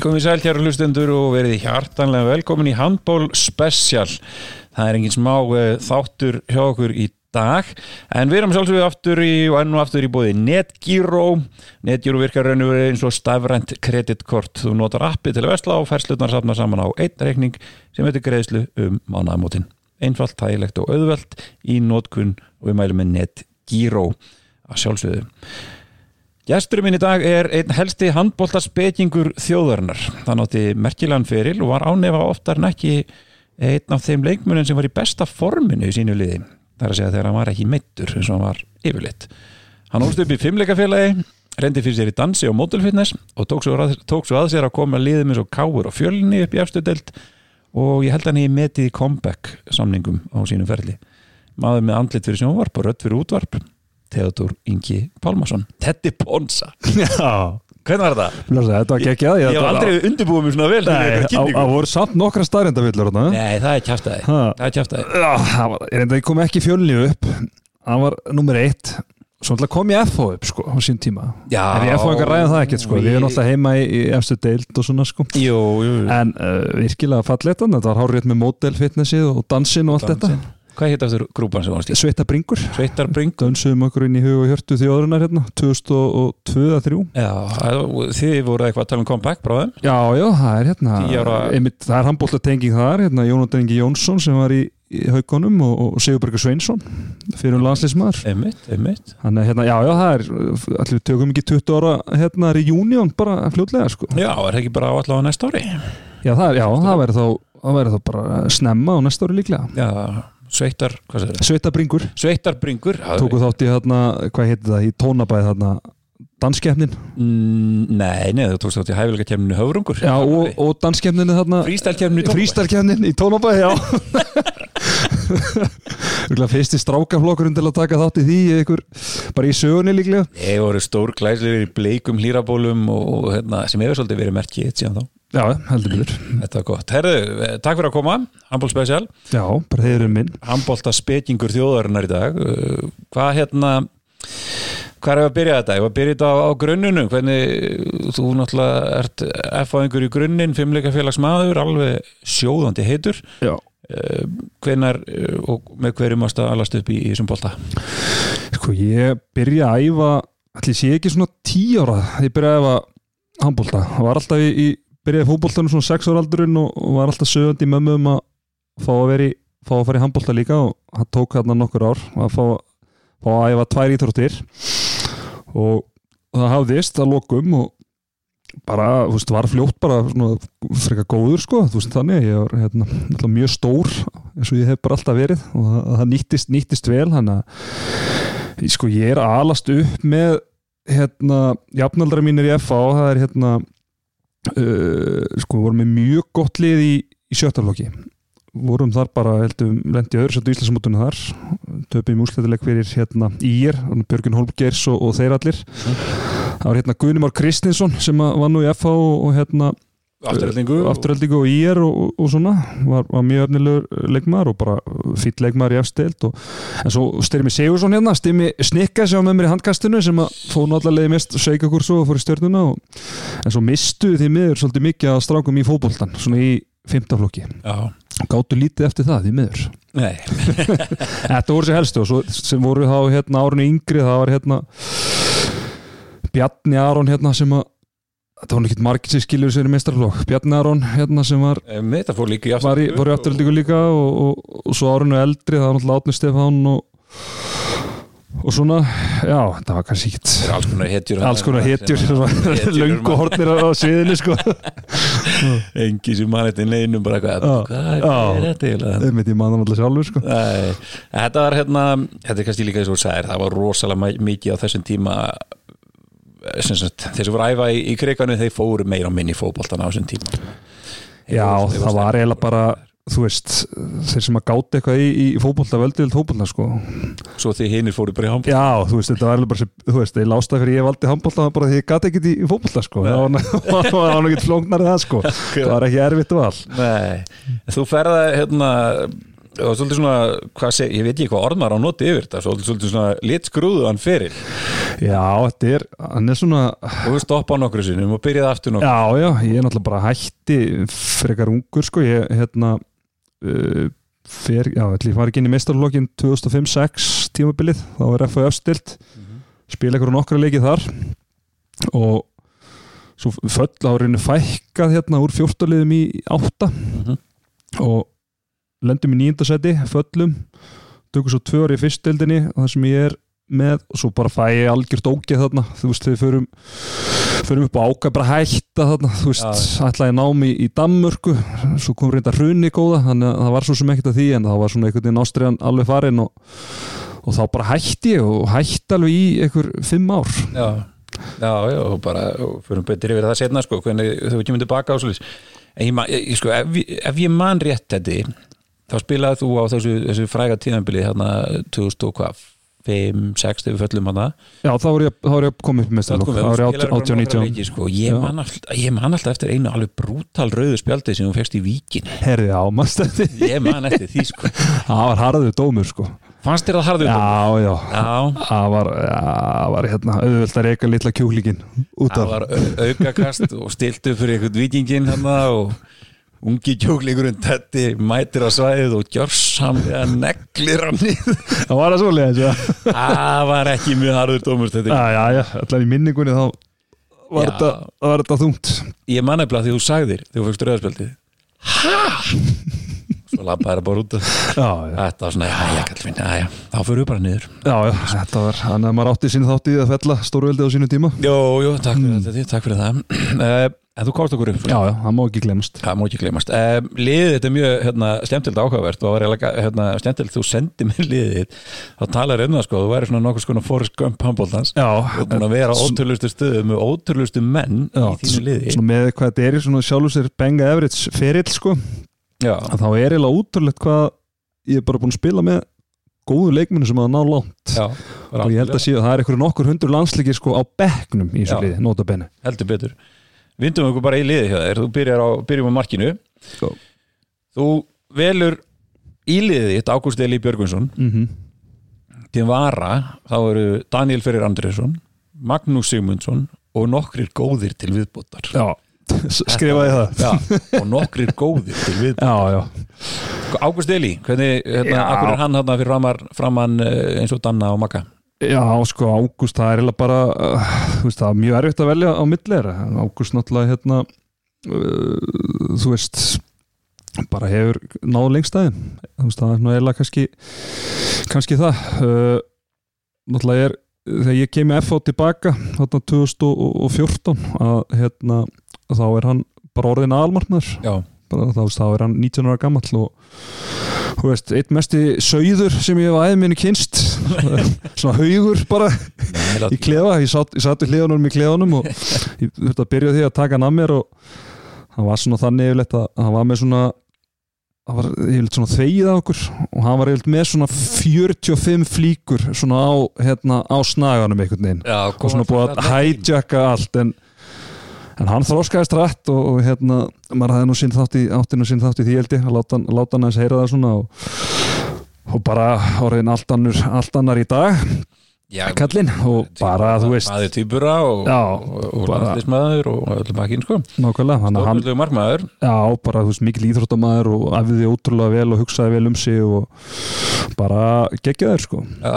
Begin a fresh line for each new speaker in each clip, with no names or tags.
Komið sæl hér hlustendur og verið hjartanlega velkomin í Handból Special. Það er engin smá eh, þáttur hjá okkur í dag en við erum sjálfsögðu aftur í, og enn og aftur í bóði NetGiro. NetGiro virkar rauninu verið eins og stafrænt kreditkort. Þú notar appi til að vesla og færslutnar safna saman á einn reikning sem heitir greiðslu um mánaðamótin. Einfalt, tægilegt og auðvelt í notkun og við mælum með NetGiro að sjálfsögðu. Gesturinn minn í dag er einn helsti handbóltaspekingur þjóðarinnar. Hann átti merkilegan feril og var ánefa oftar en ekki einn af þeim leikmunum sem var í besta forminu í sínu liði. Það er að segja þegar hann var ekki meittur eins og hann var yfirleitt. Hann ólst upp í fimmleikafélagi, reyndi fyrir sér í dansi og mótelfitness og tók svo, að, tók svo að sér að koma liðum eins og káur og fjölinni upp í efstudeld og ég held hann í metið í comeback samningum á sínum ferli. Maður með andlit fyrir sjónvarp og rödd fyrir útvarp Theodor Ingi Pálmarsson Teddy Ponsa
Já,
Hvernig var það?
blessa, þetta var geggjað
Ég hef aldrei undirbúið mér svona vel fyrir
Nei,
einhverja
á- á
kynningu.
voru samt nokkra starrendavillur þarna
Nei, það er kjaftaði
Ha.
Það er kjaftaði
Já, það var- Ég reynda, ég kom ekki fjölni upp Hann var nummer eitt Svo náttúrulega kom ég FH upp sko á sín tíma
Já.
En ég FH engar ræða það ekkert sko Við erum alltaf heima í, í efstu deild og svona sko
Jú, jú
En uh, virkilega fallegt hann Þetta var hárið með módelfitnessið og dansinn og allt
Dansinn. Hvað heit aftur grúpan sem varst í?
þetta Sveita bringur
Sveitarbring
Dönsuðum okkur inn í hug og hjörtu þjóðurinnar hérna 2002-2003
Já, það- þið voru eitthvað að tala um comeback bráðum
Já, já, það er hérna
Tíu ára-
einmitt, það er handbólta tenging þar hérna, Jónatan Ingi Jónsson sem var í, í haugunum og, og Sigurbergur Sveinsson fyrir um landslismar
Einmitt, einmitt
Þannig, að, hérna, já, já, það er, allir við tökum ekki 20 ára hérna reunion bara fljótlega sko.
Já, er það ekki bara áallega næsta ári?
Já, það, er, já, það væri þá það væri þá bara snemma á næsta ári líklega
Já, sveitar, hvað sér það?
Sveitabringur,
Sveitarbringur það-
tóku þátt í hérna, hvað heitir það, í tónabæð hérna, danskefnin
Mm, Nei, nei, þú tókst þátt í hæfilega kemninu höfrungur
já, og, og danskefnin hérna,
Frístalkemninu
Frístarkjarnin í Tónabæ, já Örgulega fyrsti strákaflokkurinn til að taka þátt í því eða ykkur, bara í sögunni líklega
Þeir voru stór glæslegur í bleikum hlýrabólum og hérna, sem hefur svolítið verið merkið eitt síðan þá.
Já, heldur byrður
Þetta var gott. Herðu, eh, takk fyrir að koma, Handbólt Special,
Já, bara þeir eru minn
Handbólta spekingur þjóðarinnar í dag. Eh, Hvað hérna, hvað er að byrja þetta? Ég var að byrja þetta á, á grunnunum, hvernig eh, þú náttúrulega ert F-fæðingur í grunnin, fimmleikafélags maður, alveg sjóðandi heitur.
Já
Hvenar og með hverjum varst að alast upp í, í þessum bólta?
Sko, ég byrja að æfa ætli sé ekki svona 10 ára ég byrja að æfa handbólta var alltaf í, í byrjaði fótbóltanum svona 6 ára aldurinn og, og var alltaf sögandi í mömmu um að fá að veri fá að fara í handbólta líka og það tók hérna nokkur ár að fá, fá að æfa tvær íþróttir og það hafðist að lokum og bara, þú veist, var fljótt bara svona frekar góður sko, þú veist þannig að ég var hérna, náttúrulega mjög stór eins og ég hef bara alltaf verið og það, það nýttist, nýttist vel, hann að sko ég er að alast upp með hérna, jafnaldra mínir í FA það er hérna uh, sko við vorum með mjög gott lið í, í sjötaflokki vorum þar bara, heldum, lendi öðru sættu Íslandsmótuna þar, töpum úsletileg fyrir hérna Ír, hann Björgun Holmgeirs og, og þeir allir það var hérna Guðnumar Kristinsson sem að var nú í FA og, og hérna
Afturöldingu?
afturöldingu og IR og, og, og svona var, var mjög öfnilegur leikmaður og bara fýtt leikmaður í afstild og, en svo Styrmi Sigursson hérna Styrmi Snikka sem var með mér í handkastinu sem að fóð náttúrulega leið mest sveikakur svo og fór í stjörnuna og, en svo mistu því miður svolítið mikið að strákum í fótboltan svona í fymtaflokki
Já,
gáttu lítið eftir það því miður
nei.
Þetta voru sér helstu og svo sem voru þá hérna árunni yngri það var hérna Bjarni Aron hérna sem að þetta var ekki margir sem skilur sér í mestarflokk Bjarni Aron hérna sem var
Em, eh, Þetta fór líka í
var í, var í afturöldingu líka og, og, og svo árinu eldri það var náttúrulega Átni Stefán og, og svona, já, það var kannski
Það er
ekkit
alls konar hetjur
alls konar hetjur
hetjur
löngu
mann.
hornir á sviðinu sko
engi sem mann þetta í neinum bara hvað,
Já.
hvað er
Já.
þetta eiginlega?
einmitt ég manna alltaf sjálfur sko
Nei, þetta var hérna þetta er kannski líka þess að þú sagðir, það var rosalega mæ- mikið á þessum tíma eh, sem sagt, þeir sem voru að æfa í, í krikanu þeir fóru meira og minni í fótboltan á þessum tíma Þeir
já,
voru- þeir voru
það var
sterkir.
eiginlega bara þú veist, þeir sem að gáti eitthvað í, í fótbolta, völdild fótbolta sko
svo því hinir fóru bara í handbólta
já, þú veist, þetta var eiginlega bara sem, þú veist, ég lásta fyrir ég valdi handbolta það var bara því ég gati ekkit í fótbolta sko það var nú- það var nú ekkit flóknar það sko það var ekki erfitt val
Nei, þú ferða hérna og svolítið svona, hvað seg, ég veit ekki hvað orðmar á noti yfir þetta, svolítið, svolítið svona litskruðan fyrir
Já, þetta er, hann er svona
og við stoppa á nokkru sinum og byrjaði aftur nokkru
Já, já, ég er náttúrulega bara hætti frekar ungur, sko, ég hérna uh, fer, já, ætli, ég var ekki inn í meistarlokkin 2005-6 tímabilið, þá var FF stilt
Mhm.
spila ykkur nokkra leikið þar og svo föll árinu fækkað hérna úr fjórtaliðum í átta
Mhm.
og lendum í nýjundasæti, föllum tökum svo tvö ári í fyrstildinni þar sem ég er með og svo bara fæ ég algjört ógeð þarna þú veist, við förum, förum upp á áka bara hætta þarna, þú veist, ætlaði námi í Danmörku, svo kom reynda hrunni góða, þannig að það var svo sem ekkert að því en það var svona einhvern veginn ástriðan alveg farin og, og þá bara hætti ég og hætti alveg í einhver fimm ár
Já, já, já, og bara og fyrir betri yfir það setna, sko, hvernig þau ekki myndi baka á svolítið en ég, man- ég, ég sko, ef, ég- ef ég man rétt þetta þá spilaði þú á þessu, þessu fræga tíðanbilið hérna 2000 og hvað 5, 6 þegar við föllum hana
já, þá var ég, þá var ég komið upp
Sko,
með stjálfok, þá var
þú spilar bara
ég
nokkra
18-19
leiki, sko. ég,
Já.
man alltaf, ég man alltaf eftir einu alveg brútal rauðu spjaldið sem hún fegst í víkin
herði á, mannst þetta
ég man eftir því sko
það var harður dómur sko
fannst þér það harður
já, já,
já,
það var, já, það var hérna, auðvöld að reyka litla kjúlíkin út
það
af
var au- aukakast og stiltu fyrir einhvern vikingin hérna og ungi kjóklingurinn tetti mætir á svæðið og gjörsamlega neglir hann niður
það var að svoleiðis já.
það var ekki mjög harður dómur
já,
þetta
já, já, allan í minningunni þá var
Já.
þetta, var þetta þungt
ég man eftir að því þú sagðir þegar þú fegst rauðspjaldið hæ svo labbaði það bara út af-
já, já,
þetta var svona, já, já, kallfinn, já, já þá fyrir við bara niður
já, já, þetta var hann að maður átti sín þátt í að fella stórveldi á sínu tíma
Jó, jó, takk fyrir, mm. takk fyrir það uh, En þú komst okkur upp sko.
já, já, það má ekki glemast
Það má ekki glemast uh, Liðið þetta er mjög hérna, slemtild áhugavert og var eiginlega, hérna, slemtild þú sendir mér liðið þitt, þá talar um það sko, þú væri svona nokkuð skona Forrest Gump handbóltans
já,
og búin að vera á ótrúlustu stöðum með ótrúlustu menn
já,
í þínu liði
svona með hvað þetta er í svona sjálfur sér Benga Everits ferill sko
Já,
að þá er eiginlega útrúlegt hvað ég er bara búin að spila með góðu leikmennu sem að ná langt
já
og ég held að síðan það er einhverju nokkur hundur landsleikir sko á bekknum í
Já.
þessu liði, nota bene
heldur betur Vindum okkur bara í liðið hjá þér, þú byrjar á, byrjum á markinu
Sko.
Þú velur í liðið þitt Ágúst Eli Björgvinsson
mm
til vara þá eru Daniel Ferrir Andriðsson Magnús Sigmundsson og nokkrir góðir til viðbótar
Já, S- skrifaði það
Já, og nokkrir góðir til viðbótar
Já, já,
Sko, Ágúst Eli, hvernig, hérna,
Já.
akkur er hann hérna fyrir framar, framann eh, eins og Danna og Magga
já, sko, Ágúst það er eiginlega bara, uh, þú veist, það er mjög erfitt að velja á millera, Ágúst náttúrulega hérna, uh, þú veist bara hefur náð lengstæðin, þú veist, það er nú eiginlega kannski, kannski það uh, náttúrulega er þegar ég kemi FH tilbaka þarna 2014 að hérna, þá er hann bara orðin aðalmarknaður
Já,
bara þá, þá er hann 19 ára gammal og þú veist, eitt mesti sögður sem ég hef aðeins minni kynst svona haugur bara í klefa, ég satt, ég satt í hliðunum í klefunum og ég þurfti að byrja á því að taka hann að mér og hann var svona þannig yfirleitt að hann var með svona hann var yfirleitt svona þvegið á okkur og hann var yfirleitt með svona 45 flíkur svona á, hérna, á snaganum einhvern veginn
Já,
og svona búið að hijacka allt en, en hann þróskaðist rætt og, og hérna, maður hafði nú sín þátt í áttinu sín þátt í því held ég, að láta, hann- láta hann aðeins heyra það svona og, og bara orðin allt annar, allt annar í dag
Já,
kallinn og bara þú veist
maður týpura og,
Já,
og, og
bara-
landslismæður og öllum bakinn sko
nákvæmlega, hann, hann
Stórmjöldlegu markmaður
já, bara þú veist mikil íþróttamaður og æfiði ótrúlega vel og hugsaði vel um sig og bara geggja þær sko
Já,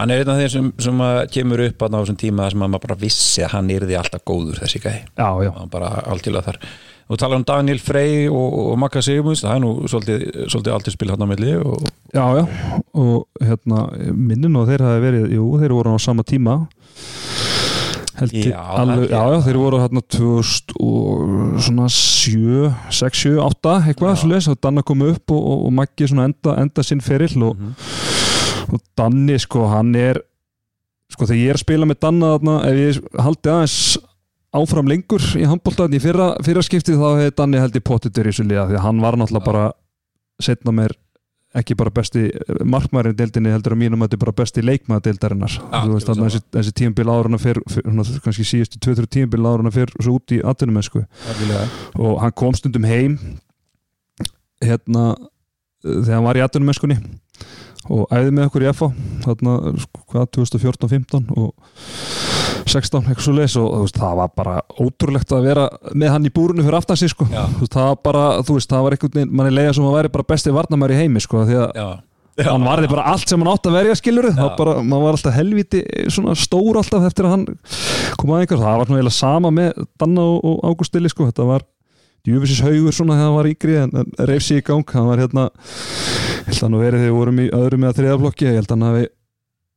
hann er einn af þeir sem, sem að kemur upp að ná þessum tíma þar sem að maður bara vissi að hann yrði alltaf góður þessi gæði
já, já,
hann bara alltjóðlega þar og tala um Daniel Frey og, og Magga Sigmunds það er nú svolítið, svolítið aldrei spil hann á milli og
já, já og hérna, minnum og þeir hafi verið jú, þeir voru á sama tíma held ég
Já,
alveg,
það-
já, já, þeir voru hérna 2000 og svona 7, 6, 7, 8 eitthvað,
Já.
svo leys, og Danna kom upp og, og, og Maggi svona enda, enda sinn ferill og,
Mhm.
og Danni sko, hann er sko þegar ég er að spila með Danna þarna, ef ég haldi aðeins áfram lengur í handbóltaðin í fyrra, fyrra skiptið þá hefði Danni held ég pottitur í þessu liða því að hann var náttúrulega bara setna mér ekki bara besti markmærin deildinni heldur að mínum að þetta er bara besti leikmæða deildarinnar
Ja,
þú veist
algjörlega
þarna þessi, þessi tímbil áruna fyrr fyrr- svona kannski síðustu 2-3 tímbil áruna fyrr svo út í atvinnumessku
algjörlega
og hann kom stundum heim hérna þegar hann var í atvinnumennskunni og æði með okkur í FA þarna, sko, hvað, 2014, 15 og 16, eitthvað svo leis og þú veist, það var bara ótrúlegt að vera með hann í búrunu fyrir aftan sig sko.
Já.
Þú veist, það var bara, þú veist, það var einhvern veginn manni leiða sem hann væri bara besti varnamæri í heimi sko, því að
já, já,
hann varði bara allt sem hann átt að verja skilur þá bara, maður var alltaf helviti svona stór alltaf eftir að hann kom að einhver það var svona eiginlega sama með Danna og, og Ágústili sko, þetta var djúfisins haugur svona þegar hann var yngri en, en reyf sig í gang, hann var hérna ég held að hann verið þegar við vorum í öðrum eða þriðablokki, ég held að hann hafi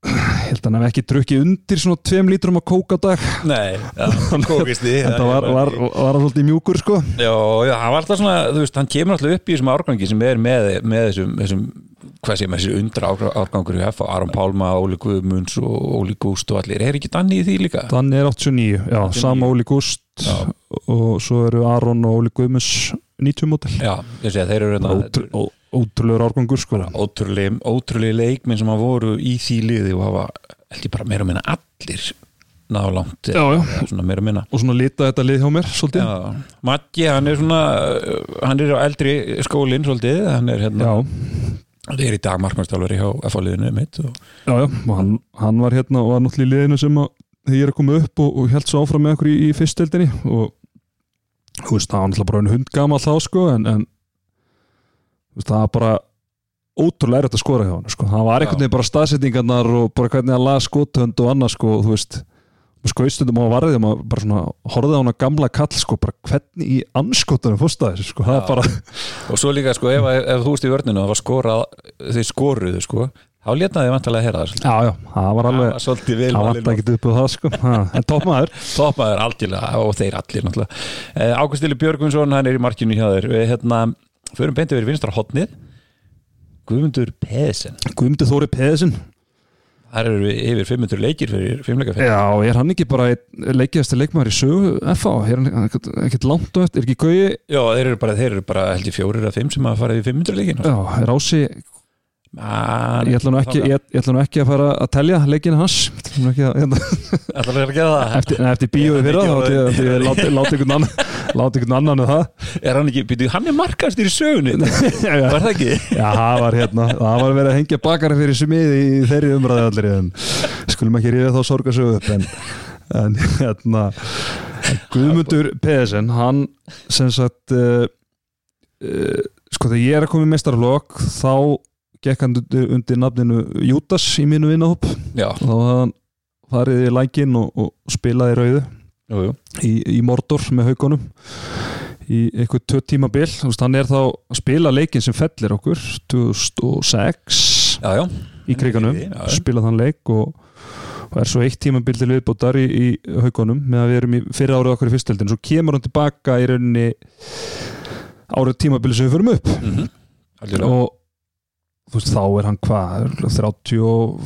ég held að hann hafi ekki drukkið undir svona tveim lítrum að kóka á dag
nei, já, Sko, kókist því
þetta var, var, var hann svolítið mjúkur sko
Já, já, hann var alltaf svona, þú veist, hann kemur alltaf upp í þessum árgangi sem er með, með þessum, þessum hvað segir maður, þessi undra árga- árgangur í F, Aron Pálma, Óli Guðmunds og Óli Gúst og allir, er ekki danni í því líka?
Danni er 89, já,
89.
sama Óli Gúst
Já.
og svo eru Aron og Óli Guðmunds 90 mótel
Já, ég segi að þeir eru hérna
Ótrú- ó- ótrúlegur árgangur sko
ótrúlega, ótrúlega leikminn sem að voru í því liði og hafa, held ég bara meira og minna allir ná langt,
já, já.
svona meira og minna
og svona lita þetta lið hjá mér svolítið já,
Já, Maggi, hann er svona uh, hann er á eldri skólinn svolítið, hann er hérna,
já,
hann er í dag markmannstjálfari hjá F-liðinu mitt og
já, og hann, hann var hérna og var náttúrulega í liðinu sem að þegar ég er að koma upp og, og held svo áfram með okkur í, í fyrstildinni og þú veist, það var náttúrulega bara einu hund gamal þá sko, en, en þú veist, það var bara ótrúlega erfitt að skora hjá hann sko. hann var einhvern
Já.
veginn bara staðsetningarnar og bara hvernig hann laði skotönd og annað sko, og þú veist, skoistundum á varðið maður bara svona horfði á hann gamla kall sko, bara hvernig í anskotunum fórstaði sko, það
Já.
er bara
Og svo líka sko, ef, ef þú veist í vörninu það var skorað, þeir skoruðu sko þá létnaði vantalega að heyra það
Já, já, það var
Það
alveg
var svolítið vel
Það
valin
vant
og
ekki upp á það sko ha, En toppmaður
Toppaður algjörlega og þeir allir náttúrulega eh, Águstili Björgvinsson, hann er í markinu hjá þér Við hérna, förum beint yfir í vinstra hotnið Guðmundur Pesen
Guðmundur Þóri Peðisinn
Þar eru við yfir 500 leikir fyrir fimmleikaferð
Já, er hann ekki bara leikiðasti leikmaður í sögu FH, er hann ekkert- ekkert langt og eftir Er ekki gauði,
Já, þeir eru bara, þeir eru bara held ég fjórir að fimm sem að fara yfir 500 leikir
já, er ási
Ah,
Ég ætla nú ekki, ég, ég ætla nú ekki að fara að telja leikina hans Ég ætla nú ekki að, hérna,
Ætla að gera það
Eftir, nei, eftir bíóið fyrir það Láti ég- ætla ég að láta- láta einhvern annan Láta einhvern annan um það
Er hann ekki, býtu, hann er markast í sögunni
Já, já.
Var það ekki?
Já, það var hérna, það var verið að hengja bakari fyrir smiði í þeirri umræði allir en skulum ekki ríða þá sorgasögu upp en, en hérna en Guðmundur Pedersen hann sem sagt uh, uh, sko þegar ég er að koma í mestarflokk þá gekk hann undir, undir nafninu Jútas í mínu vinahóp og
Já,
þá hafði hann farið í lækin og, og spilaði í rauðu
jú, jú
í, í Mordor með haugunum í eitthvað tvö tíma bil veist, hann er þá að spila leikin sem fellir okkur 2006
Já, já,
í kriganum,
Já, já.
spila þann leik og, og er svo eitt tíma bil til viðbótar í, í haugunum með að við erum í fyrra árið okkur í fyrstöldin, svo kemur hann tilbaka í rauninni árið tímabili sem við förum upp
mm -hmm.
og þú veist, þá er hann hvað örugglega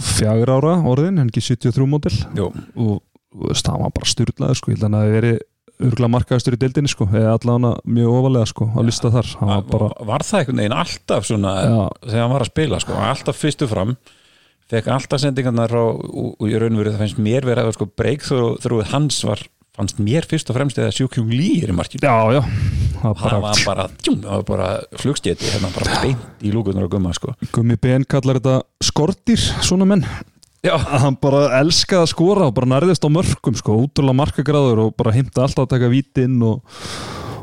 34 ára orðin, hann er ekki 73 mótil
Jú.
og þú veist, hann var bara styrlaður sko, ég held að hann hafi verið örgulega markaðastur í deildinni sko, eða allavega mjög ofalega sko, á lista þar hann var bara,
var það einhvern veginn alltaf svona
já,
þegar hann var að spila sko, hann var alltaf fyrstu fram fekk alltaf sendingarnar frá og, og í raunveru það finnst mér verið að sko, breyk þrúið hans var fannst mér fyrst og fremst eða sjúkjum líir í markinu
já, já það var
það
bara,
var bara, tjúm, það var bara flugstjeti hérna bara beint í lúkunar og gumma sko.
Gummi Ben kallar þetta skortýr, svona menn
já,
að hann bara elskaði að skora og bara nærðist á mörgum sko, útrúlega markagráður og bara heimta alltaf að taka vítinn og,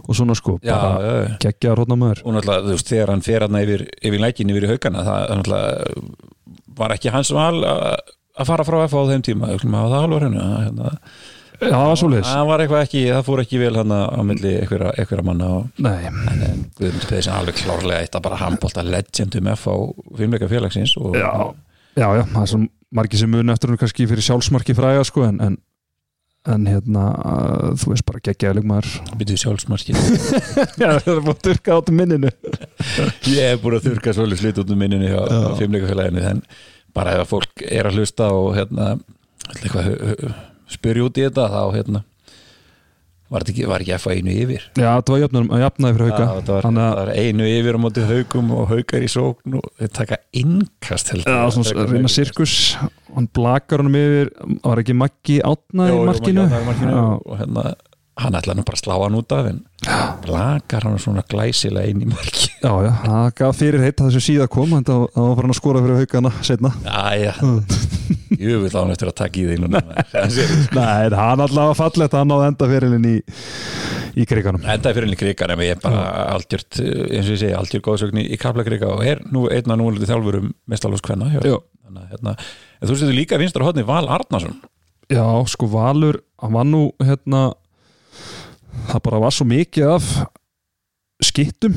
og svona sko,
já,
bara
já, já.
geggjaður hóna maður
og náttúrulega þú veist þegar hann fer hérna yfir, yfir lækin yfir í haugana það það náttúrulega var ekki hans val að að fara frá F á þeim tíma, við skulum hafa það alveg á hreinu, að hérna,
já, það var svoleiðis,
það var eitthvað ekki, það fór ekki vel hann á milli einhverja, einhverja manna og, Mm.
nei
en, en Guðmundur Pedersen alveg klárlega eitt að bara handbólta legendum F á fimmleika félagsins og
já, já, já, það er svo margir sem muni eftir hún kannski fyrir sjálfsmarki fræga sko, en, en, en hérna uh, þú veist bara geggjaðileg maður
byrjuð sjálfsmarkin
Já, það er bara að turka át um minninu
ég hef búin að þurka svolítið slitt út um minninu hjá
Já.
fimmleika félaginu en bara ef að fólk er að hlusta og hérna, ætla eitthvað hu- hu- spyrja út í þetta þá hérna var, þetta ekki, var ekki F að einu yfir
Já, það var jafnum, að jafnaði fyrir
Já, þetta
hauka
var,
Þannig að
það var einu yfir á móti haugum og haukar í sókn og þeir taka innkast held ég.
Já, svona
Frekar
reyna
haugum.
sirkus hann blakar honum yfir, var ekki Maggi átna
Jó,
í
jú,
markinu
Maggi Árna í markinu
Já,
og hérna hann ætlaði nú bara að slá hann út af en lakar hann svona glæsilega inn í marki
Já, já, það gaf fyrir heitt að þessu síða kom en það var farin að skora fyrir haugana setna
Æja, jöfull á hann eftir að taka í þig núna Það sé-
Nei, en hann allavega fallegt hann á enda fyrirlin í, í kriganum
Þetta er fyrir henni krikar en ég er bara algjört, eh, eins og ég segi, algjört góðsögn í, í kaplakrika og er nú einn af núliti þjálfurum mestalús hvenna hjá,
Já.
þannig að hérna, en þú setur líka vinstra hodni Val Arnason
Já, sko Valur, hann var nú hérna það bara var svo mikið af skittum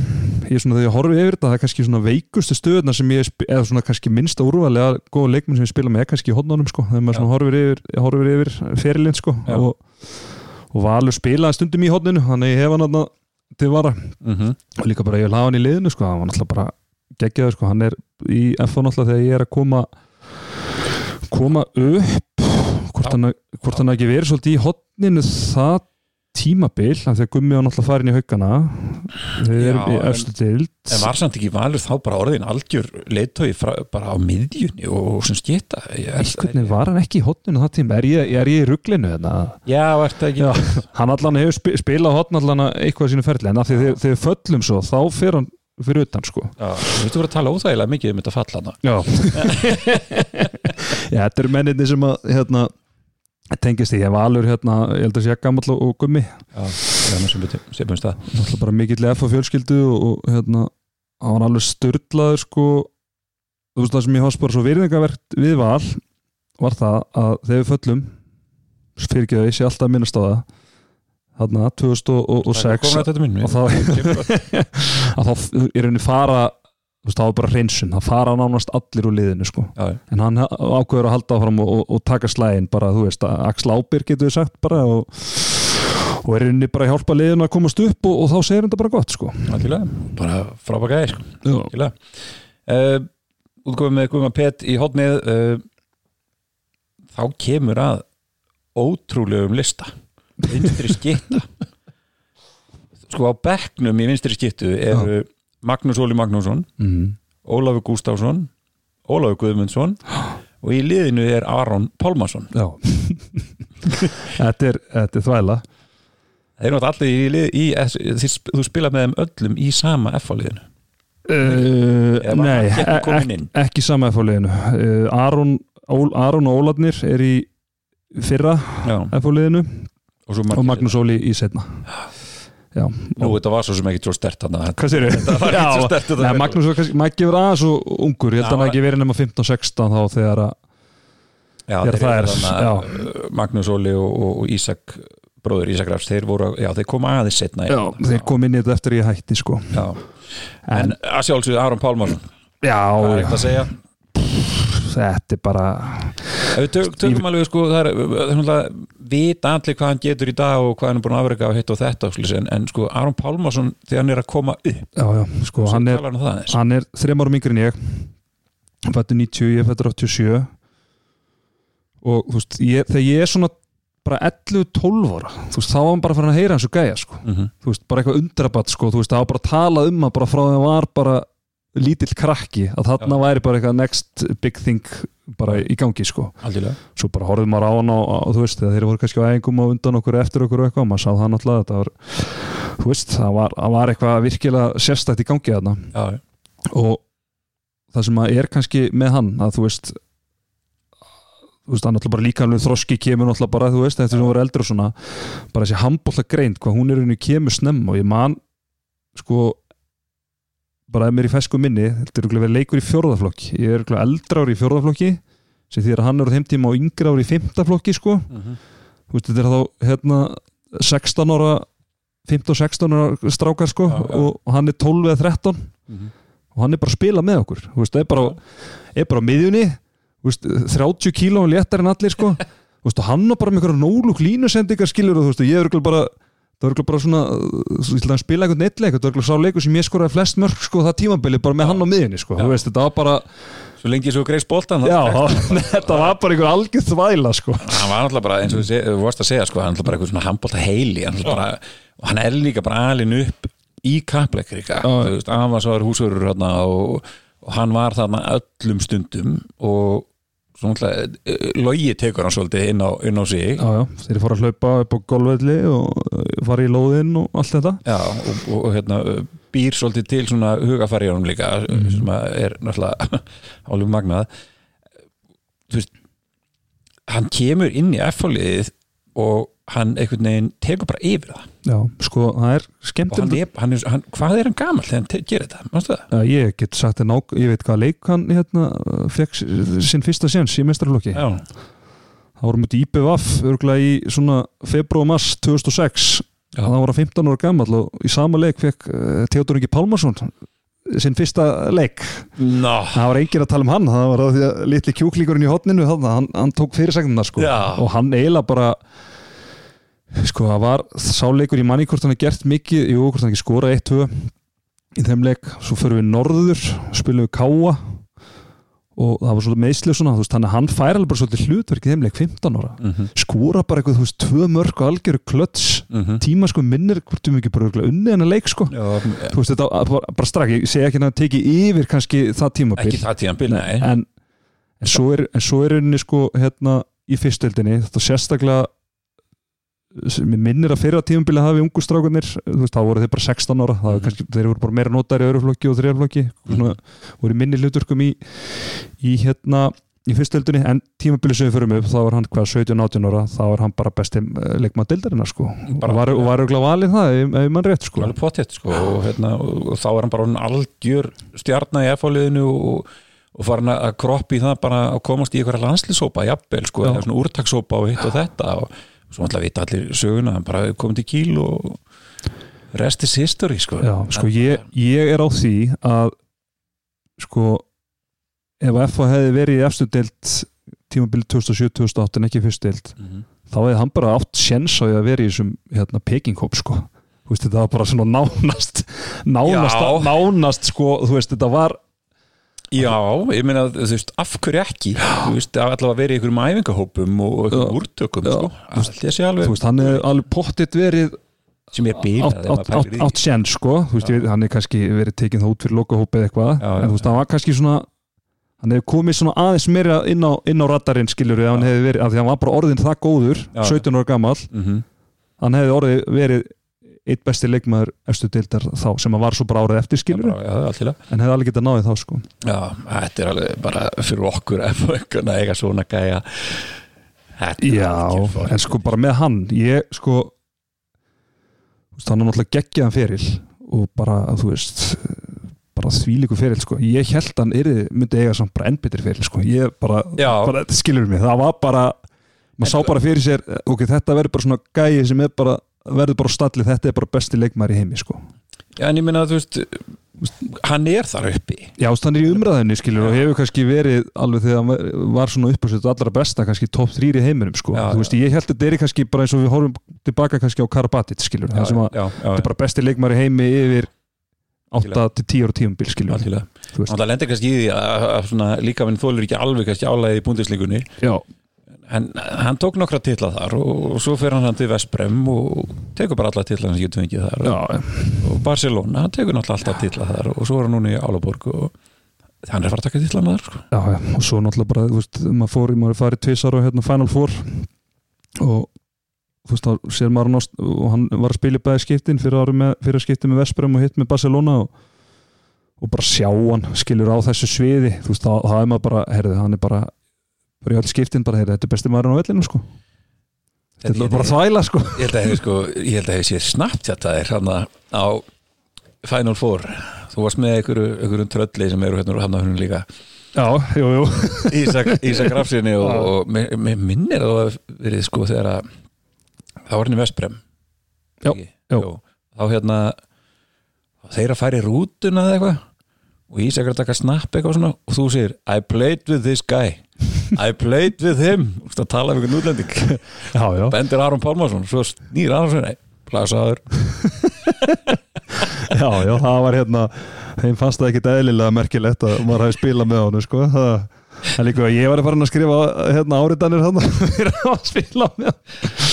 ég er svona þegar ég horfi yfir þetta það er kannski svona veikustu stöðuna sem ég sp- eða svona kannski minnsta úrvalega góða leikmenn sem ég spila með er kannski í hodnunum sko þegar maður
Já.
svona horfir yfir, horfir yfir ferilinn sko
Já.
og, og Valur spilaði stundum í hodninu þannig ég hef hann þarna til vara
mm -hmm.
og líka bara ég vil hafa hann í liðinu sko, hann var náttúrulega bara geggjaður sko, hann er í FH náttúrulega þegar ég er að koma koma upp hvort hann, hvort hann hafi ekki verið svolítið í hotninu það tímabil af því að gummi var náttúrulega farin í haugana þeir
Já,
eru í
en-
efstu dild
En var samt ekki Valur þá bara orðin algjör leitói bara á miðjunni og sem skita
hvernig var hann ekki í hotninu það tíma er ég, er ég í ruglinu þarna
Já, var þetta ekki
Já, hann allan hefur spi- spilað hotn allan eitthvað í sínu ferli en af því þegar, þegar við föllum svo þá fer hann fyrir utan sko
Já, Þú veistu bara að tala óþægilega mikið um þetta fallana
Já Já, þetta eru menninni sem að hérna, tengist því, ég valur hérna, ég held að sé að gammal og og gummi
Já, það er nú sem betur- sem betur stað
náttúrulega bara mikill F á fjölskyldu og, og hérna, hann var alveg styrlaður sko, þú veist það sem ég hans bara svo virðingavert við val var það að þegar við föllum fyrirgeðu, ég sé alltaf að minnast á það þarna 2006
Komin að þetta minn
og þá að þá í rauninni fara þú veist, þá er bara hreinsun, það fara nánast allir úr liðinu sko,
Já, já.
en hann ákveður að halda áfram og, og, og taka slægin bara, þú veist, að Axel Ábyr getur við sagt bara og, og er í rauninni bara að hjálpa liðinu að komast upp og, og þá segir hann þetta bara gott sko
Algjörlega, bara frábæk aðeins sko. Algjörlega uh, Útkomum með Guðma Pett í hotnið uh, Þá kemur að ótrúlegum lista Vinstri skitta Sko á bekknum í vinstri skittu eru Magnús Óli Magnússon
mm.
Ólafur Gústafsson Ólafur Guðmundsson og í liðinu er Aron Pálmarsson
Já þetta, er, þetta er þvæla
Þeir eru náttúrulega allir í, lið, í, í þú spila með þeim öllum í sama F-fáliðinu
uh,
Eða var
Nei, e-
hann ekki
ek-
kominn inn?
ekki sama F-liðinu uh, Aron, Ól, Aron og Óladnir er í fyrra
og
F-liðinu
svo
og
Magnús
Magnús Óli í setna Já,
Nú, þetta var svo sem ekki svo stert hann að
hvað sér
Það var ekki svo
þau?
stert þetta
Nei,
fyrir.
Magnús var kannski, Maggi var aðeins og ungur, ég
Já,
held að hann hafi ekki verið nema 15-16 þá þegar að,
já,
þegar
þeir
það
eru
er,
þarna, uh, Magnús Óli og, og, og Ísak bróður Ísak Rafs, þeir voru, já, þeir koma aðeins setna
já, þeir kom inn í þetta eftir ég hætti sko.
já. En að sjálfsögðu Aron Pálmarsson
Já,
Það er
já,
eitthvað að segja
þetta er bara
Ef Við tök, tökum alveg sko, það er það er náttúrulega vita allir hvað hann getur í dag og hvað hann er búin að afrega og hitt og þetta og svoleiðis, en, en sko, Aron Pálmarsson þegar hann er að koma upp
Já, já, sko,
sem
hann er,
talar um það aðeins
hann er þrem árum yngri en ég Hann fættur 90, ég fættur 87 og þú veist, ég, þegar ég er svona bara 11-12 ára þú veist, þá var hann bara farin að heyra hans og gæja sko.
Mhm.
þú veist, bara eitthvað undrabat sko, þú veist, það var bara að tala um að bara frá þeim var bara lítill krakki, að þarna væri bara eitthvað next big thing bara í gangi sko,
Algjörlega.
svo bara horfðum maður á hann og, og þú veist, þegar þeir voru kannski á æfingum og undan okkur og eftir okkur og eitthvað, maður sá það náttúrulega þetta var, þú veist, það var, það var eitthvað virkilega sérstætt í gangi þarna
Já, já.
og það sem að er kannski með hann, að þú veist þú veist, hann náttúrulega bara líka alveg þroski kemur náttúrulega bara, þú veist, eftir sem hún var eldur og svona bara þessi handbólta greind, hvað hún er henni kemur snemma og ég man sko, bara ef mér er í fesku minni, þetta er örugglega verið leikur í fjórðaflokk ég er örugglega eldra ári í fjórðaflokki sem því að hann er á þeim tíma og yngra ári í fimmtaflokki, sko, þú veist, þetta er þá hérna 16 ára 15-16 ára strákar, sko
Já, já.
og hann er 12 eða 13
Mhm.
og hann er bara að spila með okkur þú veist, það er bara, er bara á miðjunni þú veist, 30 kíló léttar en allir sko. Þú veist, og hann á bara með einhverja nólúk línusendingar skilur og þú veist, og ég er örugglega bara það er örugglega bara svona, ég ætla að spila einhvern eitt leik og það er örugglega sá leikur sem ég skoraði flest mörg sko, það tímabili bara með hann á miðjunni sko.
Já.
þú veist, þetta var bara,
Svo lengi svo greiðs boltan
já, þetta var bara einhver algjör þvæla sko.
hann var náttúrulega bara eins og þú seg- þú varst að segja sko, hann er náttúrulega bara eitthvað svona handbólta heili hann, náttúrulega bara, og hann er líka bara alin upp í kappleikriga
Já.
hérna hann var svo húsverur hann og, og hann var þarna öllum stundum og Svo náttúrulega, eh, logi tekur hann svolítið inn á, inn á sig
Já, já, þeir fara að hlaupa upp á golfvelli og eh, fara í lóðinn og allt þetta
Já, og, og, og hérna býr svolítið til svona hugafæri honum líka
Mhm.
sem að er náttúrulega álum magnað þú veist hann kemur inn í F-fóliðið og hann einhvern veginn tekur bara yfir það
Já, sko, það er
og hann
skemmtilegt
er, hann er, hann, hvað er hann gamall þegar hann te- gerir þetta, mannstu það?
Já, Ég get sagt þér nák, ég veit hvað leik hann hérna, fekk sinn fyrsta séns í meistarlokki
Já,
Það voru mútið IPVF örgulega í svona februar og mars 2006
Já.
Það voru 15 ára gammal og í sama leik fekk uh, Theodor Ingi Pálmarsson sinn fyrsta leik
Ná,
Það var enginn að tala um hann, það var að því að litli kjúklingurinn í hotninu, hann, hann, hann tók fyrirsagnina sko
Já.
og hann eiginlega bara sko það var sáleikur í manni hvort hann er gert mikið, jú hvort hann ekki skorað 1-2 í þeim leik, svo förum við norður, spilum við káa og það var svolítið meðslið svona, þú veist, þannig að hann fær alveg bara svolítið hlutverkið þeim leik 15 ára,
mm -hmm.
skora bara eitthvað, þú veist, tvö mörg og algjöru klöts,
Mhm.
tíma sko minnir hvort um ekki bara örugglega unnið hennar leik sko
Já,
þú veist þetta var bara, bara strax ég segi ekki að það teki yfir kannski það tímabil
ekki það tíðan bil, nei
en, en svo er en svo er henni sko hérna í fyrstöldinni þetta sérstaklega sem mér minnir að fyrra tímabilið hafi ungu strákunir, þú veist, þá voru þeir bara 16 ára það var
Mhm.
kannski, þeir voru bara meira notar í öðruflokki og þriðarflokki, svona voru í minni hluturkum í, í hérna í fyrstöldinni, en tímabilið sem við förum upp þá var hann hvað 17-18 ára, þá var hann bara besti leikmað deildarina sko
Bara-
og var, og var auðvitað valið það, ef, ef mann rétt sko
alveg pottet sko og, hérna, og, og þá er hann bara orðinn algjör stjarnar í F-fóliðinu og, og farin að kroppi í það bara að komast í einhverja landslýshópa, jafnvel sko,
Já.
eða svona úrtakshópa og hitt og þetta og svo alltaf vita allir söguna hann bara komið til kíl og rest is history sko
Já, sko ég, ég er á því að sko ef að FH hefði verið í efstu deild tímabilið 2007-2008 en ekki í fyrstu deild
Mhm.
þá hefði hann bara átt séns á því að vera í þessum hérna, pekinghóp sko þú veist þetta var bara svona nánast nánast,
Já.
nánast sko þú veist þetta var
Já, ég meina þú veist, af hverju ekki þú veist, að allavega verið í einhverjum æfingahópum og einhverjum úrtökum
Já.
sko, allt ég sé
þú
alveg
veist hann hefði alveg pottitt verið
sem ég
átt,
bílaði
átt, átt, átt séns sko þú veist, ég veit, hann er kannski verið tekinn þá út fyrir lokahópi eða eitthvað,
Já, já,
en þú veist, hann var kannski svona hann hefði komið svona aðeins meira inn á, inn á radarinn skilur við, hann hefði verið af því hann var bara orðin það góður,
Já, já.
17 ára gamall
Mhm.
hann hefði orðið verið eitt besti leikmaður efstu deildar þá sem hann var svo bara árið eftir skilur við,
átt
en hefði alveg getað náðið þá sko
Já, þetta er alveg bara fyrir okkur ef einhvern að eiga svona gæja Þetta er algjör
Já,
fórn.
en sko bara með hann ég sko þú veist, hann er náttúrulega geggjaðan feril og bara, þú veist bara þvílíku feril, sko ég held hann yrði, myndi eiga samt bara ennbyttir feril sko, ég bara,
Já.
bara þetta skilur mig, það var bara maður sá bara fyrir sér, ok, þetta verður bara svona gæi sem er bara, verður bara stallið þetta er bara besti leikmaður í heimi, sko
Já, En ég meina að þú veist hann er þar uppi
Já, þú veist, hann er í umræðinni, skilur og hefur kannski verið alveg þegar hann var- var svona uppásett allra besta, kannski topp þrýri heiminum, sko.
Já,
þú veist, ég held að þetta er kannski bara eins og við horfum tilbaka kannski á Karabatit, skilur það sem að
já, já,
þetta er bara besti leikmæri heimi yfir 8 til 10 ára tíumbil, skilur við.
algjörlega.
Þú veist.
Það lendir kannski í því að, að svona, líka minn þólur ekki alveg kannski álæðið í búndisleikunni
Já,
en hann tók nokkra titla þar og, og svo fer hann hann til Vesprem og tekur bara alla titla hann sem getur fengið þar
já,
og Barcelona, hann tekur náttúrulega alltaf titla þar og svo er hann núna í Álaborg og hann er að fara að taka titla þar sko.
já, já, og svo náttúrulega bara, þú veist, maður fór, maður farið tvisar og hérna Final Four og þú veist, þá sér maður nást og hann var að spila í bæði skiptin fyrir, ári með, fyrir að skipti með Vesprem og hitt með Barcelona og, og bara sjá hann skilur á þessu sviði, þú veist, þá þá er maður bara, heyrðu, hann er bara bara í öll skiptin bara, heyrðu, þetta er besti maðurinn á vellinu, sko þetta er bara þvæla, sko
Ég held að hefði sko, ég held að hefði séð snabbt þetta er hann á Final Four, þú varst með einhverju, einhverjum trölli sem eru hérna úr hann húnum líka
Já, jú, jú,
Ísak, Ísak Rafsinni og, og mér, mér minnir að það hafi verið sko þegar að það var hann í Vestbrem
Já,
Ekki?
já.
Jú. þá hérna þeir að fara í rútuna eða eitthvað og Ísak er að taka snapp eitthvað svona og þú segir I played with this guy I played with him Þú veist að tala um einhvern útlending
já, já
Bendir Aron Pálmarsson, svo snýr Ararsson Nei, plasaður
Já, já, það var hérna þeim fannst það ekkit eðlilega merkilegt að maður hafi spilað með honum, sko það, það líka að ég var farin að skrifa hérna áritanir hann fyrir að spila með honum.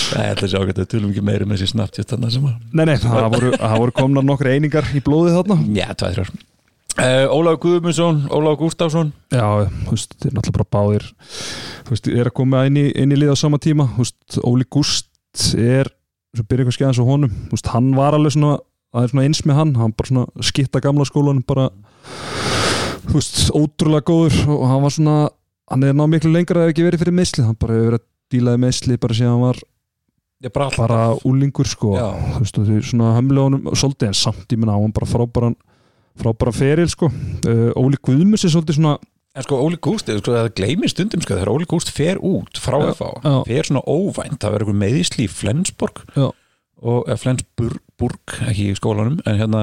Nei, þetta er sér ágætt að við tölum ekki meira um þessi snabbt sem að
Nei, nei, það voru, það voru komnar nokkri einingar í blóðið þarna
Já, tvær, þrjár Uh, Ólaf Guðmundsson, Ólaf Gústafsson
Já, þú veist, þeir náttúrulega bara báðir þú veist, er að koma inn í, inn í lið á sama tíma, þú veist, Óli Gúst er, svo byrja eitthvað skæðan svo honum þú veist, hann var alveg svona, það er svona eins með hann, hann bara svona skitta gamla skólan bara, þú veist ótrúlega góður og hann var svona hann er náð miklu lengra að ekki verið fyrir meðsli hann bara hefur verið að dílaði meðsli bara síðan hann var
Ég bara alltaf
bara úlingur sko
Já.
þú veist, og því svona hömlega honum svolítið en samt, ég minna á hann bara frábæran frábæran feril sko uh, Óli Guðmus er svolítið svona
En sko Óli Gúst, sko, það gleymir stundum sko, þegar Óli Gúst fer út frá
Já,
FH
já.
fer svona óvænt, það verður einhver meðisli í Flensborg
Já.
og eh, Flensburg, Burg, ekki í skólanum en hérna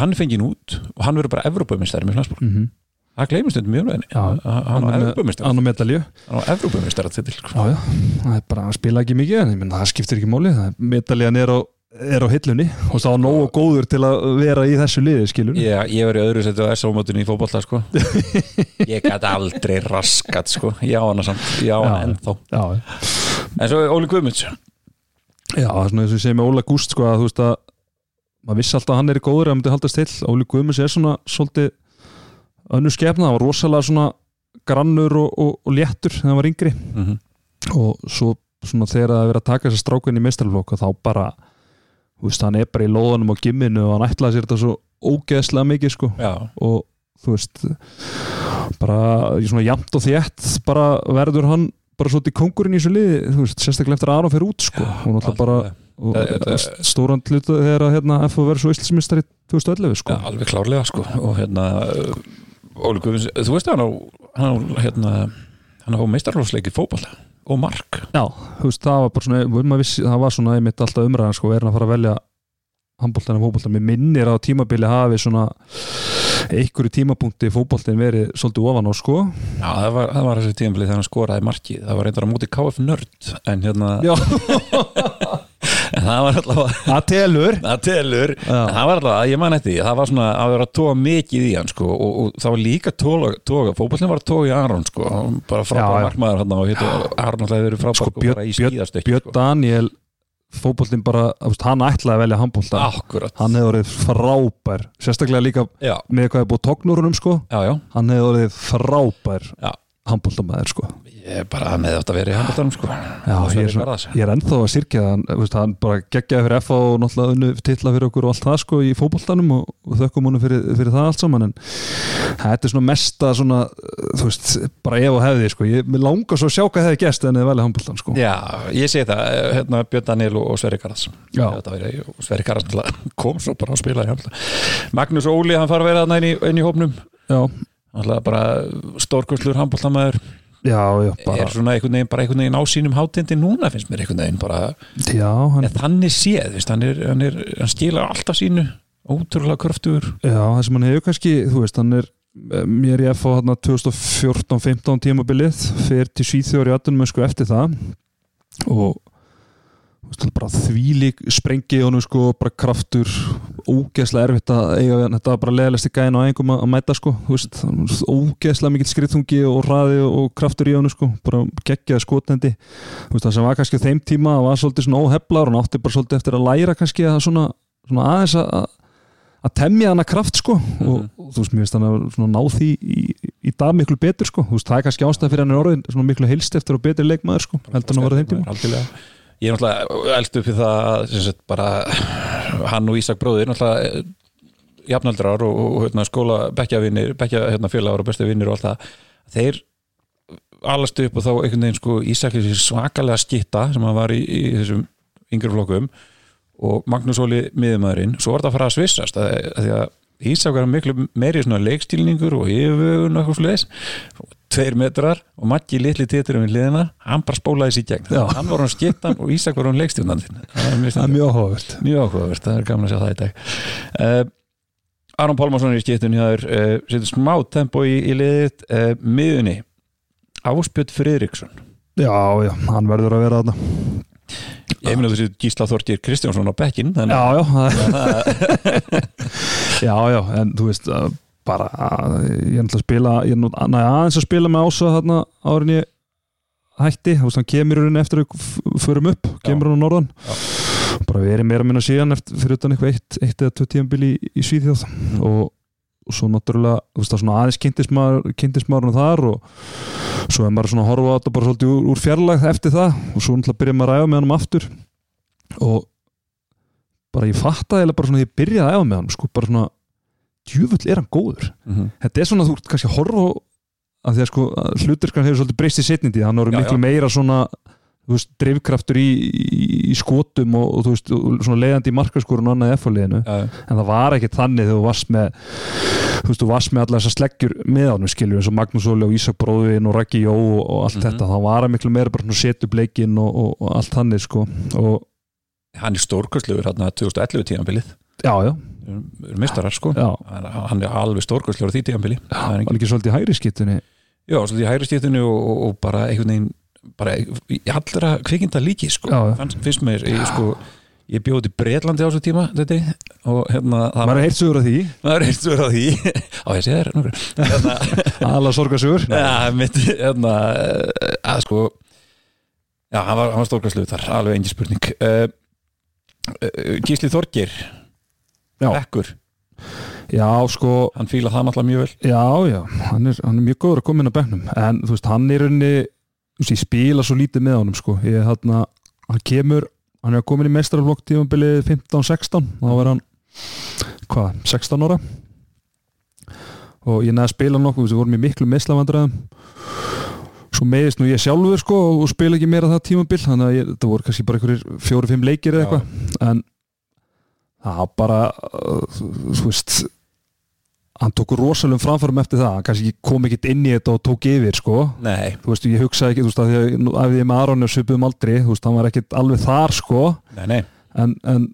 hann fengið út og hann verður bara Evrópumistari með Flensborg,
mm
það gleymir stundum mjög henni,
Já.
hann
Hann
var
er með-
Evrópumistari
annar medalju
hann var Evrópumistari til sko.
já, já, það er bara að spila ekki mikið en ég menn það skiptir ekki máli það er- medaljan er á, er á hillunni og það var nógu góður til að vera í þessu liði skilur
Já, ég var í öðru setju á S-ámótinu í fótbolta sko. ég gæti aldrei raskat sko. ég á hana samt, ég á hana
Já.
ennþá
já,
en svo er Óli Guðmunds
já, það er svona eins og ég segi með Óla Gúst sko að þú veist að maður vissi alltaf að hann er góður að hann myndi haldast til Óli Guðmunds er svona svolítið önnur skefna, það var rosalega svona grannur og, og, og léttur þegar hann var yngri
mm
og svo svona þegar það er verið að taka þess að strákunni í meistarflokk þá bara, þú veist, hann er bara í lóðanum á gimminu og hann ætlaði sér þetta svo ógeðslega mikið sko
Já,
og þú veist bara í svona jamt og þétt bara verður hann bara svolítið kongurinn í þessu liði, þú veist, sérstaklega eftir að Aron fer út sko, hún alltaf bara
alveg,
og,
Eh, eh,
st- stóran hluta þegar að hérna, FO verður svo íslensmistari 2011
já,
sko
alveg klárlega sko. og hérna uh, Óli Guðmunds, þú veist að hann á hann á, hérna, hann á meistarlófsleiki fótbolta og mark
Já, þú veist, það var bara svona um vissi, það var svona einmitt alltaf umræðan sko, er hann að fara að velja handbóltan og fótboltan, mér minnir á tímabili hafi svona einhverju tímapunkti fótboltin verið svolítið ofan á sko
já, það var, það var þessi tíðanblið þegar hann skoraði markið það var reyndar á móti KF Nörd en hérna,
Já,
en það var alltaf
það telur
það telur
Já.
En það var alltaf, ég man eftir, því, það var svona að vera að tóa mikið í hann sko og, og það var líka tóga, tóga fótbollin var að tóga í Aron sko, Hann bara
Já,
frábæð
já.
markmaður hann og hérna Aron alltaf verið frábæð
sko, Björn,
bara í sko.
Björn,
skíðastökk
Björn Daniel fótboltinn bara, þú veist, hann ætlaði að velja handbólta,
Akkurat,
hann hefur orðið frábær sérstaklega líka
já,
með hvað er búið tóknurunum sko,
já, já
hann hefur orðið frábær
Já.
handbóltamæður sko
Ég er bara með þetta verið í handbóltanum sko
Já, ég, er svona, ég er ennþá að sirkja hann, þú veist, hann bara geggjaði fyrir FA og náttúrulega unnu titla fyrir okkur og allt það sko í fótboltanum og, og þökkum honum fyrir, fyrir það allt saman en þetta er svona mesta svona, þú veist, bara ef og hefði sko, ég mig langar svo að sjá hvað hefði gest en þið velja handbóltan sko
Já, ég segi það, eh, hérna Björn Daniel og, og Sverri Garðs
Já.
Þetta verið- og Sverri Garðs náttúrulega kom svo bara að spila í handbólta Magnús Óli, hann fara að vera þarna inn í, inn í hópnum
Já,
Náttúrulega bara stórkurslur handbóltamæður
já, já, bara,
er svona einhvern veginn bara einhvern veginn á sínum hátindi núna finnst mér einhvern veginn bara
já, hann,
en þannig séð, veist, hann, er, hann, er, hann skila alltaf sínu ótrúlega kröftugur
Já, það sem hann hefur kannski, þú veist, hann er eh, mér í FH hann 2014-15 tímabilið, fer til Svíþjóður í 18 mennsku eftir það og þú veist, hann bara þvílík sprengi honum sko, bara kraftur ógeðslega erfitt að eiga við hann þetta var bara leðalesti gæðin á engum að, að mæta sko, þú veist, hann var ógeðslega mikill skriðtungi og raði og kraftur í honum sko, bara geggjaði skotnendi þú veist, það sem var kannski á þeim tíma var svolítið svona óheflar, hann átti bara svolítið eftir að læra kannski að svona, svona aðeins að að- að temja hana kraft sko og, og þú veist, mér finnst hann að svona ná því í, í dag miklu betur sko, þú veist, það er kannski ástæð fyrir hann er orðin svona miklu heilstiftur og betri leikmaður sko, heldur hann að vera þeim tíma
Algjörlega. ég er náttúrulega elst upp í það að, sem sagt, bara, hann og Ísak bróðir náttúrulega eh, jafnaldrar og, og hérna, skóla bekkjavinir, bekkja hérna, félagar og besta vinnir og allt það þeir alastu upp og þá einhvern veginn sko Ísak er þessi svakalega skitta sem hann var í, í þessum yngri flokkum og Magnús Óli miðumæðurinn, svo var þetta að fara að svissast að, að því að Ísak var miklu meiri svona leikstilningur og yfirvögun og eitthvað sliðis, tveir metrar og Maggi litli tétur um hliðina hann bara spólaði sér í gegn,
Já.
hann var hann skittan og Ísak var hann leikstilnandinn það er mjög
Það er mjög áhugavert
Mjög áhugavert, það er gaman að sjá það í dag uh, Aron Pálmarsson er í skiptun hjá þér, uh, setur smá tempo í, í liðið, uh, miðunni Áspjöld Friðriksson
Já, já, hann verður að vera þarna
Ég meina þú setur Gísla Þortir Kristjánsson á bekkinn þannig að
Já, já Já, já, en þú veist að bara, að ég er náttúrulega að spila ég er nú að- næ, aðeins að spila með ása þarna árin ég hætti þú veist, hann kemur í rauninni eftir að við f- förum upp kemur hann á norðan bara verið meira minna síðan eftir, fyrir utan eitthvað eitt, eitt eða tvö tíðanbili í, í Svíþjóð og og svo náttúrulega, þú veist það svona aðeins kynntismar, kynntismarun þar og svo er maður svona að horfa á þetta bara svolítið úr, úr fjarlægð eftir það og svo náttúrulega byrja maður að æfa með hann aftur og bara ég fattaði eiginlega bara svona því ég byrjaði að æfa með hann sko, bara svona, djöfull er hann góður
Mhm.
þetta er svona þú ert kannski að horfa á- að því að sko hluturkan hefur svolítið breyst í setnindi hann voru
Já,
miklu
já.
meira svona þú veist, drifkraftur í, í, í skotum og, og þú veist, og svona leiðandi í markaskorun og annað F-fóliðinu,
Já,
en það var ekki þannig þegar þú varst með þú veist, þú varst með allar þessar sleggjur með ánum skilju eins og Magnús Óli og Ísak Bróðin og Raggi Jó og, og allt
Mhm.
þetta, það var miklu meira bara svona setubleikinn og, og, og allt þannig sko, og
hann er stórkostlegur hann 2011 tíðanbilið
já, já,
mistarar sko
já
hann hann er alveg stórkostlegur á því tíðanbili það er
var
engin
ekki svolítið í hægri skittunni
já, svolítið í hægri stíðinu og, og, og bara einhvern veginn bara í í allra kvikinda líki sko
Já, já.
Fannst, finnst mér, ég sko ég bjóði í Breitlandi á þessu tíma þetta, og hérna, það
maður er heilt sögur af því,
maður er eitt svo ráð í á ég sé þér nokkur hérna,
alla sorgasögur
ja, mitt, hérna, eh, að sko já, hann var, hann var stórkastlu þar alveg engin spurning uh, uh, Gísli Þorgir
Já.
Ekkur,
já, sko,
hann fíla það náttúrulega mjög vel
Já, já, hann er, hann er mjög góður að koma inn á bekknum en þú veist, hann er unni þú veist, ég spila svo lítið með honum sko. ég, þarna, hann kemur, hann er komin í mestaraflokk tímabilið 15-16 þá var hann, hvað, 16 ára og ég neða að spila nokkuð, þú veist, við vorum í miklu meðslavandræðum svo meðist nú ég sjálfur sko og- og spila ekki meira það tímabil þannig að ég, þetta voru kannski bara einhverjir fjóri-fimm leikir eða
Já.
eitthvað en það var bara uh, þú, þú veist hann tók rosalum framfærum eftir það hann kannski kom ekkit inn í þetta og tók yfir sko.
Nei,
þú veist, ég hugsaði ekki þú veist, að því að nú æfði ég með Aron og svipum aldrei þú veist, hann var ekkit alveg þar sko.
nei, nei
en, en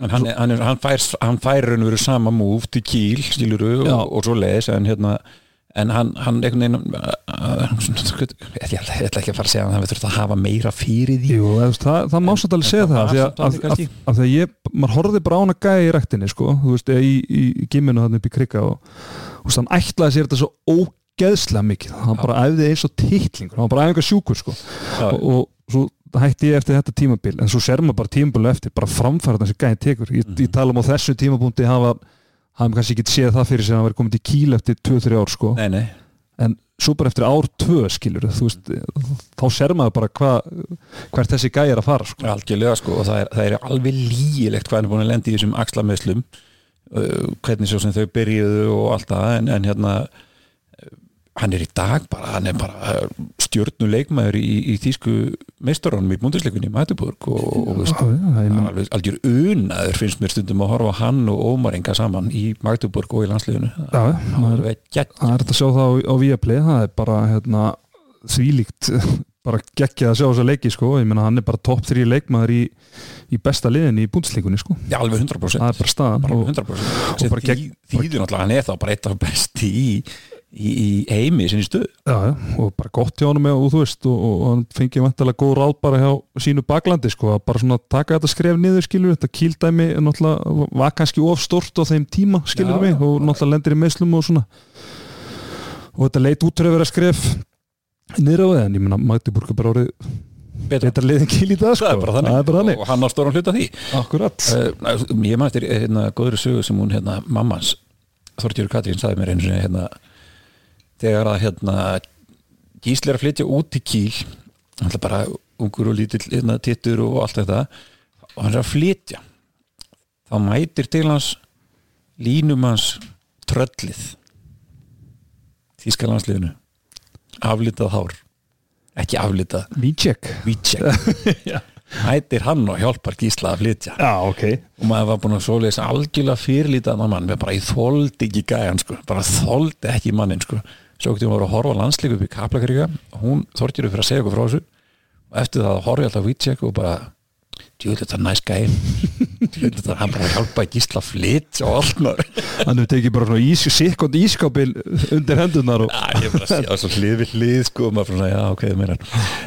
En hann, er- hann, er- hann fær, hann fær raun og veru sama múf til kýl, skiluru
Já.
og, og svo leiðis, en hérna en hann, hann einhvern veginn uh, uh, ég, ég, ég ætla ekki að fara að segja að hann við þurfum að hafa meira fyrir því
jú, þú veist, það, það má
En-
samt alveg
en
segja
það
það
var
af því
samt alveg
að- af-
kannski.
af- af því að ég, maður horfði bara á hann að gæja í rektinni sko. þú veist, eða í, í, í gimminu þannig upp í krikka og þú veist, hann ætlaði sér þetta svo ógeðslega mikið hann
Já.
bara æfði eins og titlingur hann var bara æfingar sjúkur sko. og, og svo hætti ég eftir þetta tímabil en svo ser maður bara tímabilu eftir bara framfæra þessi gæði tekur ég, ég tala um á þessu tímapunkti hafa hann kannski ekki séð það fyrir sér að hann væri komið til kíl eftir 2-3 ár sko
Nei, nei,
en svo bara eftir ár 2 skilur þú veist, þá ser maður bara hva, hvert þessi gæði er að fara sko.
algjörlega sko og það er, það er alveg lígilegt hvað hann er búin að lenda í þessum axlameðslum uh, hvernig svo sem þau byrjuðu og allt það en, en hérna uh, hann er í dag bara, hann er bara uh, stjörnuleikmaður í, í þýsku meistarunum í búndisleikunni í Mætuburg og, og, og
Já, já, það er
Það
minn-
er alveg algjör unaður finnst mér stundum að horfa á hann og Ómar Inga saman í Magdeburg og í landsliðinu Það
já,
er
maður-
alveg gegn
það er þetta að sjá það á, á Viaplay það er bara hérna, þvílíkt bara geggjað að sjá þessa leiki sko. ég meina hann er bara top 3 leikmaður í, í besta liðinni í búndsleikunni sko.
Já, alveg 100%
það er bara staðan
bara
og-
100% sem
bara
þý,
gegn-
þýður náttúrulega hann er þá bara eitt af besti í, í, í heimi sinni stuð
Já, já, og bara gott hjá honum og þú veist, og, og hann fengið vantilega góð ráð bara hjá sínu baklandi sko, að bara svona taka þetta skref niður skilur þetta kýldæmi er náttúrulega var kannski of stort á þeim tíma skilur
Já,
mig
já.
og náttúrulega lendir í meðslum og svona og þetta leit út fyrir að vera skref niður á þeim, ég meina Magdeburg er bara orðið
Betra.
betra liðin kýl í dag
það
sko,
er bara þannig,
það er bara þannig. Eh,
og hann á stóran hluta því
akkurat
uh, Ég mann eftir hérna, góður sögu sem hún hérna, mammans Þortjur Katrín sagði mér einu sinni hérna, þegar að hérna, Gísli er að flytja út til Kíl hann er bara ungur og lítill hérna, tittur og allt þetta og hann er að flytja þá mætir til hans línum hans tröllið Þíska landsliðinu aflitað hár ekki aflitað,
Vícek
vitsjæk
Já.
mætir hann og hjálpar Gísla að flytja
Já, ok
og maður var búin að svoleiðis algjörlega fyrirlítið annan mann, við bara ég þóldi ekki gæjan sko, bara þóldi ekki mannin sko svo getum við voru að horfa á landsleik upp í Kaplakaríka og hún þortir upp fyrir að segja okkur frá þessu og eftir það horfði ég alltaf að vitsjekk og bara djúðlega þetta er næs gæjan djúðlega þetta er hann bara að hjálpa að gísla flytt og allt maður
Hann hefur tekið bara svona ís, sikkond ískapil undir hendunar og
Já, ég bara sé á svo hlið við hlið sko og maður svona, já, ok, það meinar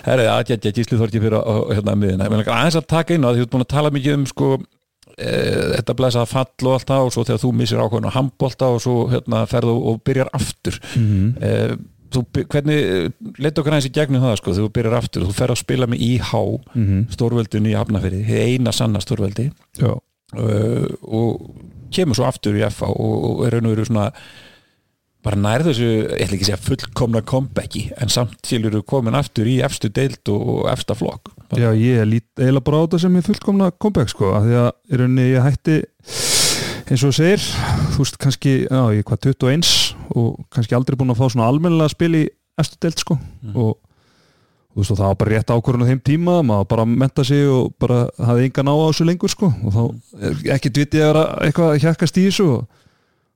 Herri, já, já, já, gíslið þorgið fyrir á- á, hérna að miðina Ég meina, aðeins að taka inn á því þú ert búin að tala mikið um sko e, þetta blæsa að fall og allt það og svo þegar þú missir ákveðin og handbolta og svo hérna ferðu og byrjar aftur
Mhm.
e, þú, by- hvernig leta okkur aðeins í gegnum það sko, þegar þú byrjar aftur þú ferð að spila með IH,
Mhm.
stórveldinu í Hafnafyrði, hið eina sanna stórveldi
Já,
uh, og kemur svo aftur í FH og, og er raun og veru svona bara nærðu þessu, ég ætla ekki að segja fullkomna comebacki, en samt félur eru komin aftur í efstu deild og, og efsta flokk
Já, ég lít eiginlega bara á þetta sem ég fullkomna comeback sko, af því að í rauninni ég hætti eins og þú segir þú veist kannski, já, ég er hvað 21 og kannski aldrei búin að fá svona almennilega spil í eftir delt sko og þú veist og það var bara rétt ákvörðun á þeim tíma, maður bara menta sig og bara hafði engan á á þessu lengur sko og þá er ekki dviti að vera eitthvað að hjakkast í þessu og,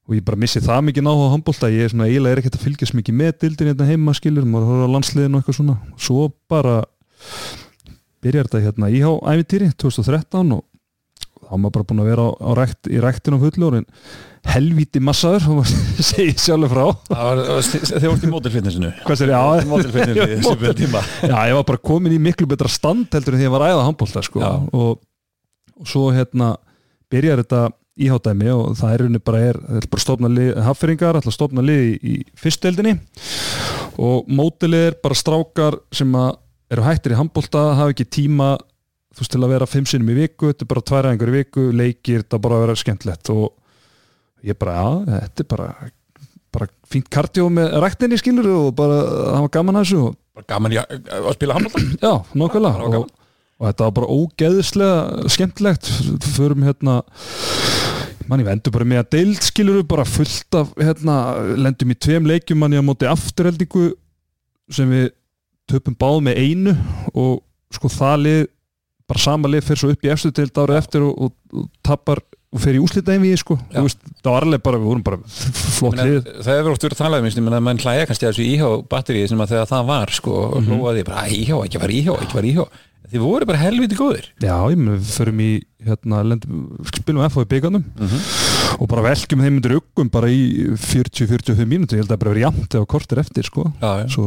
og ég bara missi það mikið náhuga á handbólta, ég er svona eiginlega er ekkert að fylgjast mikið með dildin hérna heima skilur, maður horfður á landsliðin og eitthvað svona svo bara byrjar þetta hérna íhá ævintýri 2013 og þá var maður bara búin að vera á, á rekt, í rektin á fullu orðin helvíti massaður og maður segir sjálfur frá
Þegar vorst í mótilfinninsinu
hvað sér ég á
Mótilfinninsinu
þessu fyrir
tíma
já, ég var bara komin í miklu betra stand heldur en því ég var að æða handbólta sko.
Já.
og, og svo hérna byrjar þetta íhátæmi og það er unni bara er, það er bara að stofna lið, haffyringar, ætla að stofna lið í, í fyrsteldinni og mótilið er bara strákar sem að eru hættir í handbólta, hafa ekki tíma þú veist til að vera fimm sinnum í viku þetta er bara tvær æfingar í viku, leikir þetta er bara að vera skemmtlegt og ég bara, já, þetta er bara bara fínt kardió með ræktinni skilur og bara, það var gaman að þessu og
Gaman í að, að spila handbóltan
Já,
Já,
nákvæmlega
það var
og, og þetta var bara ógeðislega skemmtilegt förum hérna mann ég vendur bara með að deild skilur við bara fullt af hérna lendum í tveim leikjum mann ég að móti afturheldingu sem við töpum báð með einu og sko það lið bara sama lið fyrir svo upp í efstu deild árið eftir og, og, og tapar og fer í úslita einví sko,
Já.
þú veist, það var alveg bara við vorum bara flott lið
Það hefur oft verið talað um eins og ég meina að menn hlæja kannski að þessu íhá batterið sem að þegar það var sko og mm hlóaði bara "Æ, íhá, ekki var íhá, ekki var íhá Þið voru bara helviti góðir
Já, ég meina, við förum í hérna, lendum, spilum FH í byggandum og bara velkjum þeim undir uggum bara í 40-45 mínúti, ég held að það bara verið jafnt eða kortir eftir, sko
Já, já.
svo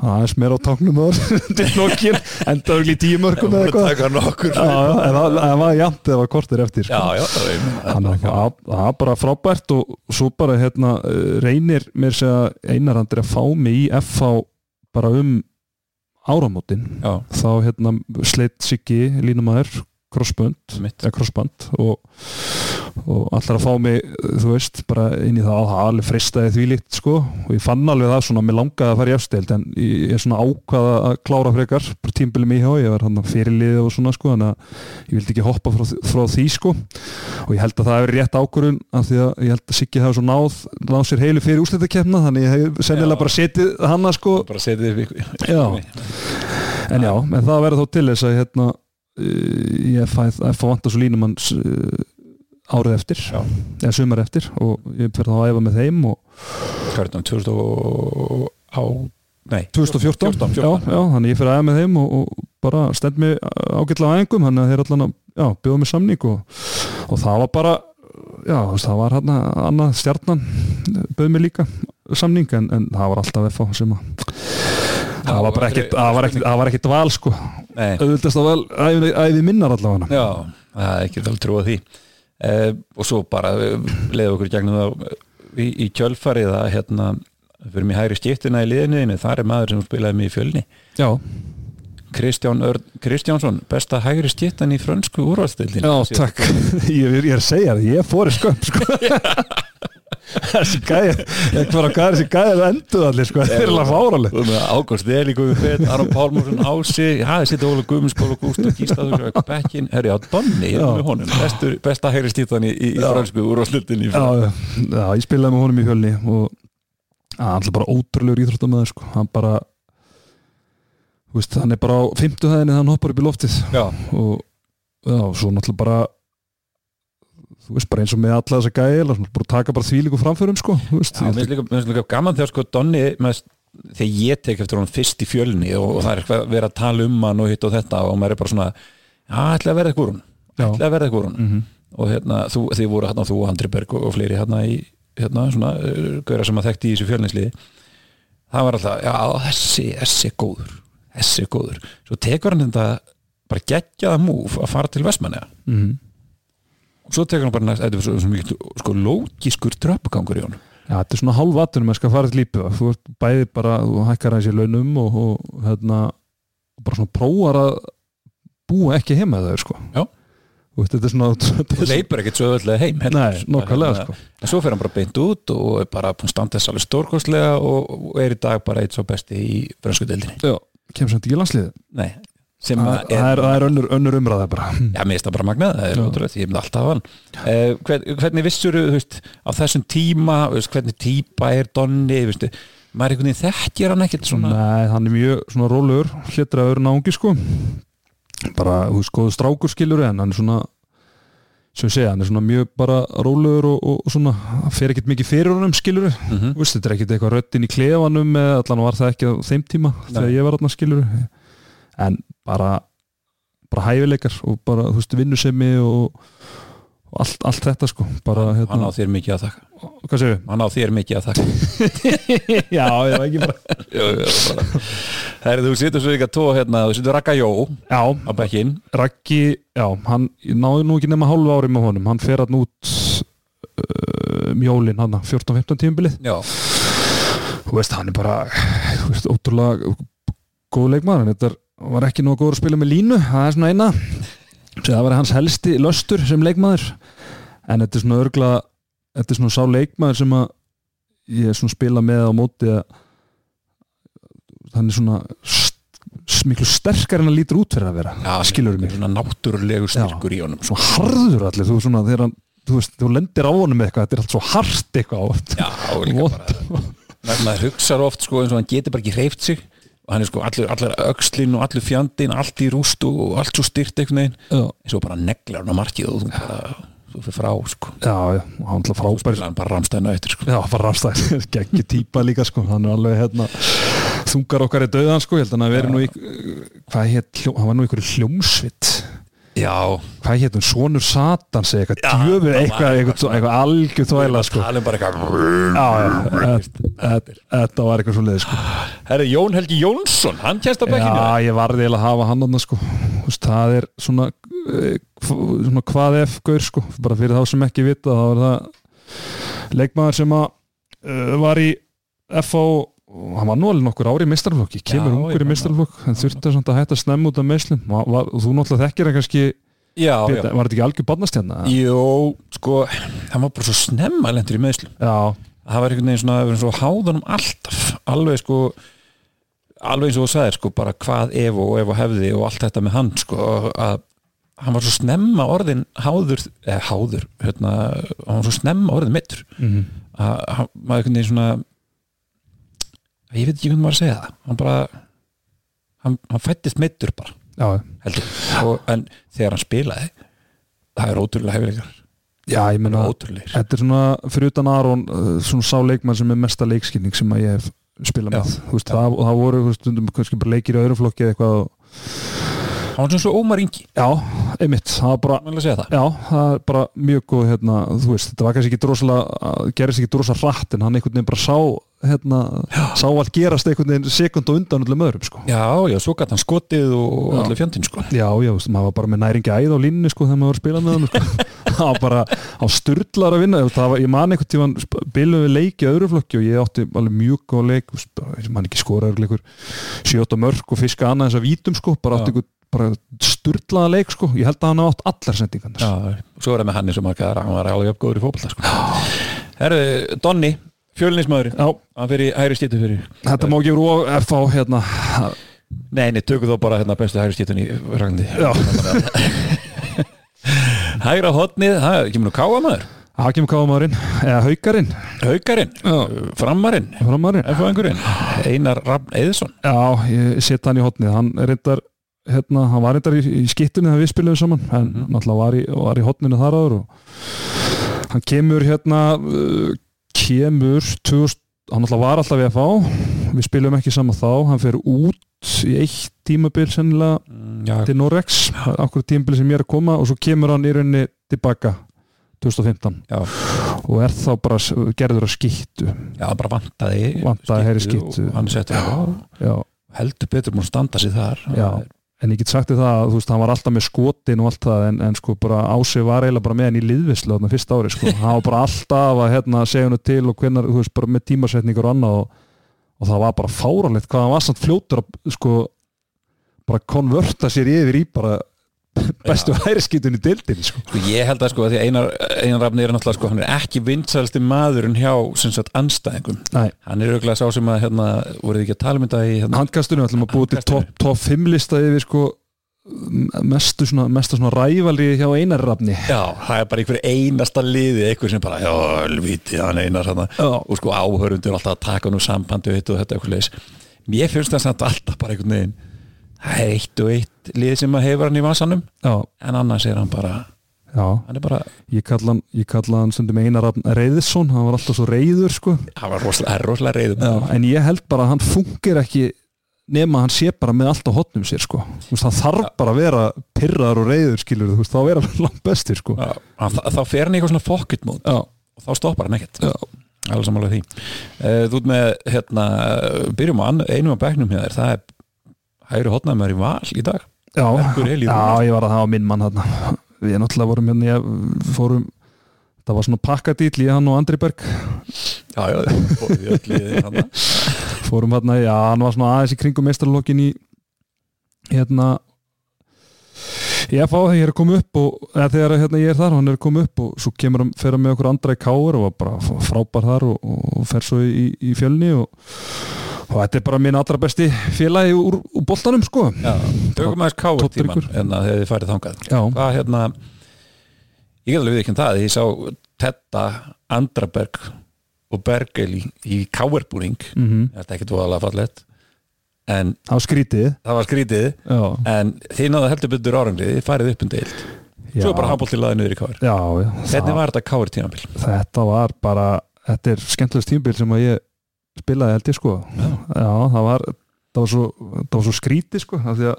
aðeins meira á táknum til nokkin, endaðu í tíu mörgum eða
Voru að
eitthvað
taka nokkur
Já, já, en það það var jafnt eða kortir eftir sko.
Já, já, það er-
Þannig að það- það var bara frábært og svo bara hérna, eh, reynir mér segja Einar Andri að fá mig í FH bara um áramótin
já,
þá hérna sleitt Siggi línumæður crossbund
mitt
eða crossband og, og allar að fá mig þú veist, bara inn í það og það alveg fristaði því líkt sko og ég fann alveg það svona, mér langaði að fara í afstild en ég er svona ákvað að klára frekar bara tímbilið mig hjá, ég var hann fyrirlið og svona sko, þannig að ég vildi ekki hoppa frá, frá því sko og ég held að það hefur verið rétt ákvörun af því að ég held að Siggi hefur svo náð náð sér heilu fyrir úrslitakefna, þannig ég hef sennilega
Já.
bara setið hana sko
Bara setið upp
Já. En já, en það verður þá til þess að hérna, uh, ég fæ, fæ vanta svo línum hans uh, árið eftir,
Já.
eða sumar eftir og ég fer þá að æfa með þeim og
Hvað er þetta, 2000 og á Nei,
2014,
14,
Já, já, þannig ég fer að æfa með þeim og, og bara stend mig ágætlega á æfingum, þannig að þeir allan að já, bjóða mig samning og, og það var bara já, þú veist, það var hérna annað stjarnan bauð mig líka samning en, en það var alltaf FH sem að það var bara ekkit, það var ekkit, það var ekkit val sko,
Nei,
auðvitaðst að val æfi, æfi minnar allavega
já, það er ekki alveg trúið því eh, og svo bara leiði okkur í gegnum það í, í kjölfarið að hérna fyrir mér hægri skiptina í liðinniðinu þar er maður sem spilaði mig í fjölni
já,
Kristján Örn Kristjánsson, besta hægri skiptan í frönsku úrvalstildin
Já, takk, ég, ég er að segja það, ég er fóri skömm sko. þessi gæði ég hver á gæði, þessi gæði er enduð allir sko. það er alveg fáraleg
Ágúst Eli Guðfett, Aron Pálmúrsson Ási, hæði sitt Óla Guðmundskól og Gústa Gístaður, Bekkin, herri á Donni ég er
Já.
með honum, Bestur, besta hægri skiptan í, í, í
Já.
frönsku úrvalstildin í
já, já, já, ég spilaði með honum í fjölni og að, hann er alltaf bara ótrúlegur íþróttamæður sko. hann bara þú veist, hann er bara á fimmtuhæðinni þegar hann hoppar upp í loftið
Já.
og já, svo náttúrulega bara þú veist, bara eins og með alla þessa gæði bara taka bara þvílíku framförum sko, þú veist,
Já, mér finnst líka, mér finnst líka gaman þegar sko Donni maður, þegar ég tek eftir honum fyrst í fjölni og, og það er eitthvað að vera að tala um hann og hitt og þetta og maður er bara svona já, ætla að verða eitthvað úr hún,
Já.
ætla að verða eitthvað úr hún
mm -hmm.
og hérna, þú, þið voru hérna þú, Andri Berg og, og fleiri hérna í hérna, svona, gauðra sem að þekkti í þessu fjölnisliði það var alltaf, já, þessi, þessi er góður þessi er góður, svo tekur hann þetta bara geggjaða múf að fara til Vestmanna
Mm -hmm.
og svo tekur hann bara, næst- þetta er svo, svo mikið sko lókiskur tröppugangur í honum
Já, þetta er svona hálf atunum að skal fara til lípið þú ert bæði bara, þú hækkar aðeins í launum og, og hérna bara svona prófar að búa ekki heima þau sko
Já.
Þú Þú veist, þetta er svona þetta er
og
svona-
leipur ekkert svo öllu heim heldur.
Nei, nokkulega,
Hérna,
sko.
en svo fer hann bara beint út og er bara búin að standa þess alveg stórkostlega og, og er í dag bara eitt svo besti í fransku deildinni
Já, kemst þetta ekki í landsliðið
Nei, sem
Það
að
það
er,
er, það er önnur, önnur umræða bara
já, mér finnst það bara magnað það er ótrúlega, ég myndi alltaf hafa hann eh, hvern, hvernig vissur, þú veist, á þessum tíma þú veist, hvernig típa er Donni þú veist, maður einhvern veginn þekkir hann ekkert svona
Nei, hann er mjög svona rólegur hlitraður náungi sko bara, þú veist, góðu strákur skilur en hann er svona sem ég segja, hann er svona mjög bara rólegur og, og, og svona, hann fer ekkert mikið fyrir honum skilur
mm
þú veist, þetta er ekkert eitthvað röddin í klefanum eða allan var það ekki á þeim tíma þegar ég var allan skilur en bara, bara hæfileikar og bara, þú veist, vinnusemi og, og allt, allt þetta sko bara,
hann á
hérna,
þér mikið að þakka
hvað segir
hann á þér mikið að þakka
Já, ég var ekki bara
það er þú situr svo ykkar tó hérna, þú situr Raka Jó
Já,
á bekkinn
Raggi, já, hann ég náði nú ekki nema hálfu ári með honum hann fer hann út uh, mjólin hann, 14-15 tímbilið
já,
þú veist, hann er bara þú veist, ótrúlega góð leikmaður en þetta er, var ekki nóg góður að spila með línu það er svona eina Sér, það var hans helsti löstur sem leikmaður en þetta er svona örgla þetta er svona sá leikmaður sem að ég svona spila með á móti að hann er svona st miklu sterkar en að lítur út fyrir að vera
já
skilurðu mig.
svona náttúrulegu styrkur í honum
svo harður allir þú, svona, þegar hann, þú, veist, þú lendir á honum með eitthvað þetta er allt svo hart eitthvað
já, og líka
Vont.
bara Ma- maður hugsar oft sko eins og hann getur bara ekki hreift sig og hann er sko allir, allir öxlin og allir fjandin allt í rústu og allt svo styrt einhvern veginn
já,
eins og bara neglar hann á markið og þú bara þú fyrir frá sko
já, já, hann er frábær
Spila hann bara ramstæðna eftir sko
já, bara rafstæð, geggi típa líka sko, hann er alveg hérna þungar okkar er döðan sko, ég held hann að vera nú í eh, hvað hétt, hljó- hann var nú í einhverju hljómsvitt
já,
hvað hétt hann, Sónur Satans
Já,
eða eitthvað djöfuð,
það var
eitthvað, eitthvað, eitthvað algjör þvæla sko
tala um bara eitthvað
já, já, þetta- þetta þetta var eitthvað svo leiði sko
herri Jón Helgi Jónsson, hann kjæst á bekkinu
Já, ég varði eiginlega að hafa hann hann sko. Þú veist, það er svona, eh, hv- svona hvað ef gaur sko. bara fyrir þá sem ekki vita þá er það leikmaður sem að uh, var í FO og hann var nú alveg nokkur ári í meistarflokki
Já,
kemur ungur
ég
í
man
meistarflokk en þurfti samt að hætta snemma út af meislum og var- og þú náttúrulega þekkir hann kannski
já, já,
betur, var þetta ekki algjör barnastjarna?
Jó, sko, hann var bara svo snemma lendur í meðslum
Já,
það var einhvern veginn svona, það var svo háðanum alltaf alveg sko alveg eins og þú sagðir sko, bara hvað ef og ef og hefði og allt þetta með hann sko, að hann var svo snemma orðin háður, eða háður hérna, hann var svo snemma orðin mittur
mm.
að hann maður einhvern veginn svona ég veit ekki hvernig maður að segja það hann bara hann, hann fættist mittur bara
já,
heldur, og, en þegar hann spilaði það er ótrúlega hefilegar
já, ég meina
ótrúlegar,
Þetta er svona, fyrir utan Aron uh, svona sá leikmann sem er mesta leikskilning sem að ég hef spilað
Já.
með Þú veist, það, það voru þú veist, stundum kannski bara leikir í öðru flokki eða eitthvað og,
hann var svona svo ómar yngi
Já, einmitt, það var bara
maður að segja það
Já, það er bara mjög góð hérna, þú veist, þetta var kannski ekki drosalega að- gerist ekki drosalega hratt en hann einhvern veginn bara sá hérna, sá allt gerast einhvern veginn sekund og undan öllum öðrum sko.
Já, já, svo gæti hann skotið og
Já.
allir fjöndin sko
Já, já, þú veist, maður var bara með næringi æð á línni sko þegar maður var að spila með hann sko. það var bara, hann sturdlar að vinna þú veist, það var, ég man einhvern tímann bilum við leiki á öðru flokki og ég átti alveg mjög góð leik, þú veist, bara, ég man ekki skora örgleikur sjóta mörg og fiska annað eins að vítum sko, bara
Já.
átti einhvern bara sturdlaða leik sko, ég held að hann hafi átt allar sendingarnar
Já, svo er það með Hanni sem að hann var alveg uppgóður í fótbolta sko Herðu, Donni, fjölinismæðurinn
Já,
hann fyrir hægri stítu fyrir
þetta má gefur og FH hérna
Nei, nei, tökum þó bara hérna bestu hægri stítunni í rangandi
Já.
Hægra hotnið, það kemur nú káa maður
Hakim Kámaðurinn, eða Haukarinn
Haukarinn,
Já.
framarinn
Framarinn
F-angurinn, Einar Rafn Eðsson
Já, ég set hann í hotnið hann reyndar, hérna, hann var reyndar í, í skittunni þegar við spilaðum saman en
Mhm.
náttúrulega var í, var í hotninu þar áður og hann kemur hérna uh, kemur 2000, hann náttúrulega var alltaf í FH við spilaðum ekki saman þá, hann fer út í eitt tímabil sennilega
Já,
til Norex, okkur tímabil sem ég er að koma og svo kemur hann í rauninni tilbaka 2015
já,
og er þá bara s- gerður að skittu
já, bara vantaði
Vantaði hægri
skyttu
skyttu.
og Hann settur á,
já
heldur betur múin að standa sér þar
Já, en ég get sagt þér það að þú veist, hann var alltaf með skotin og allt það en, en sko bara Ási var eiginlega bara með hann í liðvislu þarna fyrsta ári sko, hann var bara alltaf að hérna segja hennu til og hvenar, þú veist, bara með tímasetningur og annað og, og það var bara fáralegt hvað hann var samt fljótur að sko bara konverta sér yfir í bara bestu hæriskitun í deildin sko.
Sko, ég held að sko að því að Einar, Einar Rafni er náttúrulega sko, hann er ekki vinsælsti maðurinn hjá sem sagt anstæðingum
Nei,
hann er auðvitað sá sem að hérna voruð þið ekki að tala um þetta í hérna
handkastunum ætlum að búið til topp top 5 lista yfir sko mestu svona, mestu svona rævalri hjá einarrafni
já, það er bara einhver einasta liði einhver sem bara, já, helvíti, hann Einar hérna.
Já.
og sko áhörundur alltaf að taka nú sambandi og hitt og þetta eitthvað leis mér finnst það samt alltaf bara einhvern veginn það er eitt og eitt lið sem að hefur hann í vasanum
Já,
en annars er hann bara,
já,
hann er bara
ég kalla hann, ég kalla hann stundum einarrafn Reyðisson, hann var alltaf svo reyður sko
hann var rosalega, hann er rosalega reyðum
já. en ég held bara að hann fungir ekki nema hann sé bara með allt á hotnum sér sko Þú veist, það þarf bara að vera pyrrar og reyður skilur þú veist, þá vera hann langt bestir sko
Já, hann- þá, þá fer hann í eitthvað svona pocket mode
já,
og þá stoppar hann ekkert
já,
alveg sammála því uh, þú ert með, hérna, byrjum á ann- einum af bæknum hér, það er hægri hotnaðumar í val í dag
já,
Bergur Elí Rúnar.
ég var að hafa minn mann þarna við náttúrulega vorum hérna, ég fórum það var svona pakkadýl, ég hann og Andri Berg
já, já, fóruð í öll liðið þarna.
fórum hérna, já, hann var svona aðeins í kringum meistarlokkin í hérna ég fá þegar ég er að koma upp og eða, þegar hérna, ég er þar, hann er að koma upp og svo kemur hann, fer hann með okkur andra í káur og var bara frábær þar og, og fer svo í, í fjölni og, og þetta er bara minn allra besti félagi úr, úr boltanum sko
já, tökum aðeins káur tíman
Toddrykkur.
en að þið farið þangað
já,
hvað, hérna, ég get alveg við ekki um það ég sá Tetta, Andraberg og Bergel í, í káurbúning
mm
þetta er ekki tvoðalega fallett en
á skrítið
Mhm. það var skrítið
já,
en þið náðu heldur byrður árangrið þið farið upp um deild,
já,
svo er bara handbóltið laðið niður í káur
já, já það-
Hvernig var þetta káur tímabil?
þetta var bara þetta er skemmtilegst tímbil sem að ég spilaði held ég sko
Já.
það var, það var svo, það var svo skríti sko, af því að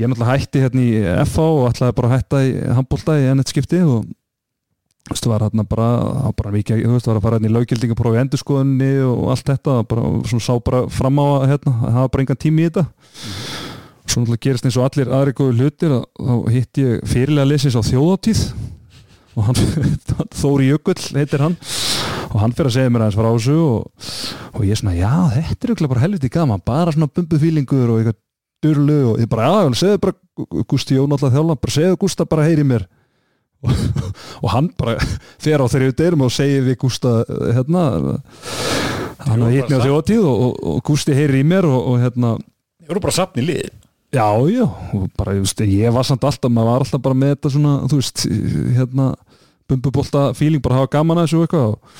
ég náttúrulega hætti hérna í FH og ætlaði bara að hætta í handbólta í ennett skipti og þú veist, var hérna bara, það var bara mikið, þú veist, var að fara hérna í löggildingaprófi endurskoðunni og allt þetta og bara, svona sá bara fram á að hérna, að hafa bara engan tími í þetta svo náttúrulega gerist eins og allir aðri góðu hlutir að þá hitti ég fyrirlega lesins á þjóðatíð og hann Þóri Jökull heitir hann og hann fyrir að segja mér aðeins frá þessu og, og ég svona, já, þetta er auðvitað bara helviti gaman, bara svona bumbufílingur og eitthvað durlu og ég bara, já, segðu bara Gústi Jón alltaf þjála, bara segðu Gústa bara heyri mér og, og hann bara fer á þeirri dyrum og segir við Gústa eh, hérna hann
Jú,
hitt
bara
mér á þjóðtíð og, og, og Gústi heyri í mér og, og hérna
Þið voru bara sapn í lið
Já, já, og bara, ég, veist, ég var samt alltaf, maður var alltaf bara með þetta svona, þú veist, hérna, bumbubólta feeling, bara hafa gaman að þessu og eitthvað og,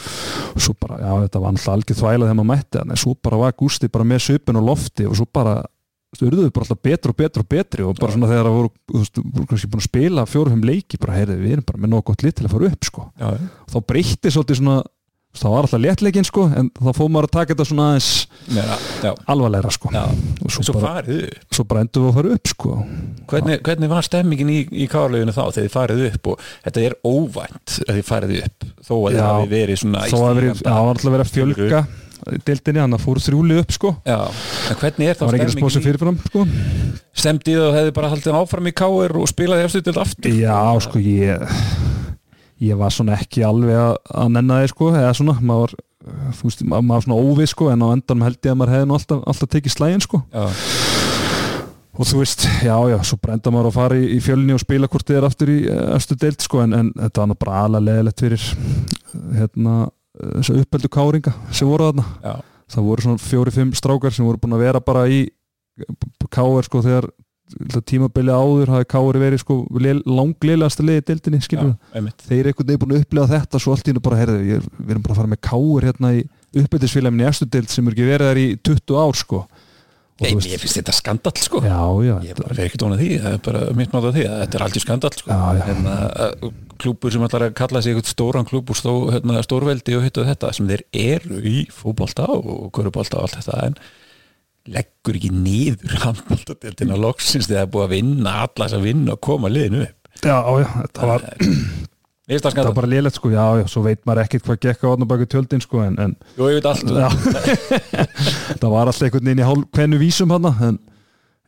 og svo bara, já, þetta var alltaf algjör þvæla þegar maður mætti hann, en svo bara var Gústi bara með söpun og lofti og svo bara, þú veist, urðuðu bara alltaf betri og betri og betri og bara svona þegar það voru, þú veist, voru kannski búin að spila fjórum leiki, bara, heyrðu, við erum bara með nóg gott lið til að fara upp, sko
Já,
og þá breytti svolítið svona, þú veist, það var alltaf léttleikin, sko, en þá fór maður að taka þetta svona aðeins
Meira, já,
alvarlegra, sko.
já.
Og svo
Svo
bara-
farið upp
svo bara endum við að fara upp, sko.
hvernig, hvernig var stemmingin í, í kárleginu þá þegar þið farið upp og þetta er óvænt að þið farið upp þó að þið
Já.
hafi verið svona í
þá var verið,
stíganda-
já, það var alltaf verið að fjölga deildinni, hann að fóru þrjúli upp sko
Já, en hvernig er þá
það var ekki að spá sér
stemmingin í
fyrirfram sko
stemdið og hefði bara haldið áfram í káur og spilaði eftir til aftur
já, sko, ég ég var svona ekki alveg að, að nenna þið sko, eða svona, maður var þú veist, ma- maður var svona óvið sko, en á endanum held ég að maður hefði nú alltaf, alltaf tekið slægin sko
Já,
og þú veist, já, já, svo brenda maður að fara í, í fjölni og spila hvort þið er aftur í östu deild sko, en, en þetta var nú bara alveg leðilegt fyrir eh, hérna, eh, þessu uppeldu káringa sem voru þarna
já,
það voru svona fjóri-fimm strákar sem voru búin að vera bara í K.R. sko þegar tímabili áður hafði K.R. verið sko langleilegast að leiði deildinni
já,
skilur við
einmitt
þeir eitthvað nefnir búin að upplega þetta svo allt í hennu bara heyrðu ég, við erum bara að fara með K.R. hérna í uppbyttisfélaginni í efstu deild sem er ekki verið þar í 20 ár sko og
Nei, mér finnst þetta skandall sko
já, já,
Ég bara fer ekki tóna því, það er bara mitt mátt að því að þetta er aldrei skandall sko.
Já, já.
Hérna, að- klúbbur sem ætlar að kalla sig eitthvað stóran klúbb úr stó, hérna, stórveldi og hittu þetta sem þeir eru í fótbolta og körubólta og allt þetta en leggur ekki nýður handbóltadeltina loksins þegar það er búið að vinna allas að vinna og koma liðinu upp
já, já, þetta var
Mér finnst það
þetta var
skandall,
bara lélegt sko, já, já, svo veit maður ekkert hvað gekk á hann baki tjöldin sko, en, en
jú ég veit allt um
Já. það var alltaf einhvern veginn í hálf hvennu vísum hann en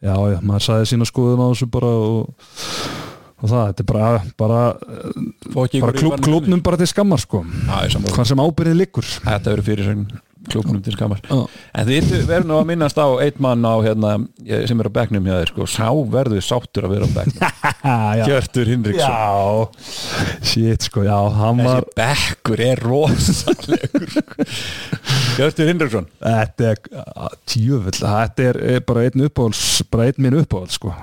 já, já, maður sagði sína skoðun á þessu bara og, og það, þetta er bara, bara,
Fá ekki
bara
ykkur í
klub,
barnum.
klubnum bara til skammar sko,
Já, ég er sammála.
hvað sem ábyrðin liggur
Þetta verður fyrirsögn klubnum til skamar
Já.
en þið yrðu- verður nú að minnast á eitt mann á hérna eh, sem er á bekknum hjá þér sko, sá verður sáttur að vera á bekknum
já,
Hjörtur Hinriksson
já shit sko, já, hann var
sko. þessi bekkur er rosalegur sko. Hjörtur Hinriksson
þetta er tjöfull þetta er, er bara einn uppáhalds bara einn minn uppáhalds sko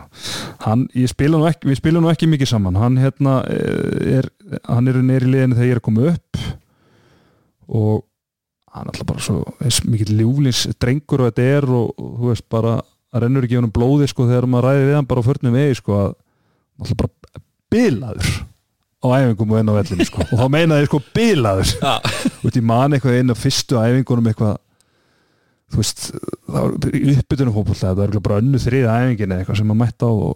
hann, ég spila nú ekki, við spilum nú ekki mikið saman hann hérna eh, er hann er neyri liðinu þegar ég er að koma upp og hann er alltaf bara svo eins mikið ljúflins drengur og þetta er og, og þú veist bara hann rennur ekki í honum blóði sko þegar maður ræði við hann bara á förnum vegi sko að hann er alltaf bara bilaður á æfingum og enn á vellinu sko og þá meinaði ég sko bilaður
Já.
út í man eitthvað einn á fyrstu æfingunum eitthvað þú veist, það var uppbytunum fótbolta það var örugglega bara önnu þriða æfingin eða eitthvað sem maður mætti á og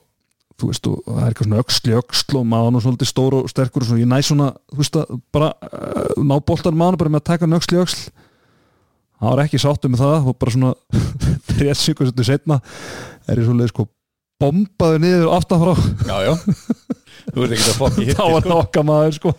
þú veist, og það er eitthvað svona öxl í öxl og maður nú svolítið stór og sterkur og svona, ég næ svona, þú veist að bara uh, ná boltan maður bara með að taka hann öxl í öxl það var ekki sáttu með það og bara svona þrjast sigur setna setna er ég svolítið sko bombaði niður aftan frá,
já, já þú ert ekki að fokki hitti
þá var nokka maður sko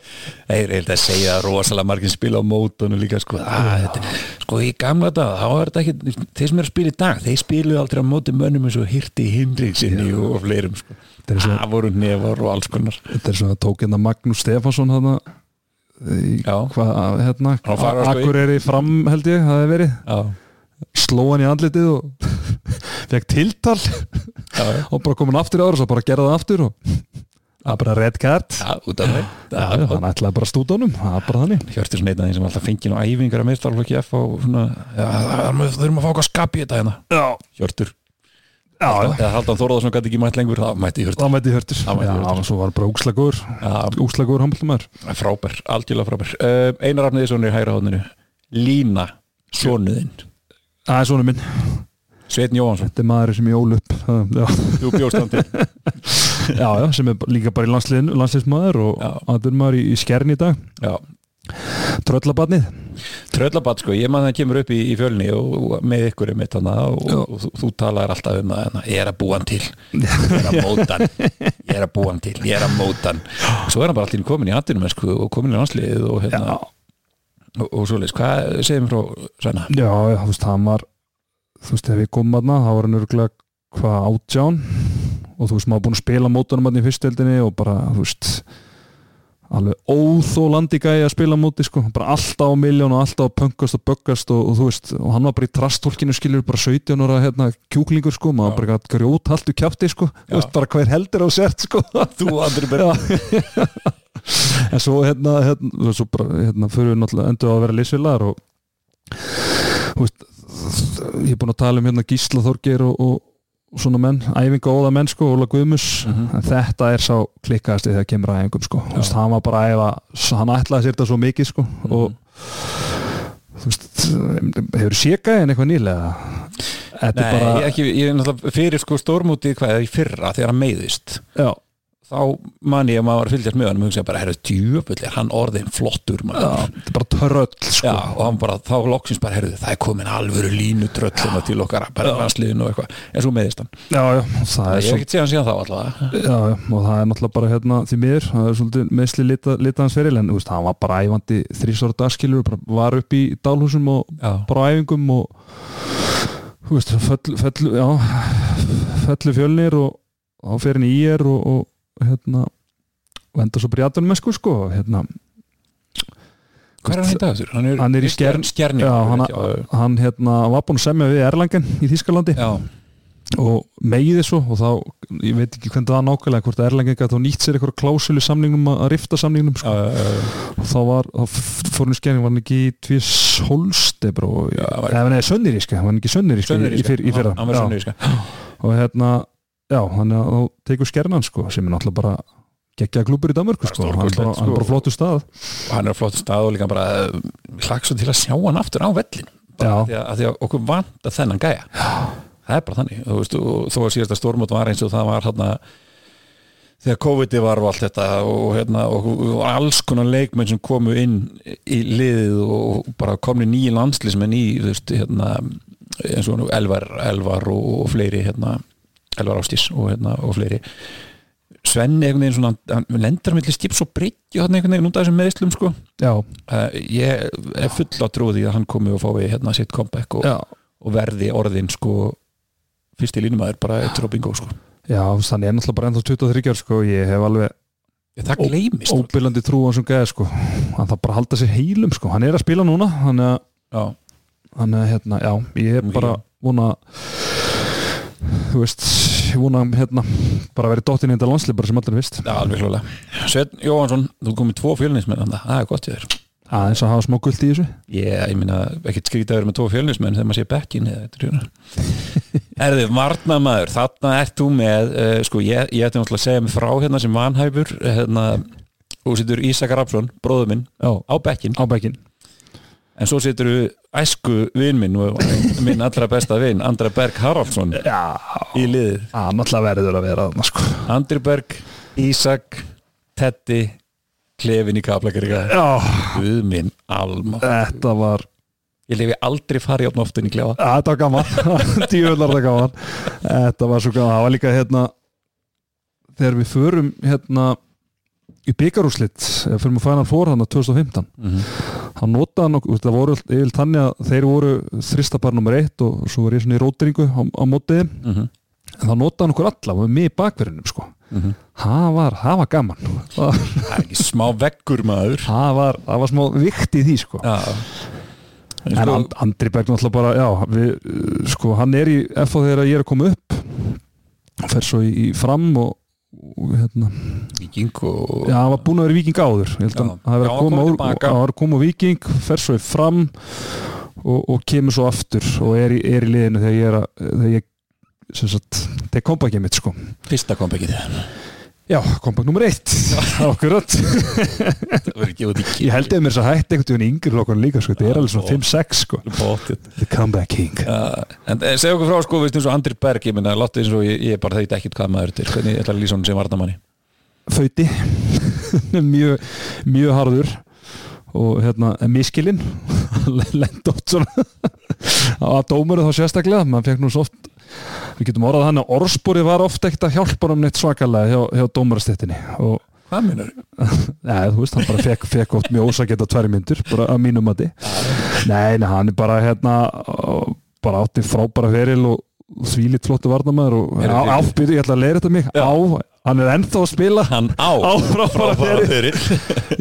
Ég er held að segja að rosalega margir spila á mótunum líka sko, að, þetta, sko í gamla dag, þá er þetta ekki þeir sem eru að spila í dag, þeir spilu aldrei á móti mönnum eins og hirti hindriksinni og fleirum sko,
Þetta er svo-
það voru nefar og alls konar
þetta er svona tók hérna Magnús Stefansson hana, í,
Já.
hvað, hérna
Hann fara, sko, í-
Akureyri fram held ég, það hefði verið
já,
sló hann í andlitið og fekk tiltal
já, já,
og bara kom hann aftur í ára og svo bara gerði það aftur og það er bara red card
já út af þeim
Já, hann ætlaði bara að stúta honum, það er bara þannig
Hjörtur svona einn af þeim sem alltaf fengið á æfingar að meðstálflokki F og svona, já, það þurfum að fá okkar skap í þetta hérna,
Já,
Hjörtur
já,
eða Haldan Þóraðarsson gæti ekki mætt lengur, það mætti Hjörtur
það mætti hörtur
Það mætti
Já,
Hjörtur.
og svo var hann bara úkslagur
Já.
úkslagur handbóltumæður
frábær, algjörlega frábær uh, Einar Arniðsson er í hægra hóðninu Lína, sonuðinn
Það er svona minn,
Sveitn Jóhansson,
þetta er maður sem ég ól upp Það- Já,
þú bjóst hann til
já, já sem er líka bara í landsliðin landsliðsmaður og
Já.
aðurmaður í, í skern í dag
Já,
Tröllabarnið
tröllabat sko, ég maður það kemur upp í, í fjölni og, og með ykkur um eitt hana og,
Já.
og þú, þú talar alltaf um það hana. ég er að búa hann til, ég er að móta hann ég er að búa hann til, ég er að móta hann svo er hann bara allir komin í hattinum sko, og komin í landsliðið og, hérna,
Já.
og, og svoleiðis, hvað segjum frá Svenna?
Já, já, þú veist, hann var þú veist, ef við komum aðna, þá var hann örgulega hvað átján og þú veist, maður búinn að spila mótunum aðna í fyrstöldinni og bara, þú veist alveg óþólandi gæi að spila á móti sko, bara alltaf á miljón og alltaf að pöngast og böggast og, og þú veist og hann var bara í trastólkinu skilur bara 17 ára hérna, kjúklingur sko, maður
Já.
bara gæti grjót haltu kjátti sko,
Já.
þú veist bara hver heldur á sért sko
Þú andri
Já. en svo hérna, hérna svo bara, hérna, fyrir við náttúrulega endur á að vera liðsvilaðar og þú veist, ég er búinn að tala um hérna Gísla Þorgeir og, og, og svona menn, æfinga óða menn sko, Óla Guðmus
Mhm.
en þetta er sá klikkaðasti þegar kemur að æfingum sko, þú veist, hann var bara að æfa hann ætlaði sér þetta svo mikið sko
Mhm.
og þú veist, hefur sékað en eitthvað nýlega þetta
Nei,
er bara,
ég, ekki, ég er náttúrulega fyrir sko stórmútið hvað í fyrra þegar hann meiðist
já
þá man ég að maður var að fylgjast með hann og hugsa bara, herru, djöfull er hann orðin flottur
Já,
maður
þetta er bara törröll sko.
Já, og hann bara, þá loksins bara, herðu, það er komin alvöru línu tröllina til okkar, bara landsliðin og eitthvað, en svo meðist hann.
já, já, það er
Ég
svo
hef ekki séð hann síðan þá allavega.
Já, já, og það er náttúrulega bara hérna því miður, það er svolítið meðsli lita, lita hans feril en þú veist, hann var bara æfandi þrísvara dagskilur, bara var upp í dálhúsum og
Já,
bara á æfingum og þú veist, föll, föll, já, föllu fjölnir og á ferin í er og, og hérna og enda svo brjátunum með sko sko hérna,
hvað er hann í dag þurr? Hann er,
Hann er í Skjern-
skjern,
já, hann,
já,
hann hérna var búinn að semja við Erlangen í Þýskalandi
já,
og megið þessu og þá, ég veit ekki hvernig það var nákvæmlega hvort Erlangen gæti þá nýtt sér eitthvað klásulu samningnum að að rifta samningnum sko.
já, já, já,
og þá var, þá f- fór hann í skæring var hann ekki í tvís holste bró,
Já, það var-
eða nei, sönniríska var hann ekki í sönniríska, í,
Sönnuríska.
fyrr, í fyrra
Hann- Hann var
Já.
sönnuríska.
og hérna, já, hann þá tekur skernan sko, sem er náttúrulega bara geggja klúpur í Danmörku
Bara
sko, hann er
stórkostlegt,
bara, hann
sko.
er bara flottu stað
Hann er á flottum stað og líka bara eh, hlaksa til að sjá hann aftur á vellin.
Já.
Því að, að því að okkur vanta þennan gæja. Já. Það er bara þannig. Þú veist, og þó að síðasta stórmót var eins og það var hann þegar COVID-ið var og allt þetta og, hérna, og, og alls konar leikmenn sem komu inn í liðið og bara komni nýji landslismenn í þú veist, hérna, eins og nú Elvar, Elvar og, og fleiri hérna, Elvar Ástís og, hérna, og fleiri Svenni einhvern veginn svona, hann hann lendir millir skips og bryggju hann einhvern veginn út af þessum meðslum sko.
já,
uh, ég er full á trúði að hann komi og fái hérna sitt comeback og,
já,
og verði orðin sko fyrsti línumæður bara eftir og bingo sko.
já þannig er náttúrulega bara ennþá 23 ár sko, ég hef alveg
Ég, það gleymist ó,
óbillandi trú á sem gæði sko hann þarf bara að halda sér heilum sko, hann er að spila núna hann er,
já,
hann er hérna, já, ég er
Mikið.
bara vona þú veist, ég vona hérna, bara verið dóttin í þetta landslið bara sem allir vist,
já, alveg hljóðlega Sveinn Jóhansson, þú komið tvo fjölnismenn þarna. það er gott í þér
aðeins að hafa smá guld í þessu
ég, ég minna, ekkert skrítið að vera með tvo fjölnismenn þegar maður sé bekkin eða þetta er Erðu, varnamaður, þarna ert þú með uh, sko, ég, ég ætti náttúrulega að segja mig frá hérna sem vanhæfur hérna, og situr Ísak Rapsson, bróður minn
já,
á bekkin,
á bekkin
en svo situr æsku vin minn og minn allra besta vin, Andra Berg Haraldsson
já,
í liðið,
hann alltaf verður að vera þarna sko
Andri Berg Ísak, Tetti klefin í kaplakaríka
já,
Guð minn, Alma
þetta var
Ég lefi aldrei farið opna oftin í klefa
Já, Þetta var gaman, djúvöldar þetta gaman Þetta var svo gaman, það var líka hérna þegar við förum hérna í byggarúslit eða förum að fæna fór hann á 2015
Mhm,
þá notaði hann okkur, það voru yfir þannig að þeir voru þristabar nummer eitt og svo var ég svona í rótiringu á, á mótið en
mhm,
þá notaði hann okkur alla, var með í bakverðinum sko það var, það var gaman það,
mhm. Það er ekki smá veggur maður
það, var, það var smá vikt í því sko
Já
En sko, Andri Berg náttúrulega bara, já, við, uh, sko, hann er í FA þegar ég er að koma upp og fer svo í, í fram og, og hérna,
Viking og
já, hann var búin að vera í viking áður, ég
Já.
held að hann
Já,
verið að
hann kom
koma úr,
tilbaka.
hann var að koma úr viking, fer svo í fram og, og kemur svo aftur og er í, er í liðinu þegar ég er að, þegar ég, sem sagt, tek kompakið mitt, sko.
fyrsta kompekið
Já, kompak nummer eitt, akkurat.
Það verður ekki út í
Ég held eða mér þess að hætti einhvern veginn yngri lokkan líka, sko, þetta er alveg svona 5-6, sko.
bóttið
The comeback king.
En eh, segðu okkur frá sko, veist eins og Andri Berg ég minna, láttu eins og ég, ég bara þeit ekkit hvað maður þetta er hvernig ég ætla að lýsa hún sem varnamanni
föti mjög, mjög harður og hérna miskilinn lenda oft svona að dómuru þá sérstaklega maður fekk nú svo oft við getum orðað hann að orðspúri var oft ekkert að hjálpa hann neitt svakalega hjá, hjá dómarastettinni og
Hvað minnur?
Nei, þú veist, hann bara fekk, fekk oft mjög ósakett á tvær myndur, bara að mínum mati Nei, nei, hann er bara hérna á- bara átti frábæra feril og þvílitt flottu varnamæður og
Er
á,
þetta-
á, byrju, ég ætla að leira þetta mig
Já.
á, hann er ennþá að spila
Hann á
á frábæra feril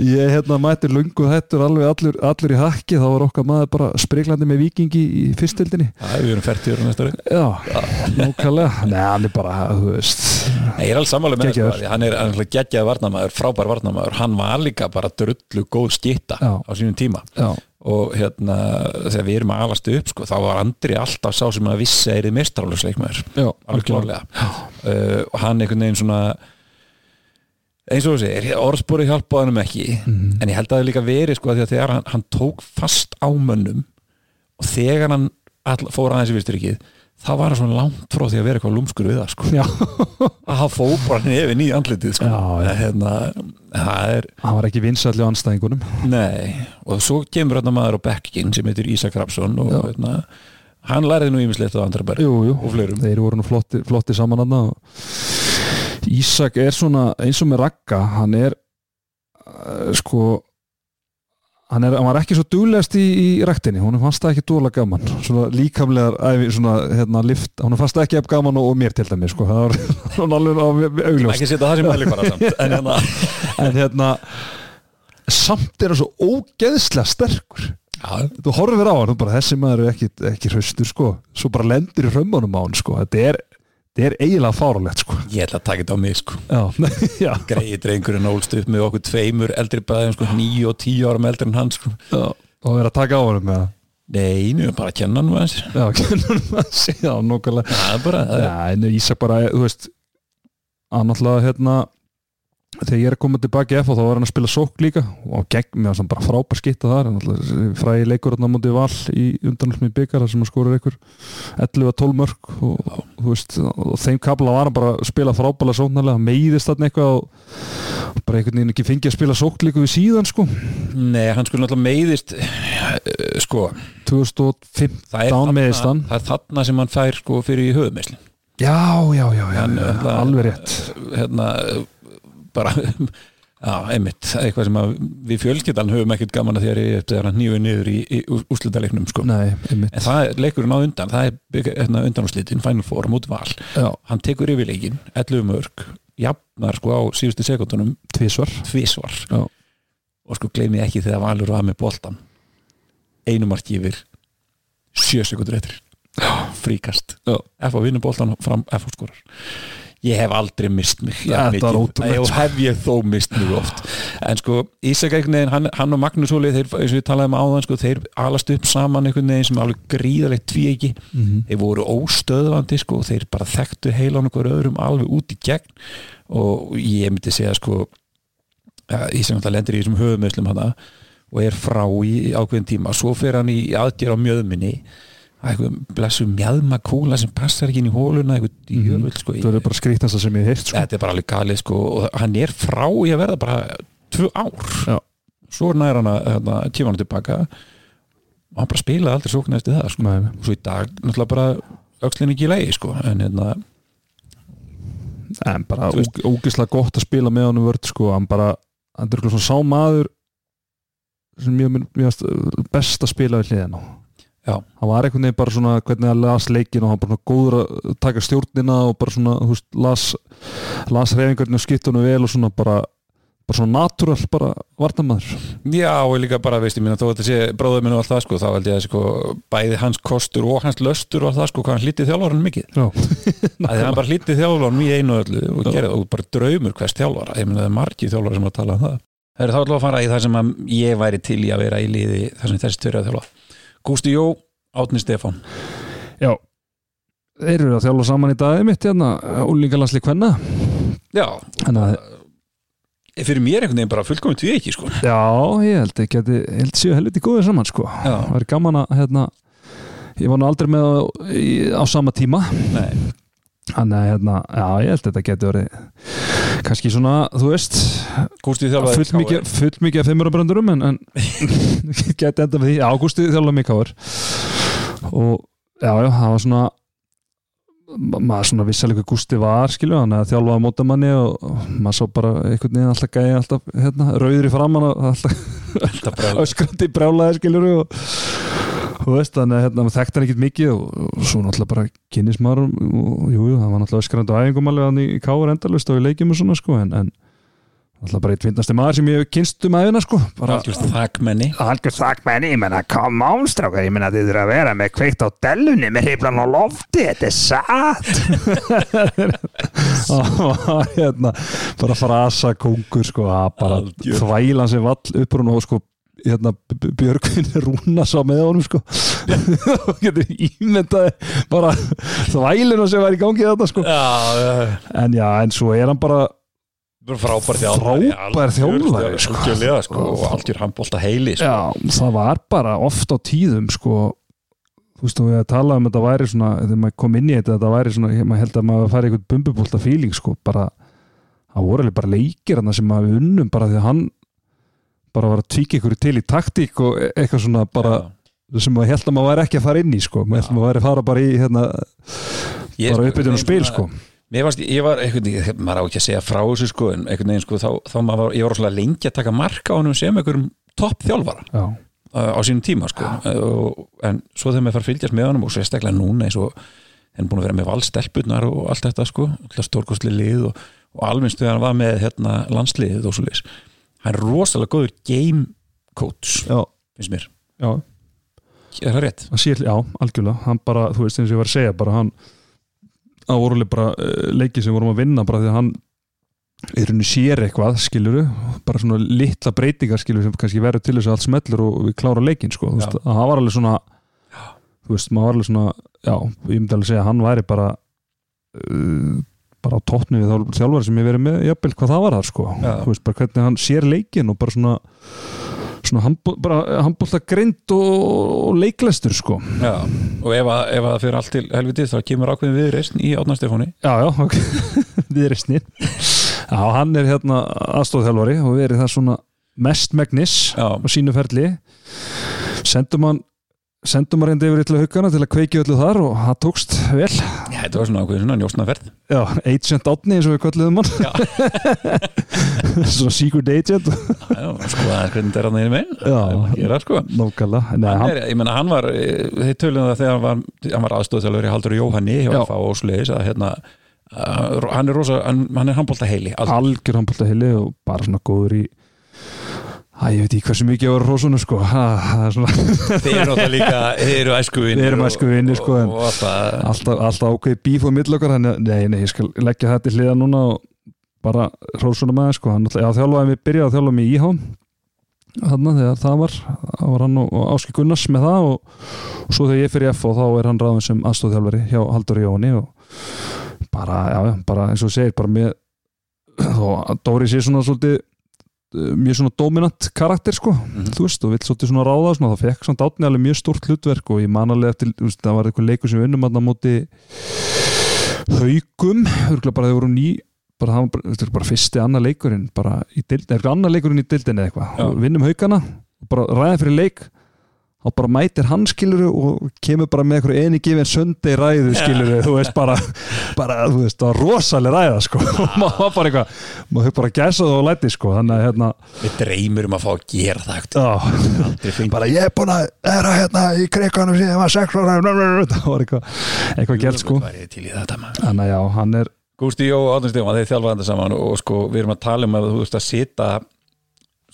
Ég hérna mæti lungu hættur alveg allur, allur í hakki, þá var okkar maður bara spriklandi með vikingi í fyrstildinni
Það er við erum færtíður næsta ári
Já, nákvæmlega Nei, hann er bara, þú veist
Nei, Ég er alls sammála með
Geggjaður.
þetta því hann er hann er geggjað varnamaður, frábær varnamaður hann var líka bara drullu góð skýta
Já.
á sínum tíma
Já,
og hérna, þegar við erum að alast upp sko, þá var Andri alltaf sá sem að vissi að er mestrálusleikmaður
já,
alveg klárlega uh, og hann einhvern veginn svona eins og þú segir, orðspori hjálpaði hann ekki
Mhm.
en ég held að það líka verið sko, af því að þegar hann, hann tók fast á mönnum og þegar hann all, fór aðeins í visturíkið þá var hann svona langt frá því að vera eitthvað lúmskur við það sko.
Já,
að hann fór bara nefin í andlitið sko.
Já, já.
Hérna, það er
hann var ekki vinsætli á anstæðingunum
Nei, og svo kemur hann maður á bekkinn sem heitir Ísak Rapsson og hérna, hann læriði nú ímislegt á andra berg
Jú, jú,
og fleirum
þeir voru nú flotti, flotti saman aðna Ísak er svona eins og með Ragga hann er uh, sko hann, er, hann var ekki svo duglegast í, í ræktinni hún fannst það ekki duglega gaman svona líkamlegar æfi, svona hérna lift hún fannst það ekki ef gaman og, og mér til dæmi sko. það var hún alveg alveg augljóst
ekki setja það sem mæli bara samt en hérna,
en hérna samt er hann svo ógeðslega sterkur
já,
þú horfir á hann og bara þessi maður er ekki, ekki hraustur sko svo bara lendir í römmunum á hann sko þetta er, þetta er eiginlega fáralegt sko
ég ætla að taka þetta á mig sko
já, já,
greiði drengurinn ólst upp með okkur tveimur eldri bæðum sko, níu og tíu árum eldri en hann sko
já og er að taka á hann með
Nei, nú er bara að kenna hann með hans
það já, kennum að sé já, nokkulega
Það er bara, það er,
já, en Ísak bara, þú veist hann alltaf hérna þegar ég er að koma tilbaki í F þá var hann að spila sók líka og gegn með hann bara frábær skitta þar hann alltaf fræði leikur hann á móti val í undanlöfum í byggar þar sem hann skorur einhver 11-12 mörg og, og, þú veist, og þeim kabla var hann bara að spila frábæla sóknarlega meiðist þarna eitthvað og og bara einhvern veginn ekki fengið að spila sók líka við síðan sko
nei, hann skulle náttúrulega meiðist eh, sko,
2005
það er,
Dán meiðist
þarna,
hann.
það er þarna sem hann fær sko fyrir í höfumisli
já, já, já, já,
Hann, eh,
já,
það- sko,
alveg rétt
hérna, bara Já, einmitt, eitthvað sem að við fjölskyldan höfum ekkert gaman að því að rifja upp þegar hann nýju niður í, í úrslitaleiknum sko.
Nei, einmitt
en það er leikurinn á undan það er hérna, undanúrslitin, Final Four á móti val
Já,
hann tekur yfir leikin, 11 mörg jafnar sko á síðustu sekundunum
tvisvar
tvisvar
Já.
og sko gleymi ekki þegar Valur var með boltan einu marki yfir sjö sekundur eftir fríkast,
Já.
F.A. vinnur boltan og fram F.A. skorar ég hef aldrei mist mig
Ja,
jafn
þetta var
mikið.
ótrúlegt,
Nei, og
sko.
hef ég þó mist mig oft en sko Ísak einhvern veginn, hann, hann og Magnús Óli þeir, eins og við talaðum áðan, sko, þeir alast upp saman einhvern veginn sem er alveg gríðalegt tvíegi
mm
þeir voru óstöðvandi sko, og þeir bara þekktu heilan okkur öðrum alveg út í gegn og ég myndi segja sko að ég sem alltaf lendir í þessum höfumöðslum hana og er frá í ákveðin tíma svo fer hann í aðgjör á mjöðminni að eitthvað blessu mjadma kúla sem passar ekki inn í hóluna eitthvað
Mhm.
djöfull sko
Það eru bara skrýtnasta sem ég hef heilt sko.
þetta er bara alveg galið sko og hann er frá í að verða bara tvö ár
Já.
svo nær hann að hérna, tíma hann tilbaka og hann bara spilaði aldrei sóknæðist í það sko
Nei, nei.
og svo í dag náttúrulega bara öxlin ekki í leiði sko en hérna,
En bara
Þú veist-
ógislega gott að spila með honum vörð sko, hann bara, hann er eitthvað svona sá maður sem mjög, mjög, mjög eh, best að spila við hliðina á.
Já.
Hann var einhvern veginn bara svona hvernig hann las leikin og hann bara svona góður að taka stjórnina og bara svona, þú veist, las las reyfingarnir og skiptunum vel og svona bara, bara svona natúral bara varnamaður.
já og líka bara veist ég minna þó að þetta sé bróður minn og allt það sko þá held ég að sko bæði hans kostur og hans löstur og allt það sko hvað hann hlítið þjálfaran mikið
Já.
að því hann bara hlítið þjálfaran í einu og öllu og
Já.
gerði það og bara draumur hvers þjálfara ég minna það er margir þjálfara sem að tala um það Það er þá ætlum við að fara í það sem að ég væri til í að vera í liði þar sem þessi tverja þjálfa Gústi Jó, Átni Stefán
Já. Þeir eru að þjálfa saman í dagið mitt hérna, úlingalansli kvenna.
Já, Eh,
Þannig að,
fyrir mér einhvern veginn bara fullkomið tvið ekki sko
já, ég held ekki að ég held séu helviti góðið saman sko. það
Já,
væri gaman að hérna, ég var nú aldrei með á, í, á sama tíma
nei,
þannig að hérna, já, ég held að þetta getur verið kannski svona, þú veist
Gústi þjálfaði
full
KR.
mikið, full mikið af fimmurabröndurum en, en geti enda með því ágústi þjálfum mikið áður og já, já, það var svona ma- maður svona vissi alveg hvað Gústi var skilju, hann að þjálfaði mótamanni og og maður sá bara einhvern veginn alltaf gæja alltaf hérna, rauður í framann og alltaf
Þetta bara-
öskrandi brjálaði skilur og þú veist þannig að hérna, maður þekkti hann ekkert mikið og, og svo náttúrulega bara kynnis maður og og- jú, jú, það var náttúrulega öskrandi á æfingum alveg hann í káur endalust og í leikjum og svona sko en, en náttúrulega bara eitt finnasti maður sem ég hef kynst um æfina sko bara
algjörst þakmenni
Algjör þakkmenni, ég menna, come on strákar, ég menna þið þurfa að vera með kveikt á dellunni með hriflan á lofti, þetta er satt.
það var, hérna, bara frasa kongur sko að bara
Algjör.
þvælan sem vall upprún og sko hérna, B- B- Björgvin Rúna sá með honum sko og getur ímyndaði bara þvælinu sem var í gangi þetta sko
Já,
en já, en svo er hann bara
bara frábær
þjálfari. Frábær þjálfari,
algjör,
sko.
algjörlega, sko, og algjör handbólta heili sko.
já, það var bara oft á tíðum sko þú veist, og ég talaði um þetta væri svona þegar maður kom inn í þetta, þetta væri svona maður held að maður færi eitthvað bumbubólta fíling sko, bara, það voru alveg bara leikir hann sem maður við unnum bara því að hann bara var að tvíka ykkur til í taktík og e- eitthvað svona bara sem maður held að maður væri ekki að fara inn í sko maður held að maður væri að fara bara í hérna,
Ég,
bara uppbytun og
ég-
spil sko
Mér varst, ég var einhvern veginn, maður á ekki að segja frá þessu sko, en einhvern veginn sko, þá, þá maður var, ég var rosalega lengi að taka marka á honum sem einhverjum topp þjálfara
já,
uh, á sínum tíma sko, og, en svo þegar maður fara að fylgjast með honum og sérstaklega núna eins og henn búin að vera með valstelpunar og allt þetta sko, alltaf stórkostli lið og, og alveg stuðan hann var með hérna, landsliðið og svo leis hann er rosalega góður game coach
já,
finnst mér,
já,
er það rétt?
hann sé, já, algjörlega hann bara, þú veist eins og ég var að segja bara hann það voru alveg bara eh, leiki sem vorum að vinna bara því að hann í rauninni sér eitthvað, skiluru bara svona litla breytingar, skiluru sem kannski verður til þess að allt smellur og við klára leikin sko, þú
Já.
veist, að það var alveg svona þú veist, maður var alveg svona já, ég myndi alveg segja að hann væri bara uh, bara á tóttni við þá þjálfari sem ég verið með, jafnvel hvað það var það sko,
Já.
þú veist, bara hvernig hann sér leikin og bara svona svona handbó, bara handbólta grind og, og leiklestur sko
Já, og ef, að, ef að það fyrir allt til helviti þá kemur ákveðin viðreisn í Átnar Stefáni
Já, já, ok, við reysnir Já, hann er hérna aðstóðþjálfari og verið það svona mest megnis
Já,
á sínu ferli sendum hann sendum hann reyndi yfir yllu hugana til að kveiki öllu þar og það tókst vel
já þetta var svona ákveðin svona njósnaferð
já, Agent Átni eins og við kölluðum hann svona Secret Agent
Já, sko, það er hvernig þetta er hann einu megin
Já.
Það er maður að gera, sko
nákvæmlega, Nei,
hann
hann,
er, ég meina, hann var, eh, þeir töluðum það þegar hann var, hann var aðstofþjálfur í Haldur Jóhanni hjá
Já.
FH og sliðis að hérna að hann er rosa, hann, hann er handbólta heili
algjör handbólta heili og bara svona góður í Æ, ég veit ekki hversu mikið ég var hrósunum sko ha, það er svona
þeir eru náttúrulega líka, þeir eru æskuvinir
Við erum æskuvinir, sko, en-
og, og, og það,
alltaf, alltaf ákveði bíf og mill okkar þannig að, nei, nei, ég skal leggja þetta í hliða núna og bara hrósuna með sko, hann alltaf, já, þjálfaði mig, byrjaði að þjálfa mig í IH þannig að þegar það var það var hann og, og Áski Gunnars með það og, og svo þegar ég fyrir F og þá er hann ráðin sem aðstóðþjálfari hjá Haldur Jóni og bara, já, já, bara eins og þú segir, bara með þó að Dóri sé svona svolítið eh, mjög svona dominant karakter sko
Mhm.
þú veist, og vill svolítið svona ráða svona, það fekk svona dátni alveg mjög stórt hlutverk og ég man alveg eftir, þú veist, það var eitthvað leikur sem við unnum að móti haugum, örgulega bara þau voru ný bara það var bara, þetta er bara fyrsti annar leikurinn bara í dildin, eitthvað annar leikurinn í dildin eða eitthvað,
Já.
og vinnum haugana og bara ræða fyrir leik þá bara mætir hann skiluru og kemur bara með eitthvað eini gefin söndi ræðu skiluru, þú veist bara, bara þú veist, það var rosalega ræða sko og maður var bara eitthvað, maður hefur bara gæsað og læti sko, þannig að hérna
við dreymir um að fá að gera það ekkert.
já,
aldrei fengi
bara ég er búin að vera hérna í kriganum síðan ég var sex ára það var eitthvað, eitthvað gert sko
Væri til í þetta, maður.
þannig að já, hann er
Gústi Jó og Átun Stefán, þeir þjálfa þetta saman og sko, við erum að tala um að þú veist að sita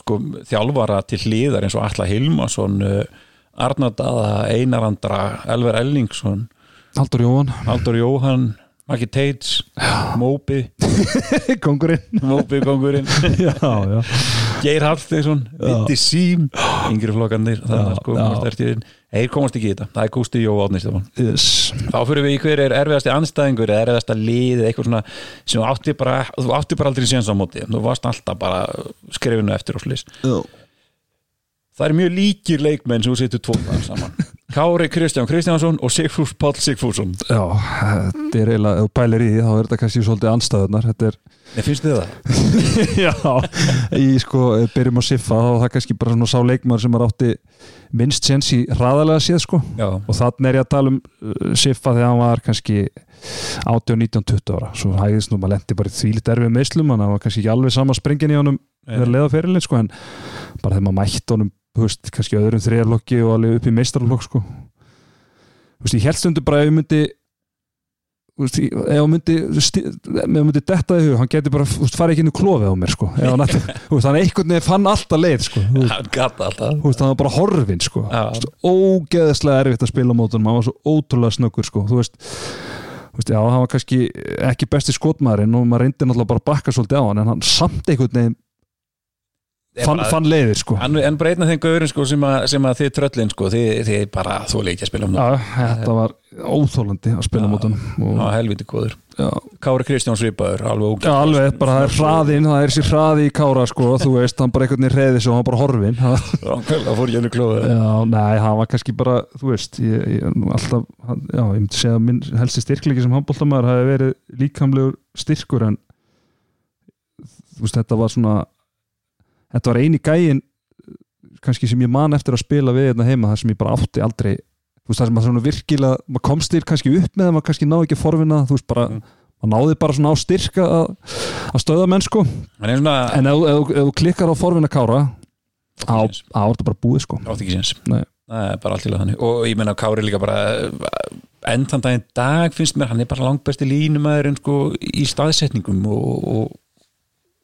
sko, þjálfara til hliðar eins og Atla Hilmarsson uh, Arnar Daða, Einar Andra Elver Ellingsson,
Haldur Jóhann,
Haldur Jóhann Maggi Teits, Móbi
kongurinn
Móbi kongurinn,
já, já,
Geir Hallsteinsson Vindi Sím, yngri flokkarnir þannig
Já,
að sko,
já.
stertirinn Þeir komast ekki í þetta, það er Gústi Jó og Átun Stefán
yes
Þá fyrir við í hver er erfiðasti anstæðingur eða erfiðasta lið eða eitthvað svona sem þú átti bara, þú átti bara aldrei séns á móti þú varst alltaf bara skrefinu eftir og slis
já,
Það er mjög líkir leikmenn sem þú setur tvo þar saman Kári Kristján Kristjánsson og Sigfús Páll Sigfússon
þetta er eiginlega, ef þú pælir í því þá er þetta kannski svolítið anstæðunar, þetta er
Nei, finnst þið það?
Já, í sko eh, byrjum á Siffa þá var það kannski bara svona sá leikmaður sem var átti minnst sens í hraðalega séð sko
Já,
og þannig er ég að tala um eh, Siffa þegar hann var kannski 18, 19, 20 ára svo hægðist nú maður lendi bara í þvílit erfið meðslum hann var kannski ekki alveg sama springin í honum þegar
Nei.
leiða fyrirlin sko en bara þegar maður mætti honum þú veist, kannski öðrum þriðarlokki og alveg upp í meistarlokk sko Þú veist, ég held stundu bara ef ég myndi þú veist, ég- ef hann myndi sti- ef hann myndi detta í hug, hann geti bara þú veist, farið ekki inn í klofið á mér sko Ef hann ætti- þú veist, hann einhvern veginn fann alltaf leið sko Þú veist,
hann gata alltaf
þú veist, hann var bara horfin sko
Já.
Þú veist, ógeðslega erfitt að spila á mótunum hann var svo ótrúlega snöggur sko þú veist, þú veist, já, hann var kannski ekki besti skotmaðurinn og maður reyndi náttúrulega bara að bakka svolítið á hann en hann samt einhvern veginn
Ég
fann,
bara-
fann leiðir sko
En, en bara einn af þeim gaurin sko, sem, að, sem að þið tröllin sko, þið, þið bara þú leikja að spila um það
Já, þetta var óþólandi að spila
Já.
mótum
Ná,
og,
helviti góður
já,
Kári Kristján Svipaður, alveg
já,
ógæð
alveg bara það er hraðin, það er sér hraði í kára sko, þú veist, hann bara einhvern veginn reyði sig og hann bara horfin já,
Það fór Jönnu Klóður
nei, hann var kannski bara þú veist, ég, ég nú alltaf hann- já, ég myndi segja að minn helsti styrklegi sem handbóltamæður hafi verið líkamlegur styrkur en þú veist, þetta var svona þetta var eini gæin kannski sem ég man eftir að spila við hérna heima, það sem ég bara átti aldrei þú veist, það sem maður svona virkilega maður komst þér kannski upp með, maður kannski náði ekki að forvinna þú veist, bara,
Mm.
maður náði bara svona á styrka að, að stöða menn sko
En eins og
en ef, ef, ef, þú klikkar á forvinna kára á,
svona
á er þetta bara búið sko
átti ekki séns
Nei.
það er bara allt í lagi þannig og ég menna Kári líka bara enn þann daginn dag finnst mér hann er bara langbæsti línumæðurinn sko í staðsetningum og, og,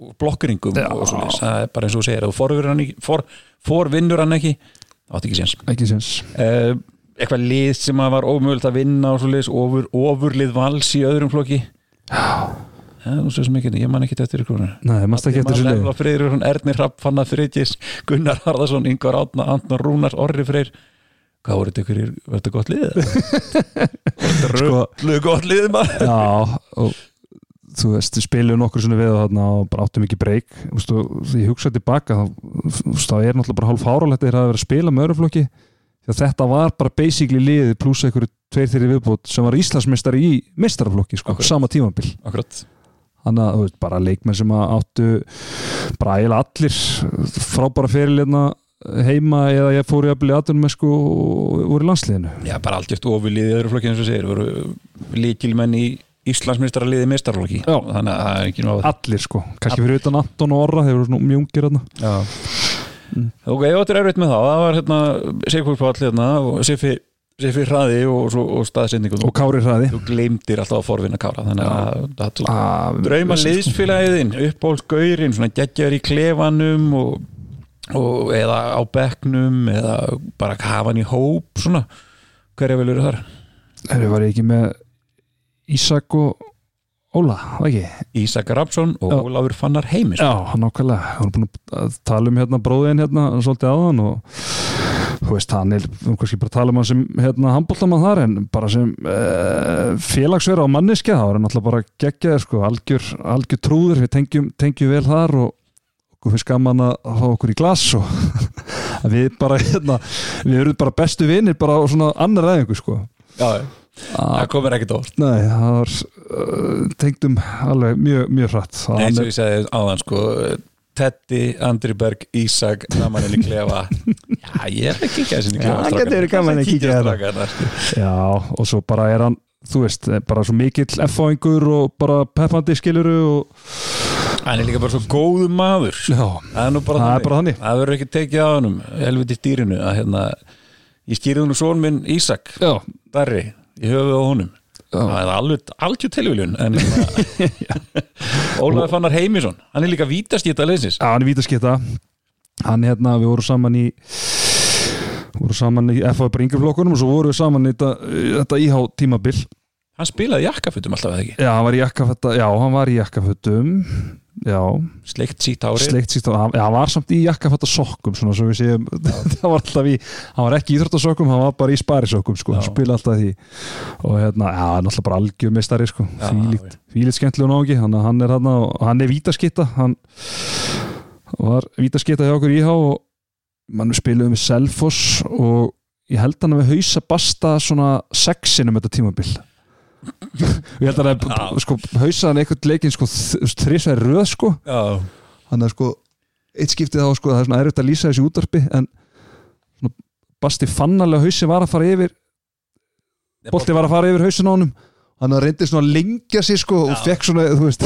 og blokkeringum
Já.
og svo það er bara eins og þú segir ef þú forvinnur hann ekki, for, forvinnur hann ekki átti ekki séns
ekki séns
uh, eitthvað lið sem að var ómögult að vinna og svo liðs ofur, ofurlið vals í öðrum flokki Já, þú séu sem ekki, ég man ekki eftir ykkur
Nei, mannst ekki eftir þessu leið
Lefla Freyriðsson, Erni Hrapp, Fanna Freytis Gunnar Harðarsson, Ingvar Átna, Antnar Rúnars Orri Freyr Hvað voru þetta ykkur, í- var þetta gott lið?
sko,
Lug gott lið maður
já, og þú veist, við spilum nokkur svona við og þarna og bara áttum ekki breyk þú veist, og því ég hugsaði tilbaka þá, þú veist, þá er náttúrulega bara hálf áralegt þegar það að vera að spila með öruflokki því að þetta var bara basically liðið pluss einhverju tveir þeirri viðbútt sem var Íslandsmeistari í mestaraflokki, sko,
Akkurat.
sama tímabil
Akkurat,
þannig að þú veist, bara leikmenn sem að áttu bara eiginlega allir frábæra fyrirleina heima eða ég fór í að byrja aðdunum sko og voru í landsliðinu
já bara algjört ofurlið í öðru flokki eins og segir voru líkilmenn í Íslandsmeistaraliði meistarlóki
Já.
þannig að það er ekki náðu
allir sko, kannski fyrir utan Anton og Orra þeir eru svona mjungir hérna
ok, þetta er erfitt með það það var hérna Sigfúrpall hérna og Siffi Siffi hraði og, og, og staðsendingu
og Kári Hraði
þú gleymdir alltaf að forvinna kára þannig að það
Ah,
drauma liðsfélagiðin uppbólsgaurin, svona geggjar í klefanum og, og eða á bekknum eða bara kafan í hóp svona, hverja vel eru þar?
Þeir var ég ekki með Ísak og Óla, var ekki?
Ísak Rapsson og
Já.
Ólafur Fannar Heimis
Já, nákvæmlega, hann er búin að tala um hérna bróðin hérna, hann svolítið áðan og þú veist, hann er þú kannski bara að tala um hann sem hérna handbóltamann þar en bara sem uh, félagsverð á manniski, það var hann alltaf bara geggjaði sko, algjör, algjör trúður við tengjum, tengjum vel þar og okkur finnst gaman að fá okkur í glas og að við bara hérna, við erum bara bestu vinir bara á svona annar eðingu sko
Já, það komir ekkert óvart
Nei, það var uh, tengdum alveg mjög, mjög hratt Það
eins
hann
og ég segi áðan sko Teddy, Andri Berg, Ísak Namaninn í klefa Já, ég er ekki ekki að sinni
Já,
klefa
það getur verið gaman að kíkja hérna. á það.
það
Já, og svo bara er hann þú veist, eh, bara svo mikill F-fáingur og bara peppandi skiluru og...
Hann er líka bara svo góð maður
Já,
Það er nú bara
Það er
þannig.
bara þannig.
Það verður ekki tekið á hannum, helviti dýrinu að hérna, ég skýrði nú son minn Ísak,
já,
Darri í höfuð á honum Það er alveg algjör tilviljun en hérna, Ólaður Fannar Heimisson hann er líka vítast í þetta leysins
hann er vítaskipta hann hérna, við vorum saman í vorum saman í F-fáið bara yngjaflokkunum og svo vorum við saman í þetta, þetta IH tímabil
hann spilaði jakkafutum alltaf eða ekki
Já, hann var í jakkafötta, já, hann var í jakkafötum Já,
sleikt sítt hári
sleikt síst hann, já, hann var samt í jakkafötta sokkum svona svo við séum, það var alltaf í hann var ekki í íþróttasokkum, hann var bara í sparisokkum sko, hann
Já.
spila alltaf því og hérna, já, hann er alltaf bara algjörmestari sko,
Já,
fílíkt, fílíkt skemmtilega nági þannig að hann er hann og hann er vítaskitta hann var vítaskitta hjá okkur íhá og mann við spiluðum við Selfoss og ég held hann að við hausa basta svona sexinum þetta tímabil ég held hann að sko, hausa hann einhvern leikinn sko þrísæri röð sko
Já,
hann er sko eitt skiptið þá sko það er svona erfitt að lýsa þessi útarpi en svona, Basti fannarlega hausi var að fara yfir bolti var að fara yfir hausin á honum hann reyndi svona að lengja sig sko og
Já.
fekk svona, þú veist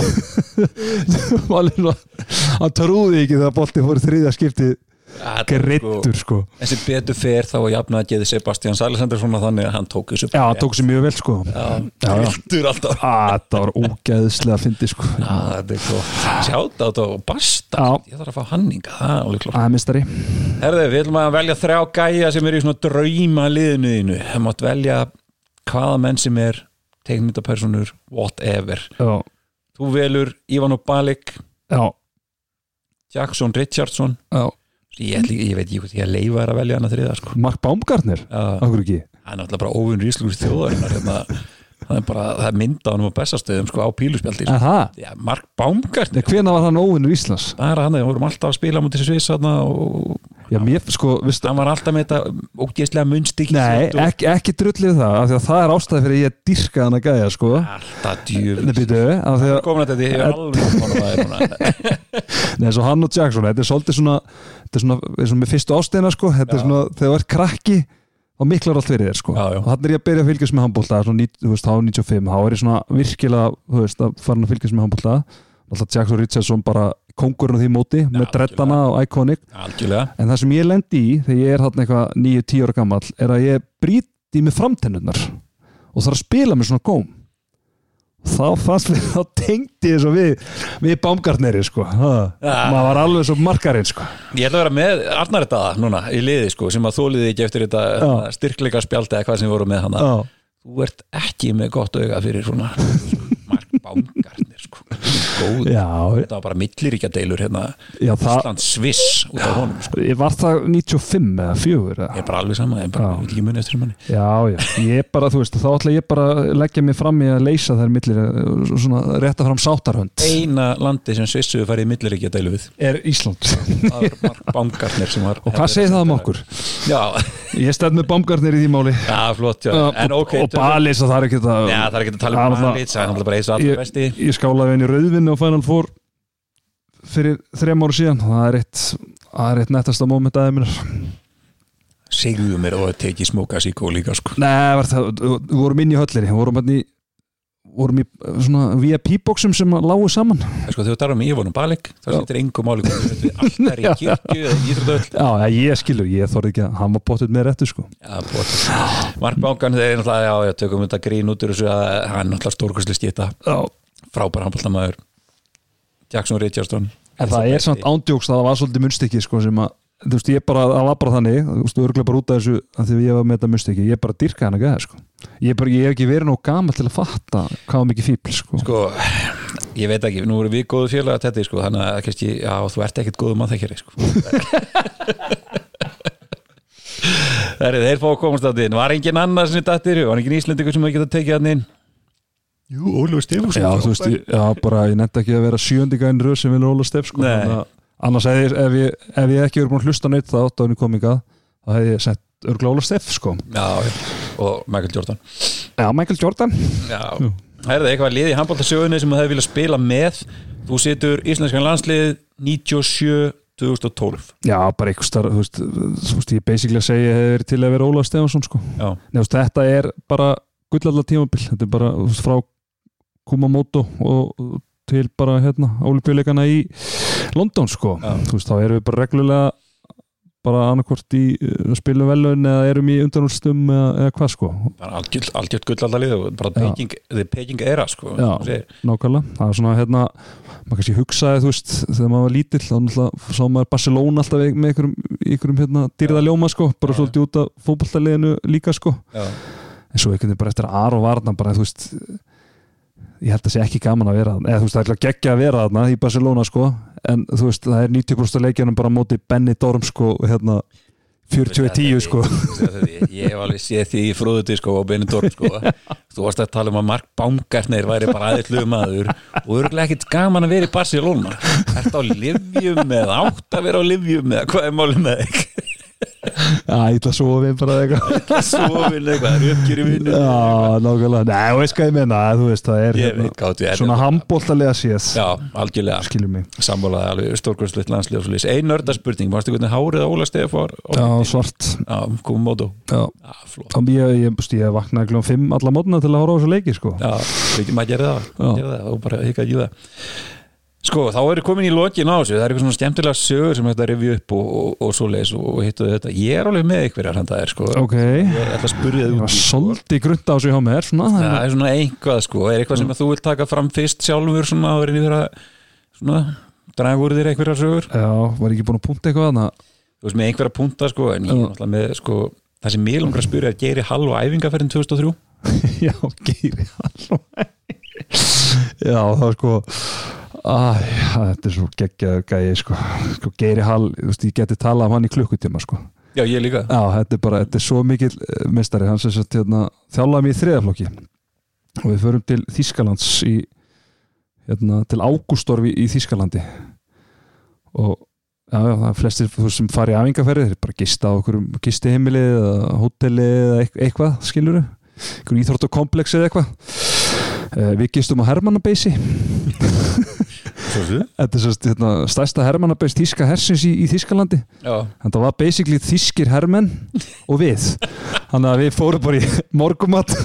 var alveg svona- hann trúði ekki þegar bolti fór í þriðja skiptið
Þetta er sko-
greittur sko
en sem betur fer þá að jafna að geði Sebastian Alessandarsson þannig að hann tók þessu
já, hann tók sér mjög vel sko já, já.
Grilltur alltaf
Á, Ah, þetta var ógæðislega að fyndi sko
Já, þetta er gott. Sjátt á þetta og basta
Já.
Ég þarf að fá hanninga, það er alveg klart
aðeins mistari
Herðu, við ætlum að velja þrjá gæja sem eru í svona drauma liðinu þínu. Það mátt velja hvaða menn sem er teikmyndapersonur, whatever.
já,
Þú velur Ivan Obalik,
já,
Jackson Richardson.
já.
Ég, ætli, ég veit ekki hvort ég leifa er að velja hana þriða, sko.
Mark Baumgartner,
Það
okkur ekki
er náttúrulega bara óvinn ríslugur þjóðarinnar. Hérna, það er bara, það er mynda á hann á bestastöðum, sko, á píluspjaldi.
en það,
Já, Mark Baumgart.
hvena var hann óvinnur Íslands
Það er hann, við vorum alltaf að spila á mútið þessu viss þarna og
já, mér sko, veist
hann var alltaf með þetta ógeðslega munstikki.
Nei, ekki, ekki drullið það af því að það er ástæði fyrir að ég dyrka hann að gæja sko.
Alltaf djöfis.
Nei, býtu, af því að
komin að þetta, ég er alveg komin að það er núna
Nei, svo hann og Jackson, þetta er svolítið svona þetta er svona, er svona með fyrstu ástæðina sko. þetta er
Já.
svona, þegar þú ert krakki þá miklar allt fyrir þér sko.
Já, já.
og hann er ég að byrja að fylgjast með handbólta þá er 95, þá er ég svona virkilega þú veist, að fara að fylgjast með handbólta alltaf Jackson Richardson bara kongurinn á því móti með dreddana og iconic
Algjörlega,
en það sem ég lendi í þegar ég er hann eitthvað 9-10 ára gammal er að ég brýti með framtennurnar og þarf að spila með svona góm þá fannst við þá tengdi ég svo við við bámgartneri sko ha,
Ah.
maður var alveg svo markarinn sko
ég ætla að vera með Arnar þetta núna í liði sko sem að þóliði ekki eftir þetta
Já.
styrkleika spjaldi eða hvað sem voru með hana
já,
Þú ert ekki með gott auga fyrir svona Mark Baumgartner sko Góð,
já,
þetta var bara milliríkja deilur hérna
já það
Ísland Sviss út af honum sko
ég var það 95 eða 4 eða?
Ég er bara alveg sama, ég er bara
Já.
ég vil ekki muni eftir manni
já, já, ég bara þú veist þá ætla ég bara að leggja mig fram í að leysa þær millir eh, svona rétta fram sátarhönd
Eina landi sem Svissuðu farið milliríkja deilu við
er Ísland
Það var Mark Baumgartner sem var
og hvað segir það um okkur?
Já,
ég stend með bámgartneri í því máli
já flott já. En ok,
og Balis að það er ekki það
Já, það er ekki að tala
Það
um
er
hann
náttúrulega-
lít, það er náttúrulega bara eins og allra besti
ég, ég skálaði henni rauðvinni á Final Four fyrir þrem ára síðan það er eitt, það er eitt nettasta moment aðeins minnar
Segðu mér að það tekið smóka síkó líka sko
Nei, var það, við vorum inn í höllinni við vorum hann í vorum í eh, svona VIP-bóksum sem að lágu saman
sko, þegar þú talar um Ívon og Balik þá setur engum máli hvort þú ert við alltaf í kirkju eða íþrótöðl
Já, ég skilur, ég þorði ekki að hann var bóttið með réttu sko
Já, Mark Bángan þeir náttúrulega, já, já, tökum þetta grín út úr þessu að hann er náttúrulega stórkursli skita
Já,
frábær handbóltamæður Jackson Richardson
En það er samt ándjóks að það var svolítið munnstykki sko, sem að, þú veist, ég bara, það var bara þannig þú veist, örgulega bara út af þessu að því að ég var með þetta munnstykki, ég bara dyrka hana gæða sko. ég, bara, ég hef ekki verið nóg gaman til að fatta hvað var mikið fíbl sko.
Sko, ég veit ekki, nú erum við góðu félaga þetta, sko, þannig að kannski, já, þú ert ekkert góðu mann þekkjari, sko Það er þeir fá að komast að þinn Var engin annar sem þetta er, var engin Íslendingur sem að geta tekið að þinn Jú, Ólfur Stefánsson
Já, þú veist, ég, já, bara, ég nefndi ekki að vera sjöndingæðin röð sem vinur Óla Steff sko,
Nei.
þannig að- annars hefði, ég- ef ég, ef ég ekki verið búin að hlusta neitt það átt á henni komingað þá hefði ég sett örgulega Óla Steff sko.
Já, já, og Michael Jordan
Já, Michael Jordan
Já, það er það eitthvað lið í handbóltasögunni sem það vilja spila með þú situr íslenskan landslið 97 2012
Já, bara einhvers þar, þú veist, þú veist, ég basically að segja hefði verið til að vera Óla Stefansson sko.
Já,
Nei, þú veist, þetta er bara gullalla tímabil, þetta er bara þú veist, frá Kumamoto og til bara hérna ólipjuleikana í London sko
Já.
þú veist, þá erum við bara reglulega bara annarkvort í uh, spilum velun eða erum í undanúrstum eða, eða hvað sko,
bara algjört, algjört gullaldalið og bara
Já.
peking, the peking era sko,
Já.
sem segir.
nákvæmlega það er svona hérna, maður kannski hugsaði þú veist, þegar maður var lítill þá náttúrulega sá maður Barcelona alltaf með einhverjum, einhverjum hérna, dýrða ljóma sko, bara
Já.
svolítið út af fótballtaliðinu líka sko
Já.
en svo einhvern veginn bara eftir að Aron var þarna bara, þú veist ég held að sé ekki gaman að vera þarna eða þú veist, það er alltaf geggja að vera þarna í Barcelona sko en þú veist, það er 90% leikjanum bara á móti Benny Dorm sko, hérna 40-10 sko
Þetta- þetta- Ég hef alveg séð því í fróðuti sko og Benidorm sko Þú varst að tala um að Mark Baumgartner væri bara aðeins maður og örgulega ekkit gaman að vera í Barcelona Ertu á livjum eða átt að vera á livjum eða hvað er málum með þig?
Já, ég ætla að sofa við bara eitthvað
Svofin eitthvað, það er uppgjur í vinnu
Já, nákvæmlega, nei, þú veist hvað ég menna þú veist, það er hérna
Ég veit hvað þú-
svona handbóltalega séð
Já, algjörlega
skilur mig
sammálaði alveg stórkvæmsleitt landslið og svolítið Ein nörda spurning, varstu hvernig hárið að Óla stegið fór?
Já, svart
Já, komum mótu
Já,
Já, flott
Þá ég, ég, ég, ég vaknaði kljóðum 5 alla mótna til að horfa á þessu leiki sko
Já, veitum, maður gerði það, maður
Já.
gerði það og bara hikað ekki í það Sko, þá er komin í lokin á þessu það er eitthvað svona skemmtilega sögur sem þetta revju upp og, og, og svo leis og, og hittu þetta Ég er alveg með ykkur að handa þér, sko
Ok,
Ég er alltaf að spurja
ég
þið
var
út í
svolítið grunnt á þessu hjá mér svona,
Já,
þannig
Það er svona einhvað, sko Er eitthvað sem að þú vilt taka fram fyrst sjálfur svona áður en ég vera svona draga úr þér einhverja sögur
Já, var ekki búin að punta eitthvað þannig
þú veist með einhverja punta sko en ég er
Já.
náttúrulega með sko það sem mér langar að spyrja er Geiri Hall og æfingaferðin 2003
Já, geiri alveg Já, það er sko Æ, þetta er svo geggjaður gæi sko. sko, geiri hall, þú veist, ég geti talað um hann í klukkutíma sko.
já ég líka
Já, þetta er bara, þetta er svo mikill eh, meistari, hann sem sagt hérna, þjálfaði mig í þriðaflokki og við förum til Þískalands í, hérna, til Ágústorfi í Þískalandi og já, já, það er flestir þú veist, sem fari í afingaferði, þeir bara gista á okkur gistiheimili eða hóteli eða eitth- eitthvað, skilur við einhver íþróttakomplex eða eitthvað Eh, við gistum á Hermannabeysi
svo þú
þetta er sérst, hérna, stærsta Hermannabeys Þíska hersins í, í Þískalandi
já
Þannig að það var basically þýskir hermenn og við. Þannig að við fórum bara í morgumat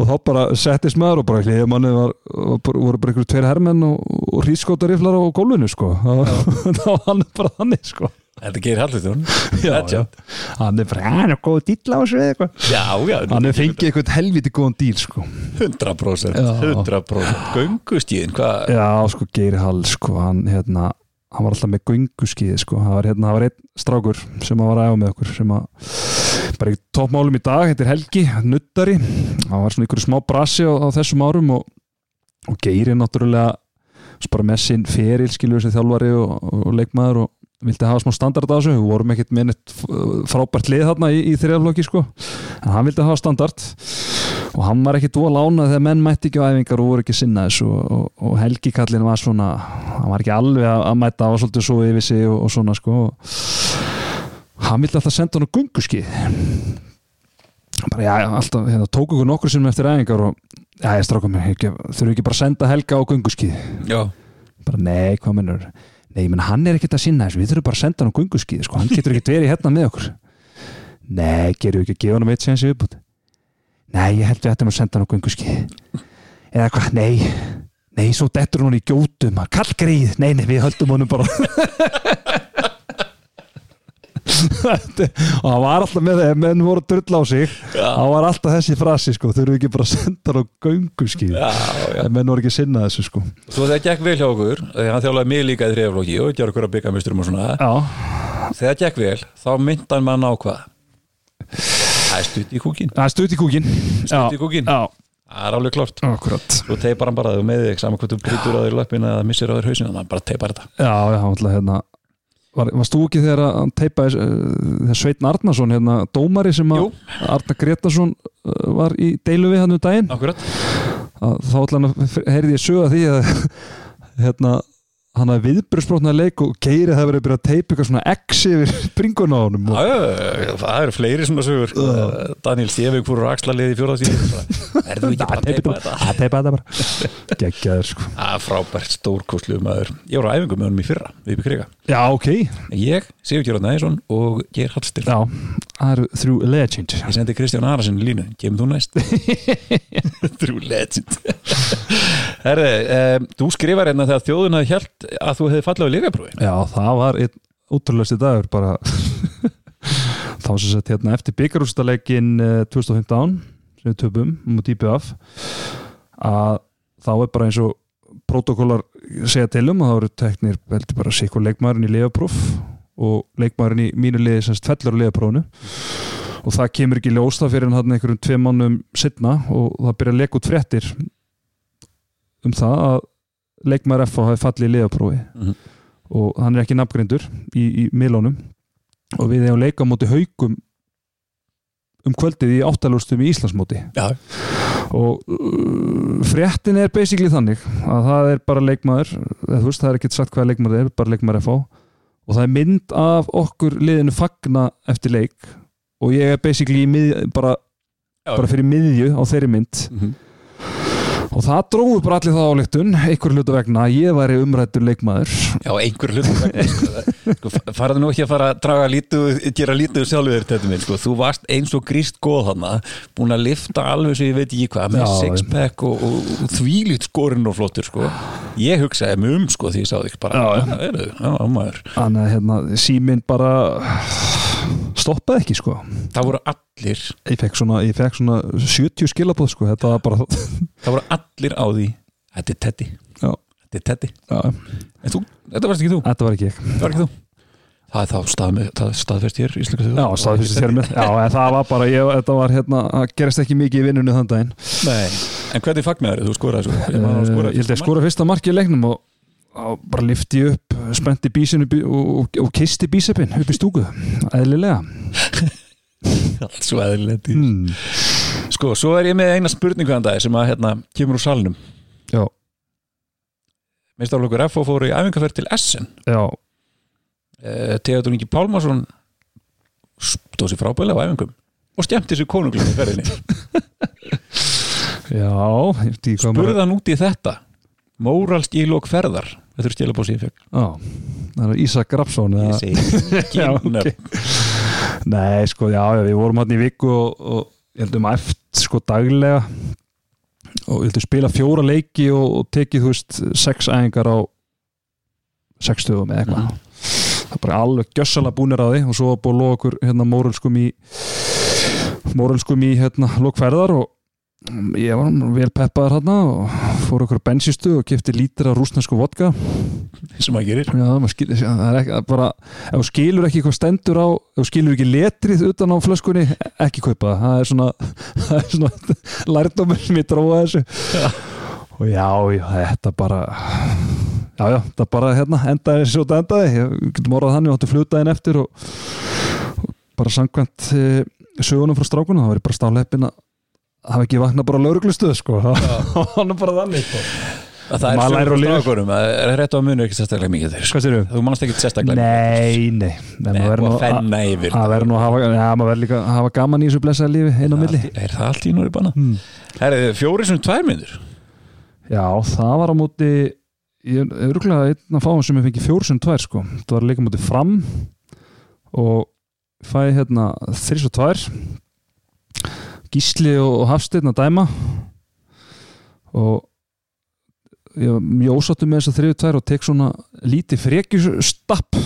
og þá bara settist maður og bara hliðið manni var, var, bara- voru bara ykkur tveir hermenn og, og hrískótariflar á gólfinu sko. Það var- það var hann bara þannig sko.
þetta Geiri Hall þetta hún já.
Hann er bara, "Ah, hann er góð dýll á þessu eða eitthvað.
já já
Hann er fengið eitthvað helviti góðan dýl sko.
100%
Já.
100% göngustíðin hvað
Já, sko, Geiri Hall, sko, hann, hérna, hann var alltaf með gönguskiði, sko, hann var, hérna, hann var einn strákur sem að var að æfa með okkur, sem að, bara í toppmálum í dag, þetta er Helgi, nuttari, hann var svona ykkur smá brasi á, á þessum árum og, og Geiri náttúrulega, svo bara með sinn feril, skilur þessi þjálfari og, og leikmaður og vildi hafa smá standard á þessu, við vorum ekkert með neitt f- frábært lið þarna í, í þriðaflokki, sko, en hann vildi hafa standard og hann var ekki dól lánað þegar menn mætti ekki á æfingar og voru ekki að sinna þessu og, og, og Helgi kallin var svona hann var ekki alveg að, að mæta hann var svolítið svo yfir sig og, og svona sko og hann vildi alltaf senda hann á gunguskið bara já, alltaf hérna, tók ykkur nokkur sinnum eftir æfingar og já, ég strákum mér, þurfum ekki bara að senda Helga á gunguskið
já
bara nei, hvað mennur nei, menn hann er ekkert að sinna þessu, við þurfum bara að senda hann á gunguskið, sko, hann getur ekkert verið hérna með okkur nei, gerum við ekki að gefa hann um eitt séðan sér viðbútt nei, ég held við ættum að senda hann á gunguskið eða hvað, nei nei, svo dettur hún í gjótum maður. kall greið, nei, nei, við höldum honum bara Þetta- og hann var alltaf með þeim menn voru að drulla á sig hann var alltaf þessi frasi sko, þurfum við ekki bara að senda hann á göngu skýr en menn voru ekki að sinna þessu sko
Svo það gekk vel hjá okkur, þegar hann þjálaði mig líka í þriðaflokki og gerði okkur að byggja musturum og svona
já,
Þegar það gekk vel, þá myndi hann mann á hvað Það er stutt í kúkin
það er stutt í kúkin
Stutt í kúkinn.
já,
Það er alveg klart
akkurat
Þú teipar hann bara að þú með þig saman hvort þú brýtur að þér löppin eða missir að þér hausin þannig að bara teipar þetta
já, já, alltaf hérna Var, varst þú ekki þegar að hann teipaði eh, þegar Sveitn Arnason, hérna, dómari sem að
Jú.
Arna Gretarsson eh, var í deilu við hann um daginn
Akkurat
að þá allan að- heyrði ég sög að því að hérna hann hafði viðbröðsbrotna leik og geiri það verið að byrja að teipa eitthvað svona X yfir bringun á honum og,
Það eru fleiri svona sögur Daniel Stefing fór á axlaliði í fjóraðsíð Er þú ekki bara að teipa þetta?
að teipa þetta bara geggjaður
Það
sko
er Ah, frábært stórkoslu maður Ég voru á æfingu með honum í fyrra við upp í kriga
já ok,
Ég, Sigur Gjörðan Æðinsson og Geir Hallstil
já, það eru þrjú legend
Ég sendi Kristján Arason línu, kemur þú næst True legend Herre, um, þú skrifar hérna þegar þjóðun hafði hjælt að þú hefði fallað við lífjaprófi
já, það var einn útrúlegasti dagur bara þá sem sett hérna eftir eh, byggarústaleikin 2015 sem við töpum um að dýpi af að þá er bara eins og protokollar segja til um að það eru teknir veldi bara sikkur leikmaðurinn í leiðapróf og leikmaðurinn í mínu liði semst fellur á leiðaprófinu og það kemur ekki ljósta fyrir en hann einhverjum tveim mánum sitna og það byrja að leika út fréttir um það að leikmaður FH hafi fallið í leiðaprófi
Mhm.
og hann er ekki nafngrindur í, í miðlónum og við hefum leika á móti haukum um kvöldið í áttalústum í Íslandsmóti
Já,
og uh, fréttin er basically þannig að það er bara leikmaður eða, þú veist, það er ekkert sagt hvað leikmaður er, bara leikmaður FH og það er mynd af okkur liðinu fagna eftir leik og ég er basically í mið, bara,
já
bara fyrir miðju á þeirri mynd
Mhm.
og það dróðu bara allir það áleiktun einhver hluta vegna að ég væri umrættur leikmaður
Já, einhver hlut sko, faraðu nú ekki að fara að draga lítuð gera lítuð sjálfur þér þetta minn sko. þú varst eins og gríst góð hana búin að lifta alveg svo ég veit ekki hvað með
Já,
sixpack og, og, og þvílít skorinn og flottur sko. ég hugsaði mig um sko, því ég sá þig bara
Já, já.
"Það eru þau, já, maður."
þannig að hérna, síminn bara stoppaði ekki sko
það voru allir
ég fekk svona, ég fekk svona 70 skilabóð sko, þetta var bara
það voru allir á því þetta er Teddy,
já,
þetta er Teddy
já,
en þú, þetta varst ekki þú,
þetta var ekki ég
það var ekki þú það er þá stað, það er staðfest hér íslenska þjóð
Já, staðfyrstu þjörmið Já, en það var bara, ég, þetta var hérna það gerist ekki mikið í vinnunni þann daginn
Nei. en hvernig fagnaður þú skoraði svo
Ég, Eh, ég held að skora fyrsta markið í leiknum og, og bara lifti ég upp spennti bísinu bí- og, og, og kisti bísepin upp í stúku, eðlilega
allt svo eðlilegt í
mm.
Sko, svo er ég með eina spurningu hann dag sem að hérna kemur úr salnum
Já,
Meistarflokkur FO fóru í æfingarferð til Essen
já,
uh, Teatur Ingi Pálmarsson stóð sér frábæðlega á æfingum og skemmti sér konunglega í ferðinni
já ég veit ekki hvað maður-
Spurði hann út í þetta Móralsk í lók ferðar Þetta er stjæla bósið fjökk
Já, það er Ísak Grafsson
Ég segi ekki
Já,
nöfn.
ok. Nei, sko, já, já, við vorum hann í viku og, og ég heldum eft sko daglega og ég heldum spila fjóra leiki og, og tekið, þú veist, sex æfingar á sex stöðum eða eitthvað það er bara alveg gjössalega búnir að því og svo var búið að loka okkur hérna mórulskum í mórulskum í hérna lokferðar og mm, ég var nú vel peppaður hérna og fór okkur bensistu og kefti lítra rúsnesku vodka
sem að gerir
Já, maður skilur, já, það er ekki, það er bara, ef þú skilur ekki hvað stendur á, ef þú skilur ekki letrið utan á flöskunni, ekki kaupa það, það er svona, það er svona lærdómur sem ég dróða þessu. Og já, já, þetta bara, já, já, þetta bara hérna, endaði svo þetta endaði, ég við getum orðað þannig, við áttum fljótaðin eftir og, og bara samkvæmt e, sögunum frá strákunum, það var ég bara stáleppin að hafa ekki vaknað bara lauruglustuð, sko, hann er bara þannig, sko.
að Það er
Maður lærir
sögur
og
frá
lifir.
strákunum, það er rétt á munu ekki sérstaklega mikið þeir sko.
Hvað sér
Þú mannst ekki sérstaklega
Nei, nei, nei,
Nei,
maður
og
verður nú
að fenna yfir
Það verður nú að hafa, ja, maður verður líka að hafa gaman í þessu blessaða lífi einn á milli.
Er það allt í núri banna? Mm. Herri, fjóri sem tvær myndur
Já, það var á móti, ég er örgulega einn af fáum sem ég fengi fjór sem tvær sko. Það var líka móti fram og fæði hérna þrís og tvær, Gísli og Hafsteinn að dæma og ég var mjög ósáttu með þess að þriðu tvær og tek svona lítið frekjustapp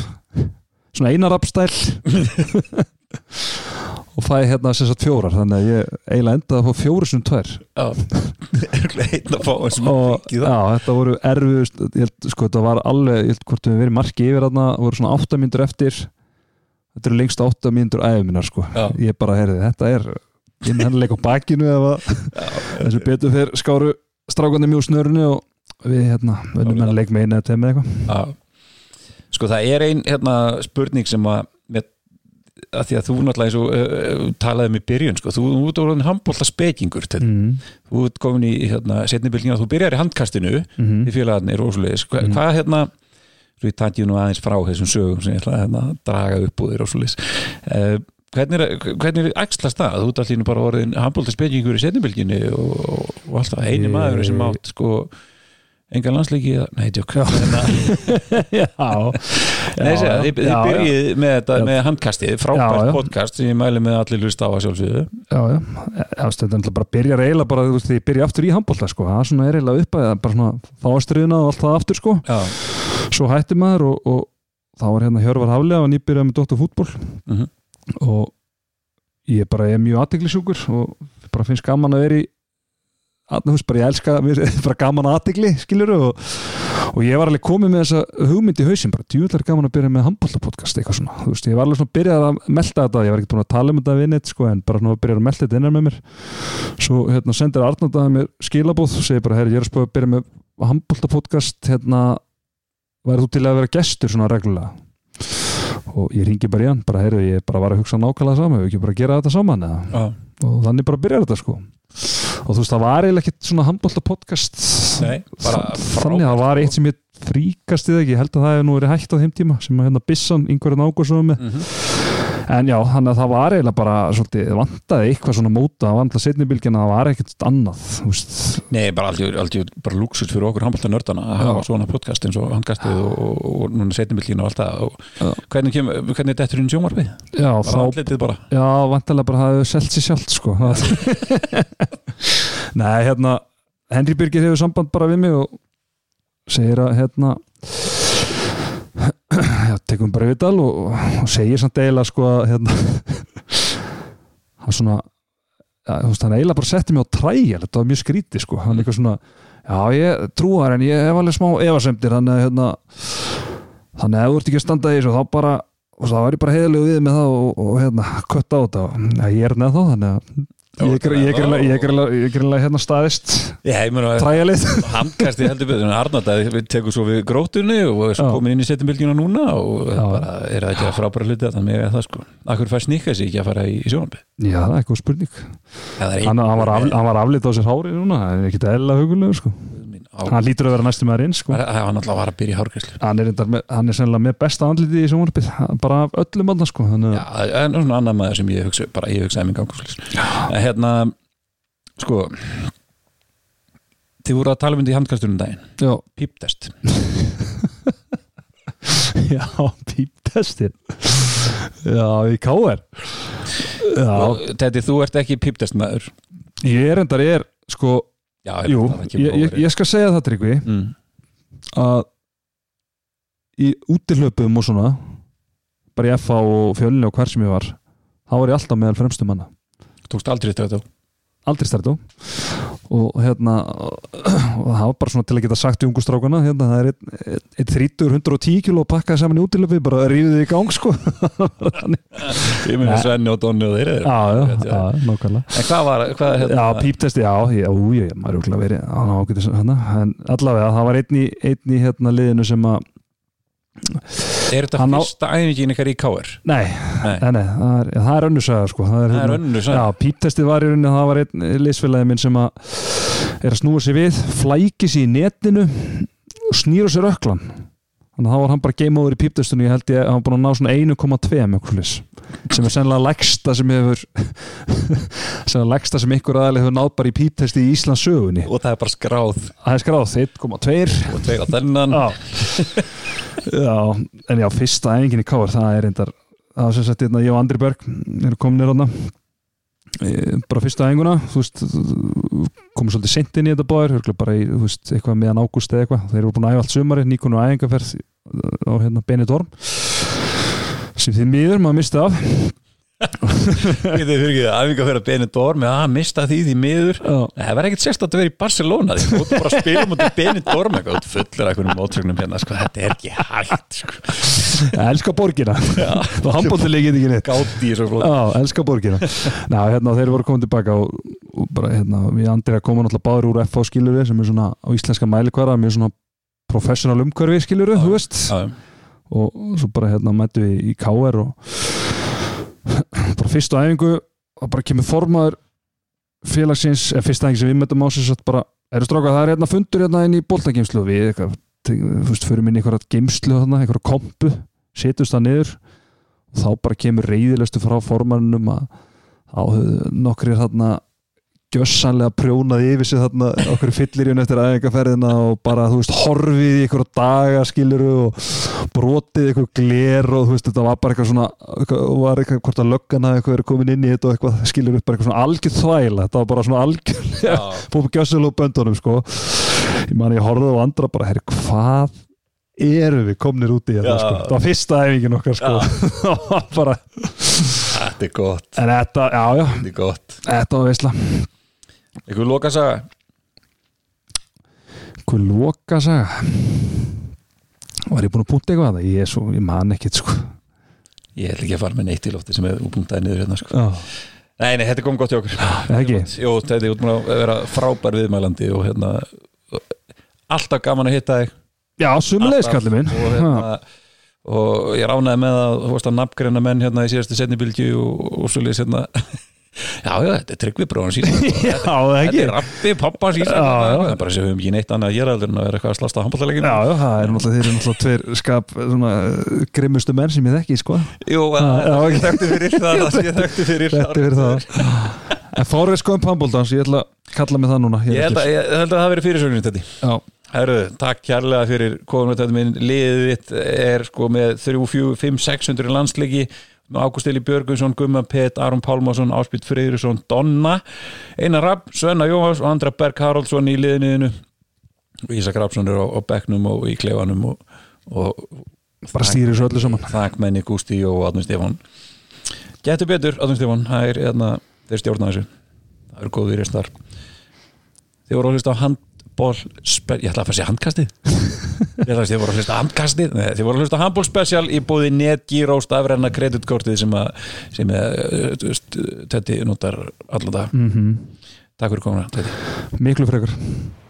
svona einarapstæl og fæ hérna sem sagt fjórar þannig að ég eiginlega endaði að fá fjóri sem tvær
einn að fá þessum
og já, þetta voru erfiðust ég held, sko, þetta var alveg, ég held hvort við verið marki yfir þarna, voru svona áttamíndur eftir þetta eru lengst áttamíndur æfuminar sko,
Já.
ég bara heyrði þetta er innhennileik á bakinu eða þessu betur fyrr skáru strákandi mjög snörunni og við hérna,
Já,
vennum
við-
hennar leik með einu eða tveim eða eitthvað
Já. Sko það er ein hérna, spurning sem að, með, að því að þú náttúrulega eins og uh, talaði um í byrjun, sko, þú, þú ert orðin handbólta spekingur, mm.
mm
þú ert komin í hérna, setnibylgin að þú byrjar í handkastinu
-hmm.
í félagarnir og svoleiðis Hva,
Mhm.
hvað hérna svo ég takk ég nú aðeins frá þessum sögum sem ég ætla að hérna, draga upp úr þér og svoleiðis uh, hvernig, er- hvernig er æxlast það? Þú ert allir nú bara orðin handbólta spekingur í setnibylginni og, og, og alltaf eini
Ég-
maður sem átt sko engan landsleiki, eða- nei, tjók hérna,
já,
Nei, segja, þið, þið
já,
byrjið með þetta
Já.
með handkastið,
Já,
frábært
já.
podcast sem ég mæli með að allir hlusta á að sjálfsögðu
já, já, já þetta er náttúrulega bara byrjar eiginlega bara, þú veist, því byrja aftur í handbólta sko, það er svona er eiginlega upp að það er bara svona fáastriðuna og allt það aftur sko
Já,
svo hætti maður og, og þá var hérna Hjörvar Haflega og nýbyrjað með Dóttar fútból
Mhm.
og ég bara er mjög aðteglisjúkur og bara finnst gaman að vera í að, hús, bara ég elska mér er bara gaman aðtegli skilur og, og ég var alveg komið með þessa hugmynd í hausinn bara djúvillar gaman að byrja með handbóltapodcast eitthvað svona, þú veist, ég var alveg svona byrjað að melta þetta, ég var ekki búin að tala um þetta við neitt sko, en bara svona að byrja að melta þetta innan með mér svo hérna sendir Arnaldaði mér skilabóð og segir bara, herri, ég er að spá að byrja með handbóltapodcast hérna væri þú til að vera gestur svona reglulega og ég ringi bara í hann bara heyrðu ég bara var að hugsa nákvæmlega saman við ekki bara að gera þetta saman eða?
já,
og þannig bara byrjar þetta sko og þú veist það var eiginlega ekkit svona handbólta podcast
nei, bara
þannig að það var eitt sem ég fríkast í það ekki ég held að það hefur nú verið hægt á þeim tíma sem að hérna Bissan yngverðin ágúrsum með
mm
en já, þannig að það var eiginlega bara svolítið vantaði eitthvað svona móta það var alltaf setni bylgin að það var ekkit annað þú veist,
Nei, bara aldrei, aldrei bara luxus fyrir okkur handbólta nördana að hafa svona podcast eins og handkastið og, og, og núna setjumillín og allt það og
Já.
hvernig, kem, hvernig er detturinn sjónvarpið?
já,
Bara
þá
allitið bara
Já, vantarlega bara hafið selt sér sjálft sko Nei, hérna Henry Birgir hefur samband bara við mig og segir að hérna já, tekum bara við tal og, og segir samt eiginlega sko að hérna hann svona já, þú veist, hann eiginlega bara setti mig á træja þetta var mjög skrítið sko, hann eitthvað svona já, ég trúar en ég hef alveg smá efasemdir, þannig að hérna þannig að ef þú ert ekki að standa í þessu þá bara og það var ég bara heiðalegu við með það og, og hérna, kött á þetta og ja, ég er neð þá þannig að ég er- ég er greinilega- ég er greinilega- ég er greinilega hérna staðist
Já, ég meina að
træjalið
handkastið heldur betur en Arnald við tekum svo við grótunni og er svo
Já.
komin inn í setjumillína núna og
Já.
bara er það ekki að frábæra hluti þannig að það sko, akkur fær sníkast ekki að fara í, í sjónvarpið?
já, það er eitthvað spurning
Það er
hann, hann, var, af, hann var aflitað á sér hári núna það er ekkit eðla hugulegu sko
minn á
hann lítur að vera næstum maður inn sko
Það var náttúrulega var að byrja í hárgæslu
hann er, reyndar með, hann er sennilega með besta andliti í sjónvarpið bara af öllum andan sko þannig
Já,
að
það er nú svona annað maður sem ég hugsa bara ég hugsaði minn gangus Hérna, sko Þið voru að tala um þetta í handkastunum daginn
já,
Píptest
já píptestin já, í káver já,
Þetta þú ert ekki píptest maður
ég er endar ég er sko,
Já,
jú
það
ég,
kemur
ég,
óverið.
ég skal segja það tryggvi
Mm.
að í útihlöpum og svona bara í FH og fjölni og hver sem ég var þá var ég alltaf meðal fremstu manna
Tókst aldrei þetta
aldrei stærðu og hérna og það var bara svona til að geta sagt í ungu strákana hérna, það er einn- einn einn 30, 110 kíló og pakkaði saman í útilöfi, bara rífið þið í gang sko Þannig-
Ég meni Svenni og Donni og þeir eru
já, já,
Rétt,
já, nákvæmlega
En hvað var, hvað hérna, er
já, píptesti, já, já, ú, já, maður er okkur verið hann ágætis hérna, en allavega það var einn í, einn í hérna liðinu sem að
Er þetta
Hann á-
fyrsta æfingin ykkar í KR?
Nei,
Nei.
nei, nei það er, það er önnursaga sko. það er,
Það er
hérna-
önnu
Já, píptestið var í rauninni, það var einn leysfélagi minn sem að er að snúa sér við, flæki sér í netinu og snýra sér öklan þannig að þá var hann bara game over í píptestunni ég held ég að hann var búin að ná svona 1,2 með okkur lis sem er sennilega legsta sem hefur sennilega legsta sem ykkur aðalega hefur náð bara í píptesti í Íslands sögunni
Og það er bara skráð
það er skráð 1,2
og tveir á þennan
já. já, en já, fyrsta æfingin hérna. í káar það er reyndar það var sem sagt, hérna, ég og Andri Berg eru komin nýr hana eh, bara fyrsta æfinguna þú veist, komum svolítið sent inn í þetta báðir, örugglega bara í, þú veist, eitthvað meðan ágúst eða eitthvað, þeir eru búin að æfa allt sumari nýkonu æfingarferð á hérna Benidorm sem þið miður maður misti af
Getið þið fyrir ekki að æfinga fyrir að Benidorm eða að mista því því miður
Já.
Nei, Það var ekkert sérstætt að vera í Barcelona því þú ert bara að spila mútið Benidorm eitthvað þú ert fullir af einhvernum mótsögnum hérna sko, þetta er ekki hægt sko.
Ég elska borgina og handbóltileg get ekki neitt
gátt í þessu flóð
Já, elska borgina Ná, hérna, þeir voru komið tilbaka og, og bara, hérna, við andrið að koma náttúrulega báður úr FH skilur sem er svona á íslenska mælikvara mjög svona professional umhverfi skilur þú veist
Já,
og svo bara hérna mættu við í KR og bara fyrstu æfingu og bara kemur formaður félagsins, eða fyrsta æfingu sem við mættum á sem sagt bara, eru strákað, það er hérna fundur hérna inn í boltageimslu og við eitthvað te- þú veist, förum inn í einhverja geimslu þarna, einhverja kompu setjumst það niður og þá bara kemur reyðilestu frá formanum að þá höfðu nokkrir þarna gjössanlega prjónað yfir sig þarna okkur fyllir í hún eftir æfingaferðina og bara, þú veist, horfið í einhverja daga skiluru og brotið eitthvað gler og þú veist þetta var bara eitthvað svona eitthvað, var eitthvað hvort að löggan hafi eitthvað verið komin inn í þetta og eitthvað skilur upp bara eitthvað svona algjör þvæla þetta var bara svona algjör
já,
búið gjössil og böndunum sko ég man ég horfði á andra bara herri hvað erum við komnir út í þetta
Já.
sko það var fyrsta æfingin okkar sko Það var bara
þetta er gott,
en þetta já já
þetta er gott
þetta var veisla
Ykkur loka saga
hvað loka saga Sko, var ég búin að púnta eitthvað að það ég, er svo, ég man ekkit sko
Ég ætla ekki að fara með neitt í lofti sem er úpuntaði niður hérna sko.
já
Nei, nei, þetta kom gott hjá okkur
ekki
Jó, þetta er út með að vera frábær viðmælandi og hérna alltaf gaman að hitta þig
já sumulegis
Alltaf.
kallið minn
og,
Ha.
hérna, og ég ránaði með að þú veist að nafngreina menn hérna í síðastu setnibilgju og, og svo lýs hérna já, já, þetta er tryggvi bróðan sín
já það
þetta
ekki
er rappi, pappa sín
Já, já.
það er bara sem við höfum ekki neitt annað að gera heldur en að vera eitthvað að slasta á handbóltaleginu
Já, já, það er náttúrulega þeir eru náttúrulega tveir skap svona eh, grimmustu menn sem ég þekki, sko
Jú,
Já, já,
ég
ok.
þekkti fyrir það það sem ég þekkti fyrir
Þetta er það En sko Forrest Gump Hambóldans, um ég ætla að kalla mig það núna
Ég held að, ég held að það hafi verið fyrirsögnin þetta
Já,
Herru, takk kærlega fyrir kominu þetta minn liðið þitt er sko með 3, 4, 5, 600 landsleiki Ágúst Eli Björgunsson, Gumma Pett, Aron Pálmarsson, Áspýtt Friðursson, Donna Einar Rapp, Svenna Jóhás og Andra Berg Haraldsson í liðinuðinu Ísak Rappsson er á, á bekknum og í klefanum og, og
bara stýri svo öllu saman
þakkmenni Gústi og Adnur Stefán Getur betur, Adnur Stefán það er, eðna, þeir stjórna þessu það eru góðir í þar Þið voru að hlusta á handból ég ætla að fara að segja handkastið ég ætla að segja þið voru að hlusta á handkastið Nei, þið voru að hlusta á handból special í búði netgíró stafræna kreditkortið sem að sem að uh, þú veist, Tetti notar allan dag
mm
Takk fyrir komuna, Tetti
Miklu frekar